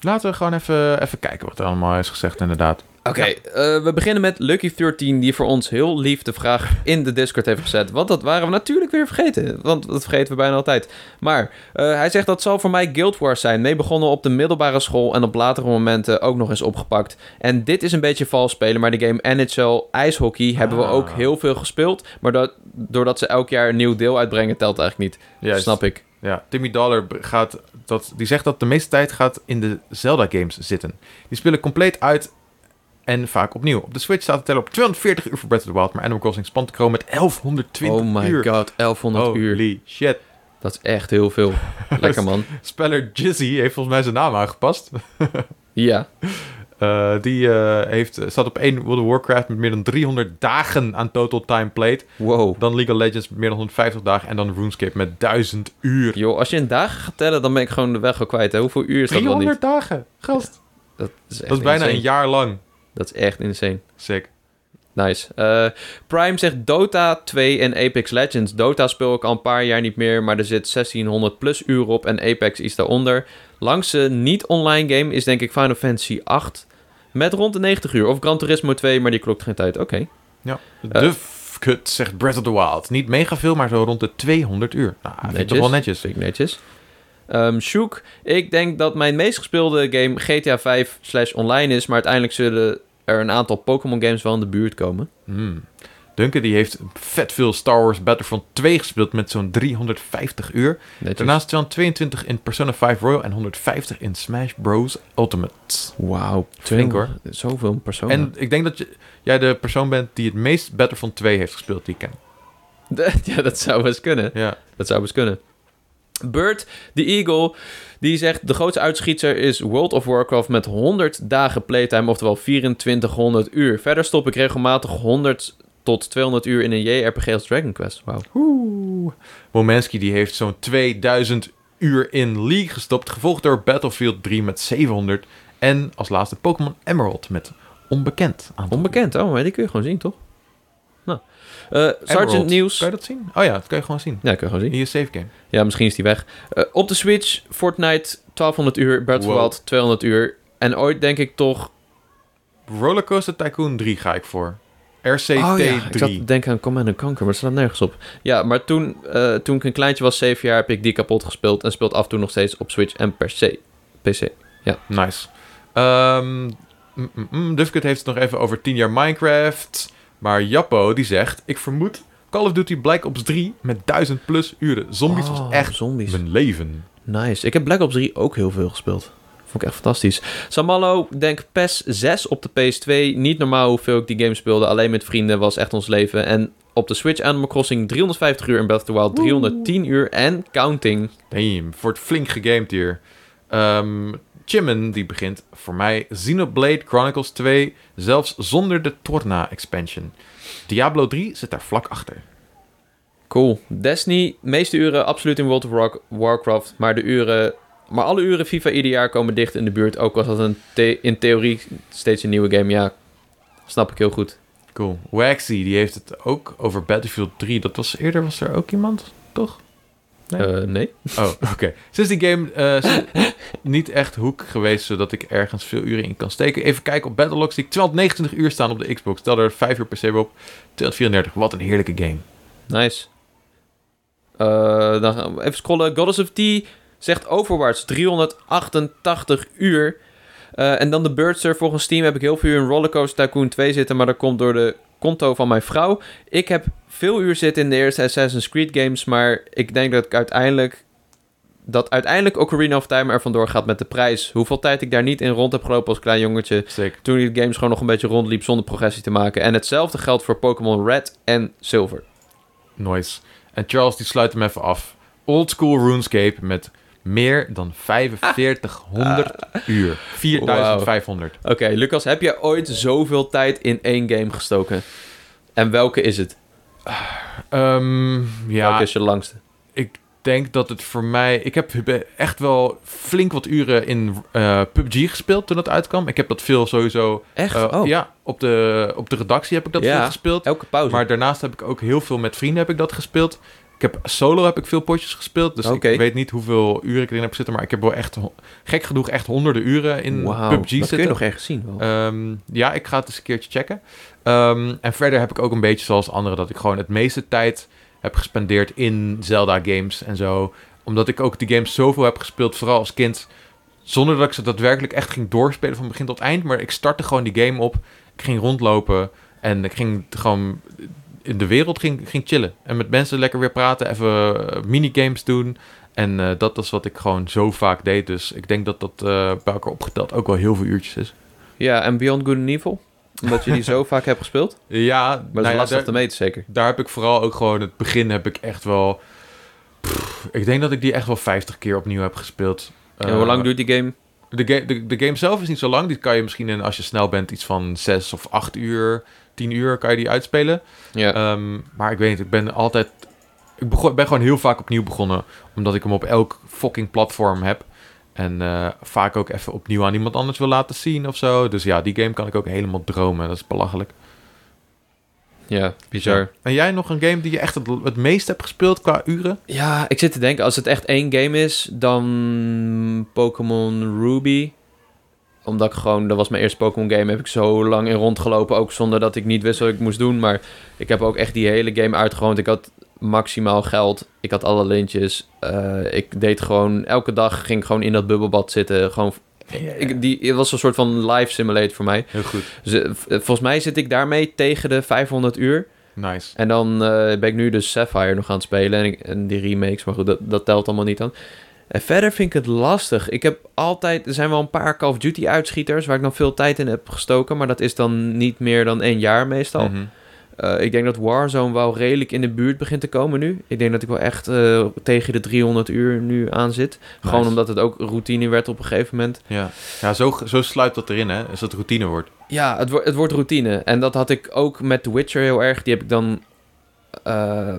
[SPEAKER 1] Laten we gewoon even, even kijken wat er allemaal is gezegd, inderdaad.
[SPEAKER 3] Oké, eh, we beginnen met Lucky13, die voor ons heel lief de vraag in de Discord heeft gezet. Want dat waren we natuurlijk weer vergeten, want dat vergeten we bijna altijd. Maar eh, hij zegt dat zal voor mij Guild Wars zijn. Mee begonnen op de middelbare school en op latere momenten ook nog eens opgepakt. En dit is een beetje vals spelen, maar de game NHL IJshockey hebben we
[SPEAKER 1] Ah.
[SPEAKER 3] ook heel veel gespeeld. Maar dat, doordat ze elk jaar een nieuw deel uitbrengen, telt eigenlijk niet.
[SPEAKER 1] Juist.
[SPEAKER 3] Snap ik.
[SPEAKER 1] Ja, Timmy Dollar b- gaat dat, die zegt dat de meeste tijd gaat in de Zelda-games zitten. Die spelen compleet uit en vaak opnieuw. Op de Switch staat de teller op 240 uur voor Breath of the Wild, maar Animal Crossing spant de kroon met 1120
[SPEAKER 3] oh my
[SPEAKER 1] uur.
[SPEAKER 3] god, 1100 uur.
[SPEAKER 1] Holy shit.
[SPEAKER 3] Dat is echt heel veel. Lekker man.
[SPEAKER 1] Speller Jizzy heeft volgens mij zijn naam aangepast.
[SPEAKER 3] Ja.
[SPEAKER 1] Eh, die eh, heeft, staat op 1 World of Warcraft met meer dan 300 dagen aan total time played.
[SPEAKER 3] Wow.
[SPEAKER 1] Dan League of Legends met meer dan 150 dagen. En dan RuneScape met 1000 uur.
[SPEAKER 3] Joh, als je in dagen gaat tellen, dan ben ik gewoon de weg al kwijt. Hè? Hoeveel uur is dat dan niet?
[SPEAKER 1] 300 dagen, gast.
[SPEAKER 3] Dat is, echt
[SPEAKER 1] dat is bijna
[SPEAKER 3] insane.
[SPEAKER 1] een jaar lang.
[SPEAKER 3] Dat is echt insane.
[SPEAKER 1] Sick.
[SPEAKER 3] Nice. Eh, Prime zegt Dota 2 en Apex Legends. Dota speel ik al een paar jaar niet meer, maar er zit 1600 plus uur op en Apex iets daaronder. Langste niet-online game is denk ik Final Fantasy 8 met rond de 90 uur. Of Gran Turismo 2, maar die klokt geen tijd. Oké.
[SPEAKER 1] Ja. De f- kut, zegt Breath of the Wild. Niet mega veel, maar zo rond de 200 uur. Nou, vind ik toch wel netjes.
[SPEAKER 3] Vind ik netjes. Ehm Sjoek, ik denk dat mijn meest gespeelde game GTA 5 slash online is, maar uiteindelijk zullen er een aantal Pokémon games wel in de buurt komen.
[SPEAKER 1] Hmm. Duncan die heeft vet veel Star Wars Battlefront 2 gespeeld met zo'n 350 uur.
[SPEAKER 3] Netjes.
[SPEAKER 1] Daarnaast 222 in Persona 5 Royal en 150 in Smash Bros. Ultimate.
[SPEAKER 3] Wauw,
[SPEAKER 1] Flink, hoor.
[SPEAKER 3] Zoveel personen.
[SPEAKER 1] En ik denk dat je, jij de persoon bent die het meest Battlefront 2 heeft gespeeld die ik ken.
[SPEAKER 3] ja, dat zou best kunnen.
[SPEAKER 1] Ja.
[SPEAKER 3] Dat zou best kunnen. Bert, de Eagle, die zegt... De grootste uitschieter is World of Warcraft met 100 dagen playtime, oftewel 2400 uur. Verder stop ik regelmatig 100 tot 200 uur in een JRPG als Dragon Quest. Wauw.
[SPEAKER 1] Oeh. Momenski die heeft zo'n 2000 uur in League gestopt, gevolgd door Battlefield 3 met 700 en als laatste Pokémon Emerald met onbekend aantal.
[SPEAKER 3] Onbekend, oh, maar die kun je gewoon zien, toch? Nou. Eh, Sergeant
[SPEAKER 1] Emerald.
[SPEAKER 3] Nieuws.
[SPEAKER 1] Kan je dat zien? Oh ja, dat kan je gewoon zien.
[SPEAKER 3] Ja, kun je gewoon zien.
[SPEAKER 1] Hier is save game.
[SPEAKER 3] Ja, misschien is die weg. Eh, op de Switch, Fortnite, 1200 uur. Breath of the
[SPEAKER 1] Wow.
[SPEAKER 3] Wild, 200 uur. En ooit denk ik toch...
[SPEAKER 1] Rollercoaster Tycoon 3 ga ik voor. RCT3.
[SPEAKER 3] Oh ik zat te denken aan Command and Conquer, maar het staat nergens op. Ja, maar toen, eh, toen ik een kleintje was, 7 jaar, heb ik die kapot gespeeld. En speelt af en toe nog steeds op Switch en per se. PC.
[SPEAKER 1] Nice. Ehm mm, mm, mm. Dufkut heeft het nog even over 10 jaar Minecraft. Maar Jappo die zegt: Ik vermoed Call of Duty Black Ops 3 met 1000 plus uren. Zombies was
[SPEAKER 3] Oh,
[SPEAKER 1] echt
[SPEAKER 3] Zombies.
[SPEAKER 1] mijn leven.
[SPEAKER 3] Nice. Ik heb Black Ops 3 ook heel veel gespeeld. Vond ik echt fantastisch. Samallo, denk PES 6 op de PS2. Niet normaal hoeveel ik die game speelde. Alleen met vrienden was echt ons leven. En op de Switch Animal Crossing 350 uur en Breath of the Wild 310 uur en counting.
[SPEAKER 1] Damn, wordt flink gegamed hier. Ehm Chimmen die begint voor mij Xenoblade Chronicles 2, zelfs zonder de Torna expansion. Diablo 3 zit daar vlak achter.
[SPEAKER 3] Cool. Destiny, meeste uren absoluut in World of War- Warcraft. Maar de uren... Maar alle uren FIFA ieder jaar komen dicht in de buurt. Ook als dat een the- in theorie steeds een nieuwe game. Ja, snap ik heel goed.
[SPEAKER 1] Cool. Waxy die heeft het ook over Battlefield 3. Dat was eerder, was er ook iemand, toch? Nee.
[SPEAKER 3] Eh, nee?
[SPEAKER 1] Oh, oké. Sinds die game eh, is niet echt hoek geweest, zodat ik ergens veel uren in kan steken. Even kijken op Battlelogs, die ik 229 uur staan op de Xbox. Tel er 5 uur per se op. 234, wat een heerlijke game.
[SPEAKER 3] Nice. Eh, dan gaan we even scrollen. Goddess of Tea zegt Overwatch 388 uur. Eh, en dan de Birdser. Volgens Steam heb ik heel veel uur in Rollercoaster Tycoon 2 zitten. Maar dat komt door de konto van mijn vrouw. Ik heb veel uur zitten in de eerste Assassin's Creed games. Maar ik denk dat ik uiteindelijk... Dat uiteindelijk Ocarina of Time er vandoor gaat met de prijs. Hoeveel tijd ik daar niet in rond heb gelopen als klein jongetje.
[SPEAKER 1] Sick.
[SPEAKER 3] Toen die games gewoon nog een beetje rondliep zonder progressie te maken. En hetzelfde geldt voor Pokémon Red en Silver.
[SPEAKER 1] Nice. En Charles die sluit hem even af. Old school RuneScape met meer dan 4500
[SPEAKER 3] Ah.
[SPEAKER 1] uur. 4500.
[SPEAKER 3] Oké, Lucas, heb je ooit zoveel tijd in één game gestoken? En welke is het?
[SPEAKER 1] Ehm, ja,
[SPEAKER 3] Welke is je langste?
[SPEAKER 1] ik denk dat het voor mij... Ik heb echt wel flink wat uren in eh, PUBG gespeeld toen dat uitkwam. Ik heb dat veel sowieso...
[SPEAKER 3] Echt?
[SPEAKER 1] eh,
[SPEAKER 3] oh,
[SPEAKER 1] Ja, op de, op de redactie heb ik dat
[SPEAKER 3] Ja. oh,
[SPEAKER 1] veel gespeeld.
[SPEAKER 3] elke pauze.
[SPEAKER 1] Maar daarnaast heb ik ook heel veel met vrienden heb ik dat gespeeld. Ik heb solo heb ik veel potjes gespeeld. Dus
[SPEAKER 3] Oké.
[SPEAKER 1] ik weet niet hoeveel uren ik erin heb zitten. Maar ik heb wel echt, ho- gek genoeg, echt honderden uren in
[SPEAKER 3] Wauw,
[SPEAKER 1] PUBG
[SPEAKER 3] dat
[SPEAKER 1] zitten.
[SPEAKER 3] kun je nog ergens zien. wel.
[SPEAKER 1] Ehm, ja, ik ga het eens een keertje checken. Ehm, en verder heb ik ook een beetje zoals anderen... dat ik gewoon het meeste tijd heb gespendeerd in Zelda-games en zo. Omdat ik ook die games zoveel heb gespeeld, vooral als kind... zonder dat ik ze daadwerkelijk echt ging doorspelen van begin tot eind. Maar ik startte gewoon die game op. Ik ging rondlopen en ik ging gewoon in de wereld ging, ging chillen. En met mensen lekker weer praten, even eh, minigames doen... En eh, dat is wat ik gewoon zo vaak deed. Dus ik denk dat dat eh, bij elkaar opgeteld ook wel heel veel uurtjes is.
[SPEAKER 3] Ja, en Beyond Good and Evil? Omdat je die zo vaak hebt gespeeld? Maar
[SPEAKER 1] Ja,
[SPEAKER 3] dat
[SPEAKER 1] nou
[SPEAKER 3] is
[SPEAKER 1] ja,
[SPEAKER 3] lastig
[SPEAKER 1] daar,
[SPEAKER 3] te meten, zeker.
[SPEAKER 1] daar heb ik vooral ook gewoon het begin heb ik echt wel. Pff, ik denk dat ik die echt wel 50 keer opnieuw heb gespeeld. Eh,
[SPEAKER 3] en hoe lang duurt die game?
[SPEAKER 1] de, ga- de, de game zelf is niet zo lang. Die kan je misschien in, als je snel bent, iets van 6 of 8 uur, 10 uur kan je die uitspelen.
[SPEAKER 3] Ja.
[SPEAKER 1] Ehm, maar ik weet niet, ik ben altijd. Ik begon, ben gewoon heel vaak opnieuw begonnen. Omdat ik hem op elk fucking platform heb. En eh, vaak ook even opnieuw aan iemand anders wil laten zien of zo. Dus ja, die game kan ik ook helemaal dromen. Dat is belachelijk. eh,
[SPEAKER 3] ja, bizar.
[SPEAKER 1] En jij nog een game die je echt het, het meest hebt gespeeld qua uren?
[SPEAKER 3] Ja, ik zit te denken, als het echt één game is, dan Pokémon Ruby. Omdat ik gewoon, dat was mijn eerste Pokémon game, heb ik zo lang in rondgelopen. Ook zonder dat ik niet wist wat ik moest doen. Maar ik heb ook echt die hele game uitgewoond. Ik had maximaal geld. Ik had alle lintjes. Eh, ik deed gewoon, elke dag ging ik gewoon in dat bubbelbad zitten. Gewoon, ik, die, het was een soort van live simulator voor mij.
[SPEAKER 1] Heel goed.
[SPEAKER 3] Dus, eh, v- eh, volgens mij zit ik daarmee tegen de 500 uur.
[SPEAKER 1] Nice.
[SPEAKER 3] En dan eh, ben ik nu dus Sapphire nog aan het spelen. En, ik- en die remakes, maar goed, dat, dat telt allemaal niet aan. En verder vind ik het lastig. Ik heb altijd... Er zijn wel een paar Call of Duty uitschieters... waar ik dan veel tijd in heb gestoken. Maar dat is dan niet meer dan één jaar meestal.
[SPEAKER 1] Mhm.
[SPEAKER 3] Eh, ik denk dat Warzone wel redelijk in de buurt begint te komen nu. Ik denk dat ik wel echt eh, tegen de 300 uur nu aan zit. Gewoon
[SPEAKER 1] Nice.
[SPEAKER 3] omdat het ook routine werd op een gegeven moment.
[SPEAKER 1] Ja, ja zo, zo sluit dat erin, hè? Als dat routine wordt.
[SPEAKER 3] Ja, het, wo- het wordt routine. En dat had ik ook met The Witcher heel erg. Die heb ik dan eh,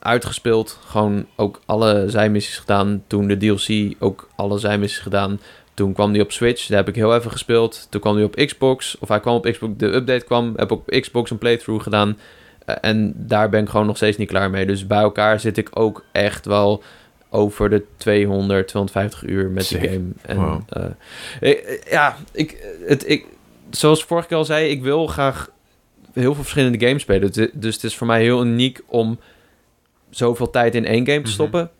[SPEAKER 3] uitgespeeld. Gewoon ook alle zijmissies gedaan. Toen de DLC ook alle zijmissies gedaan. Toen kwam die op Switch. Daar heb ik heel even gespeeld. Toen kwam die op Xbox. Of hij kwam op Xbox. De update kwam. Heb op Xbox een playthrough gedaan. Eh, en daar ben ik gewoon nog steeds niet klaar mee. Dus bij elkaar zit ik ook echt wel over de 200, 250 uur met die
[SPEAKER 1] Zeker.
[SPEAKER 3] game. En,
[SPEAKER 1] Wow.
[SPEAKER 3] eh, ik- eh, ja, ik, het, ik, zoals vorige keer al zei, ik wil graag heel veel verschillende games spelen. Dus- Dus het is voor mij heel uniek om zoveel tijd in één game te
[SPEAKER 1] Mhm.
[SPEAKER 3] stoppen.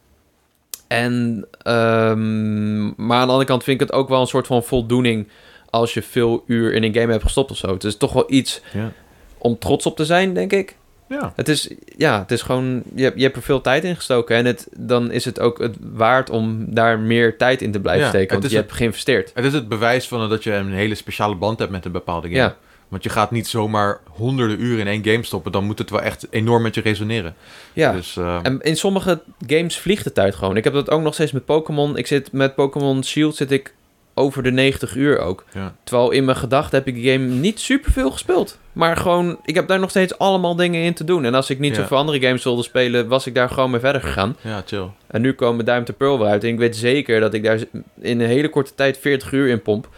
[SPEAKER 3] En, ehm, maar aan de andere kant vind ik het ook wel een soort van voldoening als je veel uur in een game hebt gestopt of zo. Het is toch wel iets
[SPEAKER 1] Ja.
[SPEAKER 3] om trots op te zijn, denk ik.
[SPEAKER 1] Ja.
[SPEAKER 3] Het is, ja, het is gewoon, je, hebt- je hebt er veel tijd in gestoken en het, dan is het ook het waard om daar meer tijd in te blijven
[SPEAKER 1] Ja,
[SPEAKER 3] steken,
[SPEAKER 1] het
[SPEAKER 3] want je
[SPEAKER 1] is
[SPEAKER 3] hebt geïnvesteerd.
[SPEAKER 1] Het is het bewijs van dat je een hele speciale band hebt met een bepaalde game.
[SPEAKER 3] Ja.
[SPEAKER 1] Want je gaat niet zomaar honderden uren in één game stoppen. Dan moet het wel echt enorm met je resoneren.
[SPEAKER 3] Ja.
[SPEAKER 1] Dus, eh,
[SPEAKER 3] En in sommige games vliegt de tijd gewoon. Ik heb dat ook nog steeds met Pokémon. Ik zit met Pokémon Shield zit ik over de 90 uur ook.
[SPEAKER 1] Ja.
[SPEAKER 3] Terwijl in mijn gedachten heb ik die game niet superveel gespeeld. Maar gewoon, ik heb daar nog steeds allemaal dingen in te doen. En als ik niet
[SPEAKER 1] Ja.
[SPEAKER 3] zoveel andere games wilde spelen, was ik daar gewoon mee verder gegaan.
[SPEAKER 1] ja, chill.
[SPEAKER 3] En nu komen Duim to Pearl weer uit. En ik weet zeker dat ik daar in een hele korte tijd 40 uur in pomp.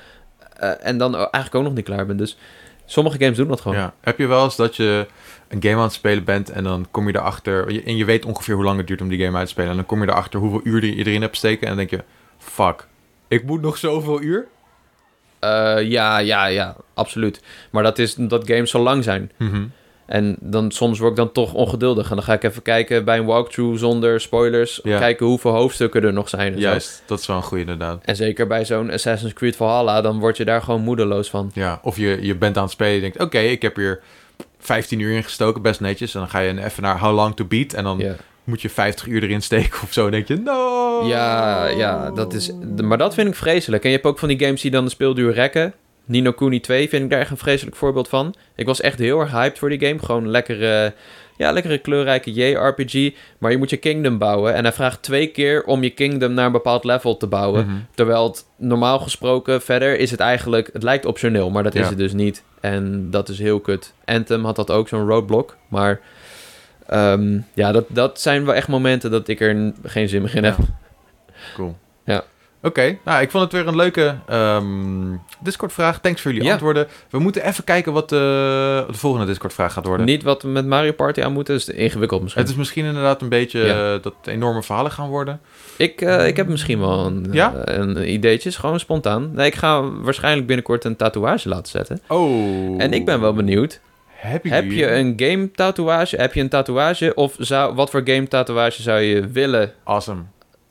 [SPEAKER 3] Eh, en dan eigenlijk ook nog niet klaar ben. Dus sommige games doen dat gewoon.
[SPEAKER 1] Ja. Heb je wel eens dat je een game aan het spelen bent en dan kom je erachter... je- En je weet ongeveer hoe lang het duurt om die game uit te spelen. En dan kom je erachter hoeveel uur je erin hebt steken. En dan denk je, fuck, ik moet nog zoveel uur?
[SPEAKER 3] Eh, ja, ja, ja, absoluut. Maar dat is omdat games zo lang zijn.
[SPEAKER 1] Mhm.
[SPEAKER 3] En dan, soms word ik dan toch ongeduldig. En dan ga ik even kijken bij een walkthrough zonder spoilers.
[SPEAKER 1] Ja.
[SPEAKER 3] Kijken hoeveel hoofdstukken er nog zijn. en zo.
[SPEAKER 1] Juist, dat is wel een goede inderdaad.
[SPEAKER 3] En zeker bij zo'n Assassin's Creed Valhalla, dan word je daar gewoon moedeloos van.
[SPEAKER 1] Ja, of je, je bent aan het spelen en je denkt... oké, ik heb hier 15 uur in gestoken, best netjes. En dan ga je even naar How Long To Beat... en dan
[SPEAKER 3] Ja,
[SPEAKER 1] moet je 50 uur erin steken of zo. En denk je, no!
[SPEAKER 3] ja, ja dat is, maar dat vind ik vreselijk. En je hebt ook van die games die dan de speelduur rekken. Nino Kuni 2 vind ik daar echt een vreselijk voorbeeld van. Ik was echt heel erg hyped voor die game. Gewoon lekker eh, Ja, lekkere kleurrijke JRPG. Maar je moet je kingdom bouwen. En hij vraagt twee keer om je kingdom naar een bepaald level te bouwen.
[SPEAKER 1] Mhm.
[SPEAKER 3] Terwijl het normaal gesproken verder is het eigenlijk... Het lijkt optioneel, maar dat is
[SPEAKER 1] Ja.
[SPEAKER 3] het dus niet. En dat is heel kut. Anthem had dat ook, zo'n roadblock. Maar ehm, ja, dat, dat zijn wel echt momenten dat ik er n- geen zin meer in heb.
[SPEAKER 1] Cool.
[SPEAKER 3] Ja.
[SPEAKER 1] Oké, nou, ik vond het weer een leuke ehm, Discord-vraag. Thanks voor jullie
[SPEAKER 3] Ja.
[SPEAKER 1] antwoorden. We moeten even kijken wat eh, de volgende Discord-vraag gaat worden.
[SPEAKER 3] Niet wat we met Mario Party aan moeten, is ingewikkeld misschien.
[SPEAKER 1] Het is misschien inderdaad een beetje
[SPEAKER 3] Ja.
[SPEAKER 1] eh, dat enorme verhalen gaan worden.
[SPEAKER 3] Ik, eh, ik heb misschien wel een,
[SPEAKER 1] Ja?
[SPEAKER 3] eh, een ideetje, is gewoon spontaan. Nee, ik ga waarschijnlijk binnenkort een tatoeage laten zetten.
[SPEAKER 1] Oh.
[SPEAKER 3] En ik ben wel benieuwd.
[SPEAKER 1] Heb je,
[SPEAKER 3] Heb je een game tatoeage? Heb je een tatoeage? Of zou, wat voor game tatoeage zou je willen?
[SPEAKER 1] Awesome.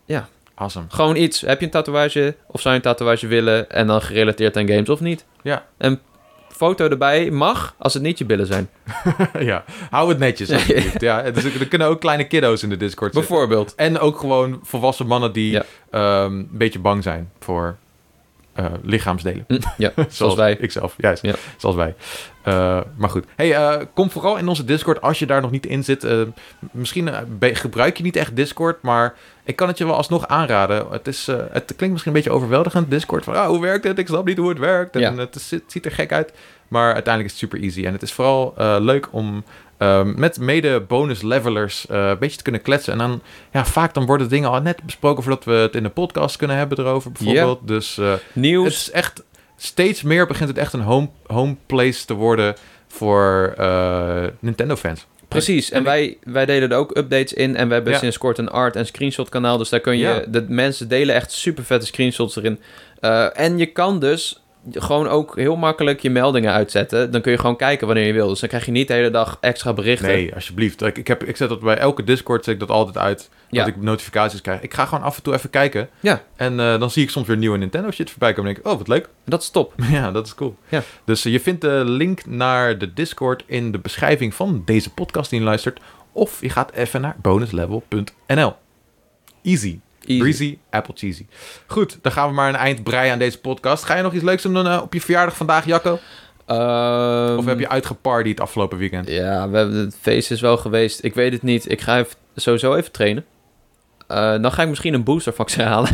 [SPEAKER 3] Ja.
[SPEAKER 1] Awesome.
[SPEAKER 3] Gewoon iets. Heb je een tatoeage? Of zou je een tatoeage willen? En dan gerelateerd aan games of niet?
[SPEAKER 1] Ja.
[SPEAKER 3] Een foto erbij mag, als het niet je billen zijn.
[SPEAKER 1] ja, hou het netjes alsjeblieft. ja, dus er kunnen ook kleine kiddo's in de Discord zitten.
[SPEAKER 3] Bijvoorbeeld.
[SPEAKER 1] En ook gewoon volwassen mannen die
[SPEAKER 3] Ja.
[SPEAKER 1] ehm, een beetje bang zijn voor eh, lichaamsdelen.
[SPEAKER 3] Hm, ja, zoals wij.
[SPEAKER 1] Ikzelf, juist.
[SPEAKER 3] Ja.
[SPEAKER 1] Zoals wij. Eh, maar goed. Hey, eh, kom vooral in onze Discord als je daar nog niet in zit. Eh, m- misschien eh, be- gebruik je niet echt Discord, maar ik kan het je wel alsnog aanraden. Het, is, eh, het klinkt misschien een beetje overweldigend, Discord. Van, ah, hoe werkt het? Ik snap niet hoe het werkt. En
[SPEAKER 3] Ja.
[SPEAKER 1] het, is- het ziet er gek uit. Maar uiteindelijk is het super easy. En het is vooral eh, leuk om eh, met mede bonus levelers eh, een beetje te kunnen kletsen. En dan, ja, vaak dan worden dingen al net besproken voordat we het in de podcast kunnen hebben erover, bijvoorbeeld. Dus eh, het
[SPEAKER 3] Nieuws.
[SPEAKER 1] is echt steeds meer begint het echt een home, home place te worden voor eh, Nintendo-fans.
[SPEAKER 3] Precies, en,
[SPEAKER 1] En
[SPEAKER 3] wij, wij delen er ook updates in. En we hebben
[SPEAKER 1] Ja.
[SPEAKER 3] sinds kort een art- en screenshot kanaal. Dus daar kun je...
[SPEAKER 1] Ja.
[SPEAKER 3] De mensen delen echt super vette screenshots erin. Eh, en je kan dus gewoon ook heel makkelijk je meldingen uitzetten. Dan kun je gewoon kijken wanneer je wil. Dus dan krijg je niet de hele dag extra berichten.
[SPEAKER 1] Nee, alsjeblieft. Ik, ik, heb, ik zet dat bij elke Discord zet ik dat altijd uit,
[SPEAKER 3] Ja.
[SPEAKER 1] dat ik notificaties krijg. Ik ga gewoon af en toe even kijken.
[SPEAKER 3] Ja.
[SPEAKER 1] En eh, dan zie ik soms weer nieuwe Nintendo-shit voorbij komen en denk ik, oh, wat leuk.
[SPEAKER 3] Dat is top.
[SPEAKER 1] Ja, dat is cool.
[SPEAKER 3] Ja.
[SPEAKER 1] Dus eh, je vindt de link naar de Discord in de beschrijving van deze podcast die je luistert. Of je gaat even naar bonuslevel.nl. Easy.
[SPEAKER 3] Easy.
[SPEAKER 1] Breezy, apple cheesy. Goed, dan gaan we maar een eind breien aan deze podcast. Ga je nog iets leuks doen eh, op je verjaardag vandaag, Jacco?
[SPEAKER 3] Ehm,
[SPEAKER 1] Of heb je uitgeparty het afgelopen weekend?
[SPEAKER 3] Ja, we hebben, het feest is wel geweest. Ik weet het niet. Ik ga even, sowieso even trainen. Eh, dan ga ik misschien een boostervaccin halen.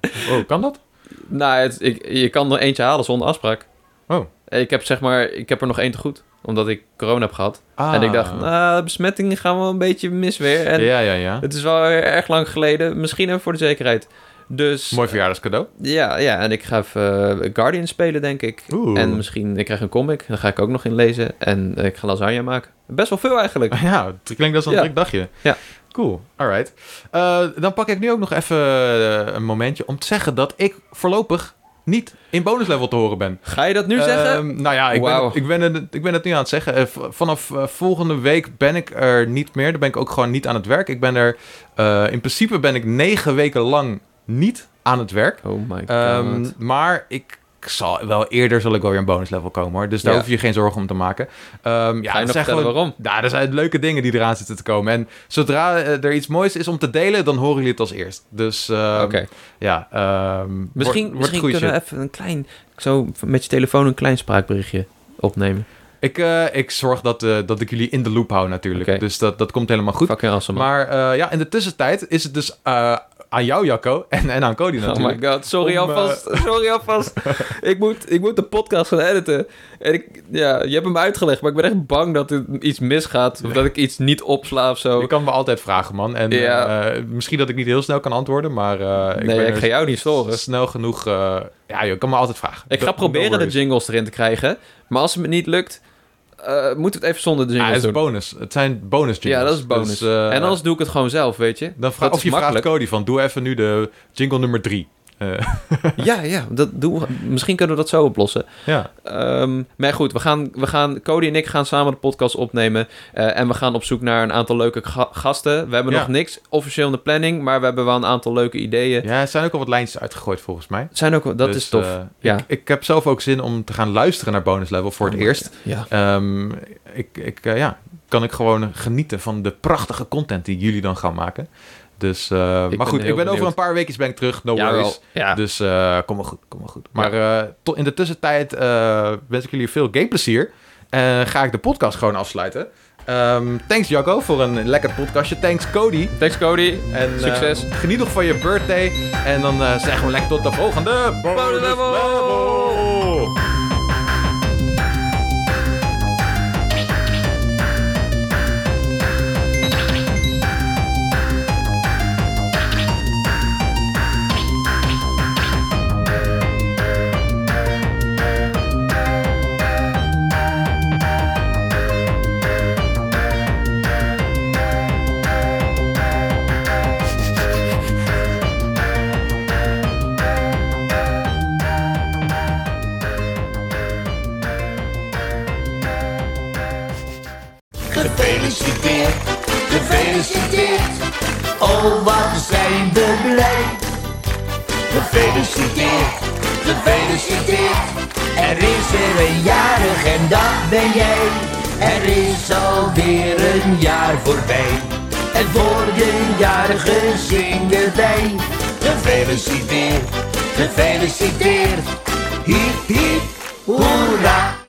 [SPEAKER 3] eh,
[SPEAKER 1] Oh, kan dat?
[SPEAKER 3] nou, het- ik, je kan er eentje halen zonder afspraak.
[SPEAKER 1] Oh.
[SPEAKER 3] Ik heb, zeg maar, ik heb er nog één te goed. Omdat ik corona heb gehad.
[SPEAKER 1] Ah.
[SPEAKER 3] En ik dacht, nou, besmettingen gaan wel een beetje mis weer. En
[SPEAKER 1] ja, ja, ja.
[SPEAKER 3] het is wel weer erg lang geleden. Misschien even voor de zekerheid. Dus
[SPEAKER 1] Mooi verjaardagscadeau.
[SPEAKER 3] ja, ja, en ik ga even eh, Guardian spelen, denk ik.
[SPEAKER 1] Oeh.
[SPEAKER 3] En misschien, ik krijg een comic. Daar ga ik ook nog in lezen. En eh, ik ga lasagne maken. Best wel veel eigenlijk.
[SPEAKER 1] Ja, het klinkt als een
[SPEAKER 3] Ja.
[SPEAKER 1] druk dagje.
[SPEAKER 3] Ja.
[SPEAKER 1] Cool, alright. Eh, dan pak ik nu ook nog even eh, een momentje om te zeggen dat ik voorlopig niet in bonuslevel te horen ben.
[SPEAKER 3] Ga je dat nu zeggen?
[SPEAKER 1] Ehm, nou ja, ik, ben,
[SPEAKER 3] Wauw.
[SPEAKER 1] het- ik, ben het, ik ben het nu aan het zeggen. Eh, v- vanaf eh, volgende week ben ik er niet meer. Dan ben ik ook gewoon niet aan het werk. Ik ben er, eh, in principe ben ik negen weken lang niet aan het werk.
[SPEAKER 3] Oh my god.
[SPEAKER 1] Ehm, maar ik zal wel eerder zal ik wel weer een bonuslevel komen hoor. Dus daar
[SPEAKER 3] Ja.
[SPEAKER 1] hoef je je geen zorgen om te maken. Ehm, ja,
[SPEAKER 3] nog
[SPEAKER 1] dat zijn
[SPEAKER 3] vertellen
[SPEAKER 1] gewoon-
[SPEAKER 3] waarom?
[SPEAKER 1] Ja, er zijn leuke dingen die eraan zitten te komen. En zodra eh, er iets moois is om te delen, dan horen jullie het als eerst. Dus ehm,
[SPEAKER 3] Oké.
[SPEAKER 1] ja, ehm, wordt-
[SPEAKER 3] Misschien,
[SPEAKER 1] wordt
[SPEAKER 3] misschien
[SPEAKER 1] goeie
[SPEAKER 3] kunnen we
[SPEAKER 1] shit.
[SPEAKER 3] even een klein... Zo met je telefoon een klein spraakberichtje opnemen.
[SPEAKER 1] Ik, eh, ik zorg dat, eh, dat ik jullie in de loop hou natuurlijk.
[SPEAKER 3] Oké.
[SPEAKER 1] Dus dat, dat komt helemaal goed.
[SPEAKER 3] Fucking awesome. man.
[SPEAKER 1] maar eh, ja, in de tussentijd is het dus eh, aan jou, Jacco, en, en aan Cody natuurlijk.
[SPEAKER 3] Oh my god, sorry
[SPEAKER 1] Om, eh,
[SPEAKER 3] alvast. Sorry alvast. ik, moet, ik moet de podcast gaan editen. En ik, ja, je hebt hem uitgelegd, maar ik ben echt bang dat er iets misgaat. Of dat ik iets niet opsla of zo.
[SPEAKER 1] Je kan me altijd vragen, man. En
[SPEAKER 3] Ja.
[SPEAKER 1] eh, misschien dat ik niet heel snel kan antwoorden, maar eh, ik
[SPEAKER 3] nee,
[SPEAKER 1] ben
[SPEAKER 3] ik
[SPEAKER 1] er
[SPEAKER 3] ga jou niet
[SPEAKER 1] s-
[SPEAKER 3] storen.
[SPEAKER 1] snel genoeg... eh, ja, je kan me altijd vragen.
[SPEAKER 3] Ik ga
[SPEAKER 1] Don't-
[SPEAKER 3] proberen
[SPEAKER 1] don't
[SPEAKER 3] de
[SPEAKER 1] worry.
[SPEAKER 3] jingles erin te krijgen. Maar als het me niet lukt, eh, moeten we het even zonder de
[SPEAKER 1] Ah, het
[SPEAKER 3] jingles
[SPEAKER 1] is
[SPEAKER 3] doen.
[SPEAKER 1] bonus. Het zijn bonus jingles.
[SPEAKER 3] Ja, dat is bonus.
[SPEAKER 1] Dus, eh,
[SPEAKER 3] en anders doe ik het gewoon zelf, weet je.
[SPEAKER 1] Dan vraag, of
[SPEAKER 3] dat is
[SPEAKER 1] je
[SPEAKER 3] makkelijk.
[SPEAKER 1] vraagt Cody van, doe even nu de jingle nummer drie. Eh,
[SPEAKER 3] Ja, ja, dat doen we. misschien kunnen we dat zo oplossen.
[SPEAKER 1] ja,
[SPEAKER 3] Ehm, maar goed, we gaan, we gaan, Cody en ik gaan samen de podcast opnemen. eh, en we gaan op zoek naar een aantal leuke ga- gasten. We hebben
[SPEAKER 1] Ja.
[SPEAKER 3] nog niks officieel in de planning, maar we hebben wel een aantal leuke ideeën.
[SPEAKER 1] ja, er zijn ook al wat lijntjes uitgegooid volgens mij.
[SPEAKER 3] Zijn ook, dat
[SPEAKER 1] Dus,
[SPEAKER 3] is tof.
[SPEAKER 1] eh,
[SPEAKER 3] ja.
[SPEAKER 1] ik, ik heb zelf ook zin om te gaan luisteren naar bonus level voor het eerst.
[SPEAKER 3] ja.
[SPEAKER 1] Ehm, ik, ik, eh, ja, kan ik gewoon genieten van de prachtige content die jullie dan gaan maken. Dus, eh, maar
[SPEAKER 3] ben
[SPEAKER 1] goed, ik ben
[SPEAKER 3] heel
[SPEAKER 1] over
[SPEAKER 3] benieuwd.
[SPEAKER 1] een paar weken ben ik terug. No
[SPEAKER 3] Jawel.
[SPEAKER 1] worries.
[SPEAKER 3] Ja.
[SPEAKER 1] Dus eh, kom maar goed, kom maar goed. Maar eh, tot in de tussentijd eh, wens ik jullie veel gameplezier. En ga ik de podcast gewoon afsluiten. Ehm, thanks Jacco voor een lekker podcastje. Thanks Cody.
[SPEAKER 3] Thanks Cody.
[SPEAKER 1] En, eh,
[SPEAKER 3] Succes.
[SPEAKER 1] geniet nog van je birthday. En dan eh, zeggen we lekker tot de volgende.
[SPEAKER 3] Bonus level.
[SPEAKER 1] level.
[SPEAKER 5] Gefeliciteerd, gefeliciteerd. Oh, wat zijn we blij. Gefeliciteerd, gefeliciteerd. Er is weer een jarig en dat ben jij. Er is alweer een jaar voorbij. En voor de jarige zingen wij. Gefeliciteerd, gefeliciteerd. Hiep, hiep, hoera.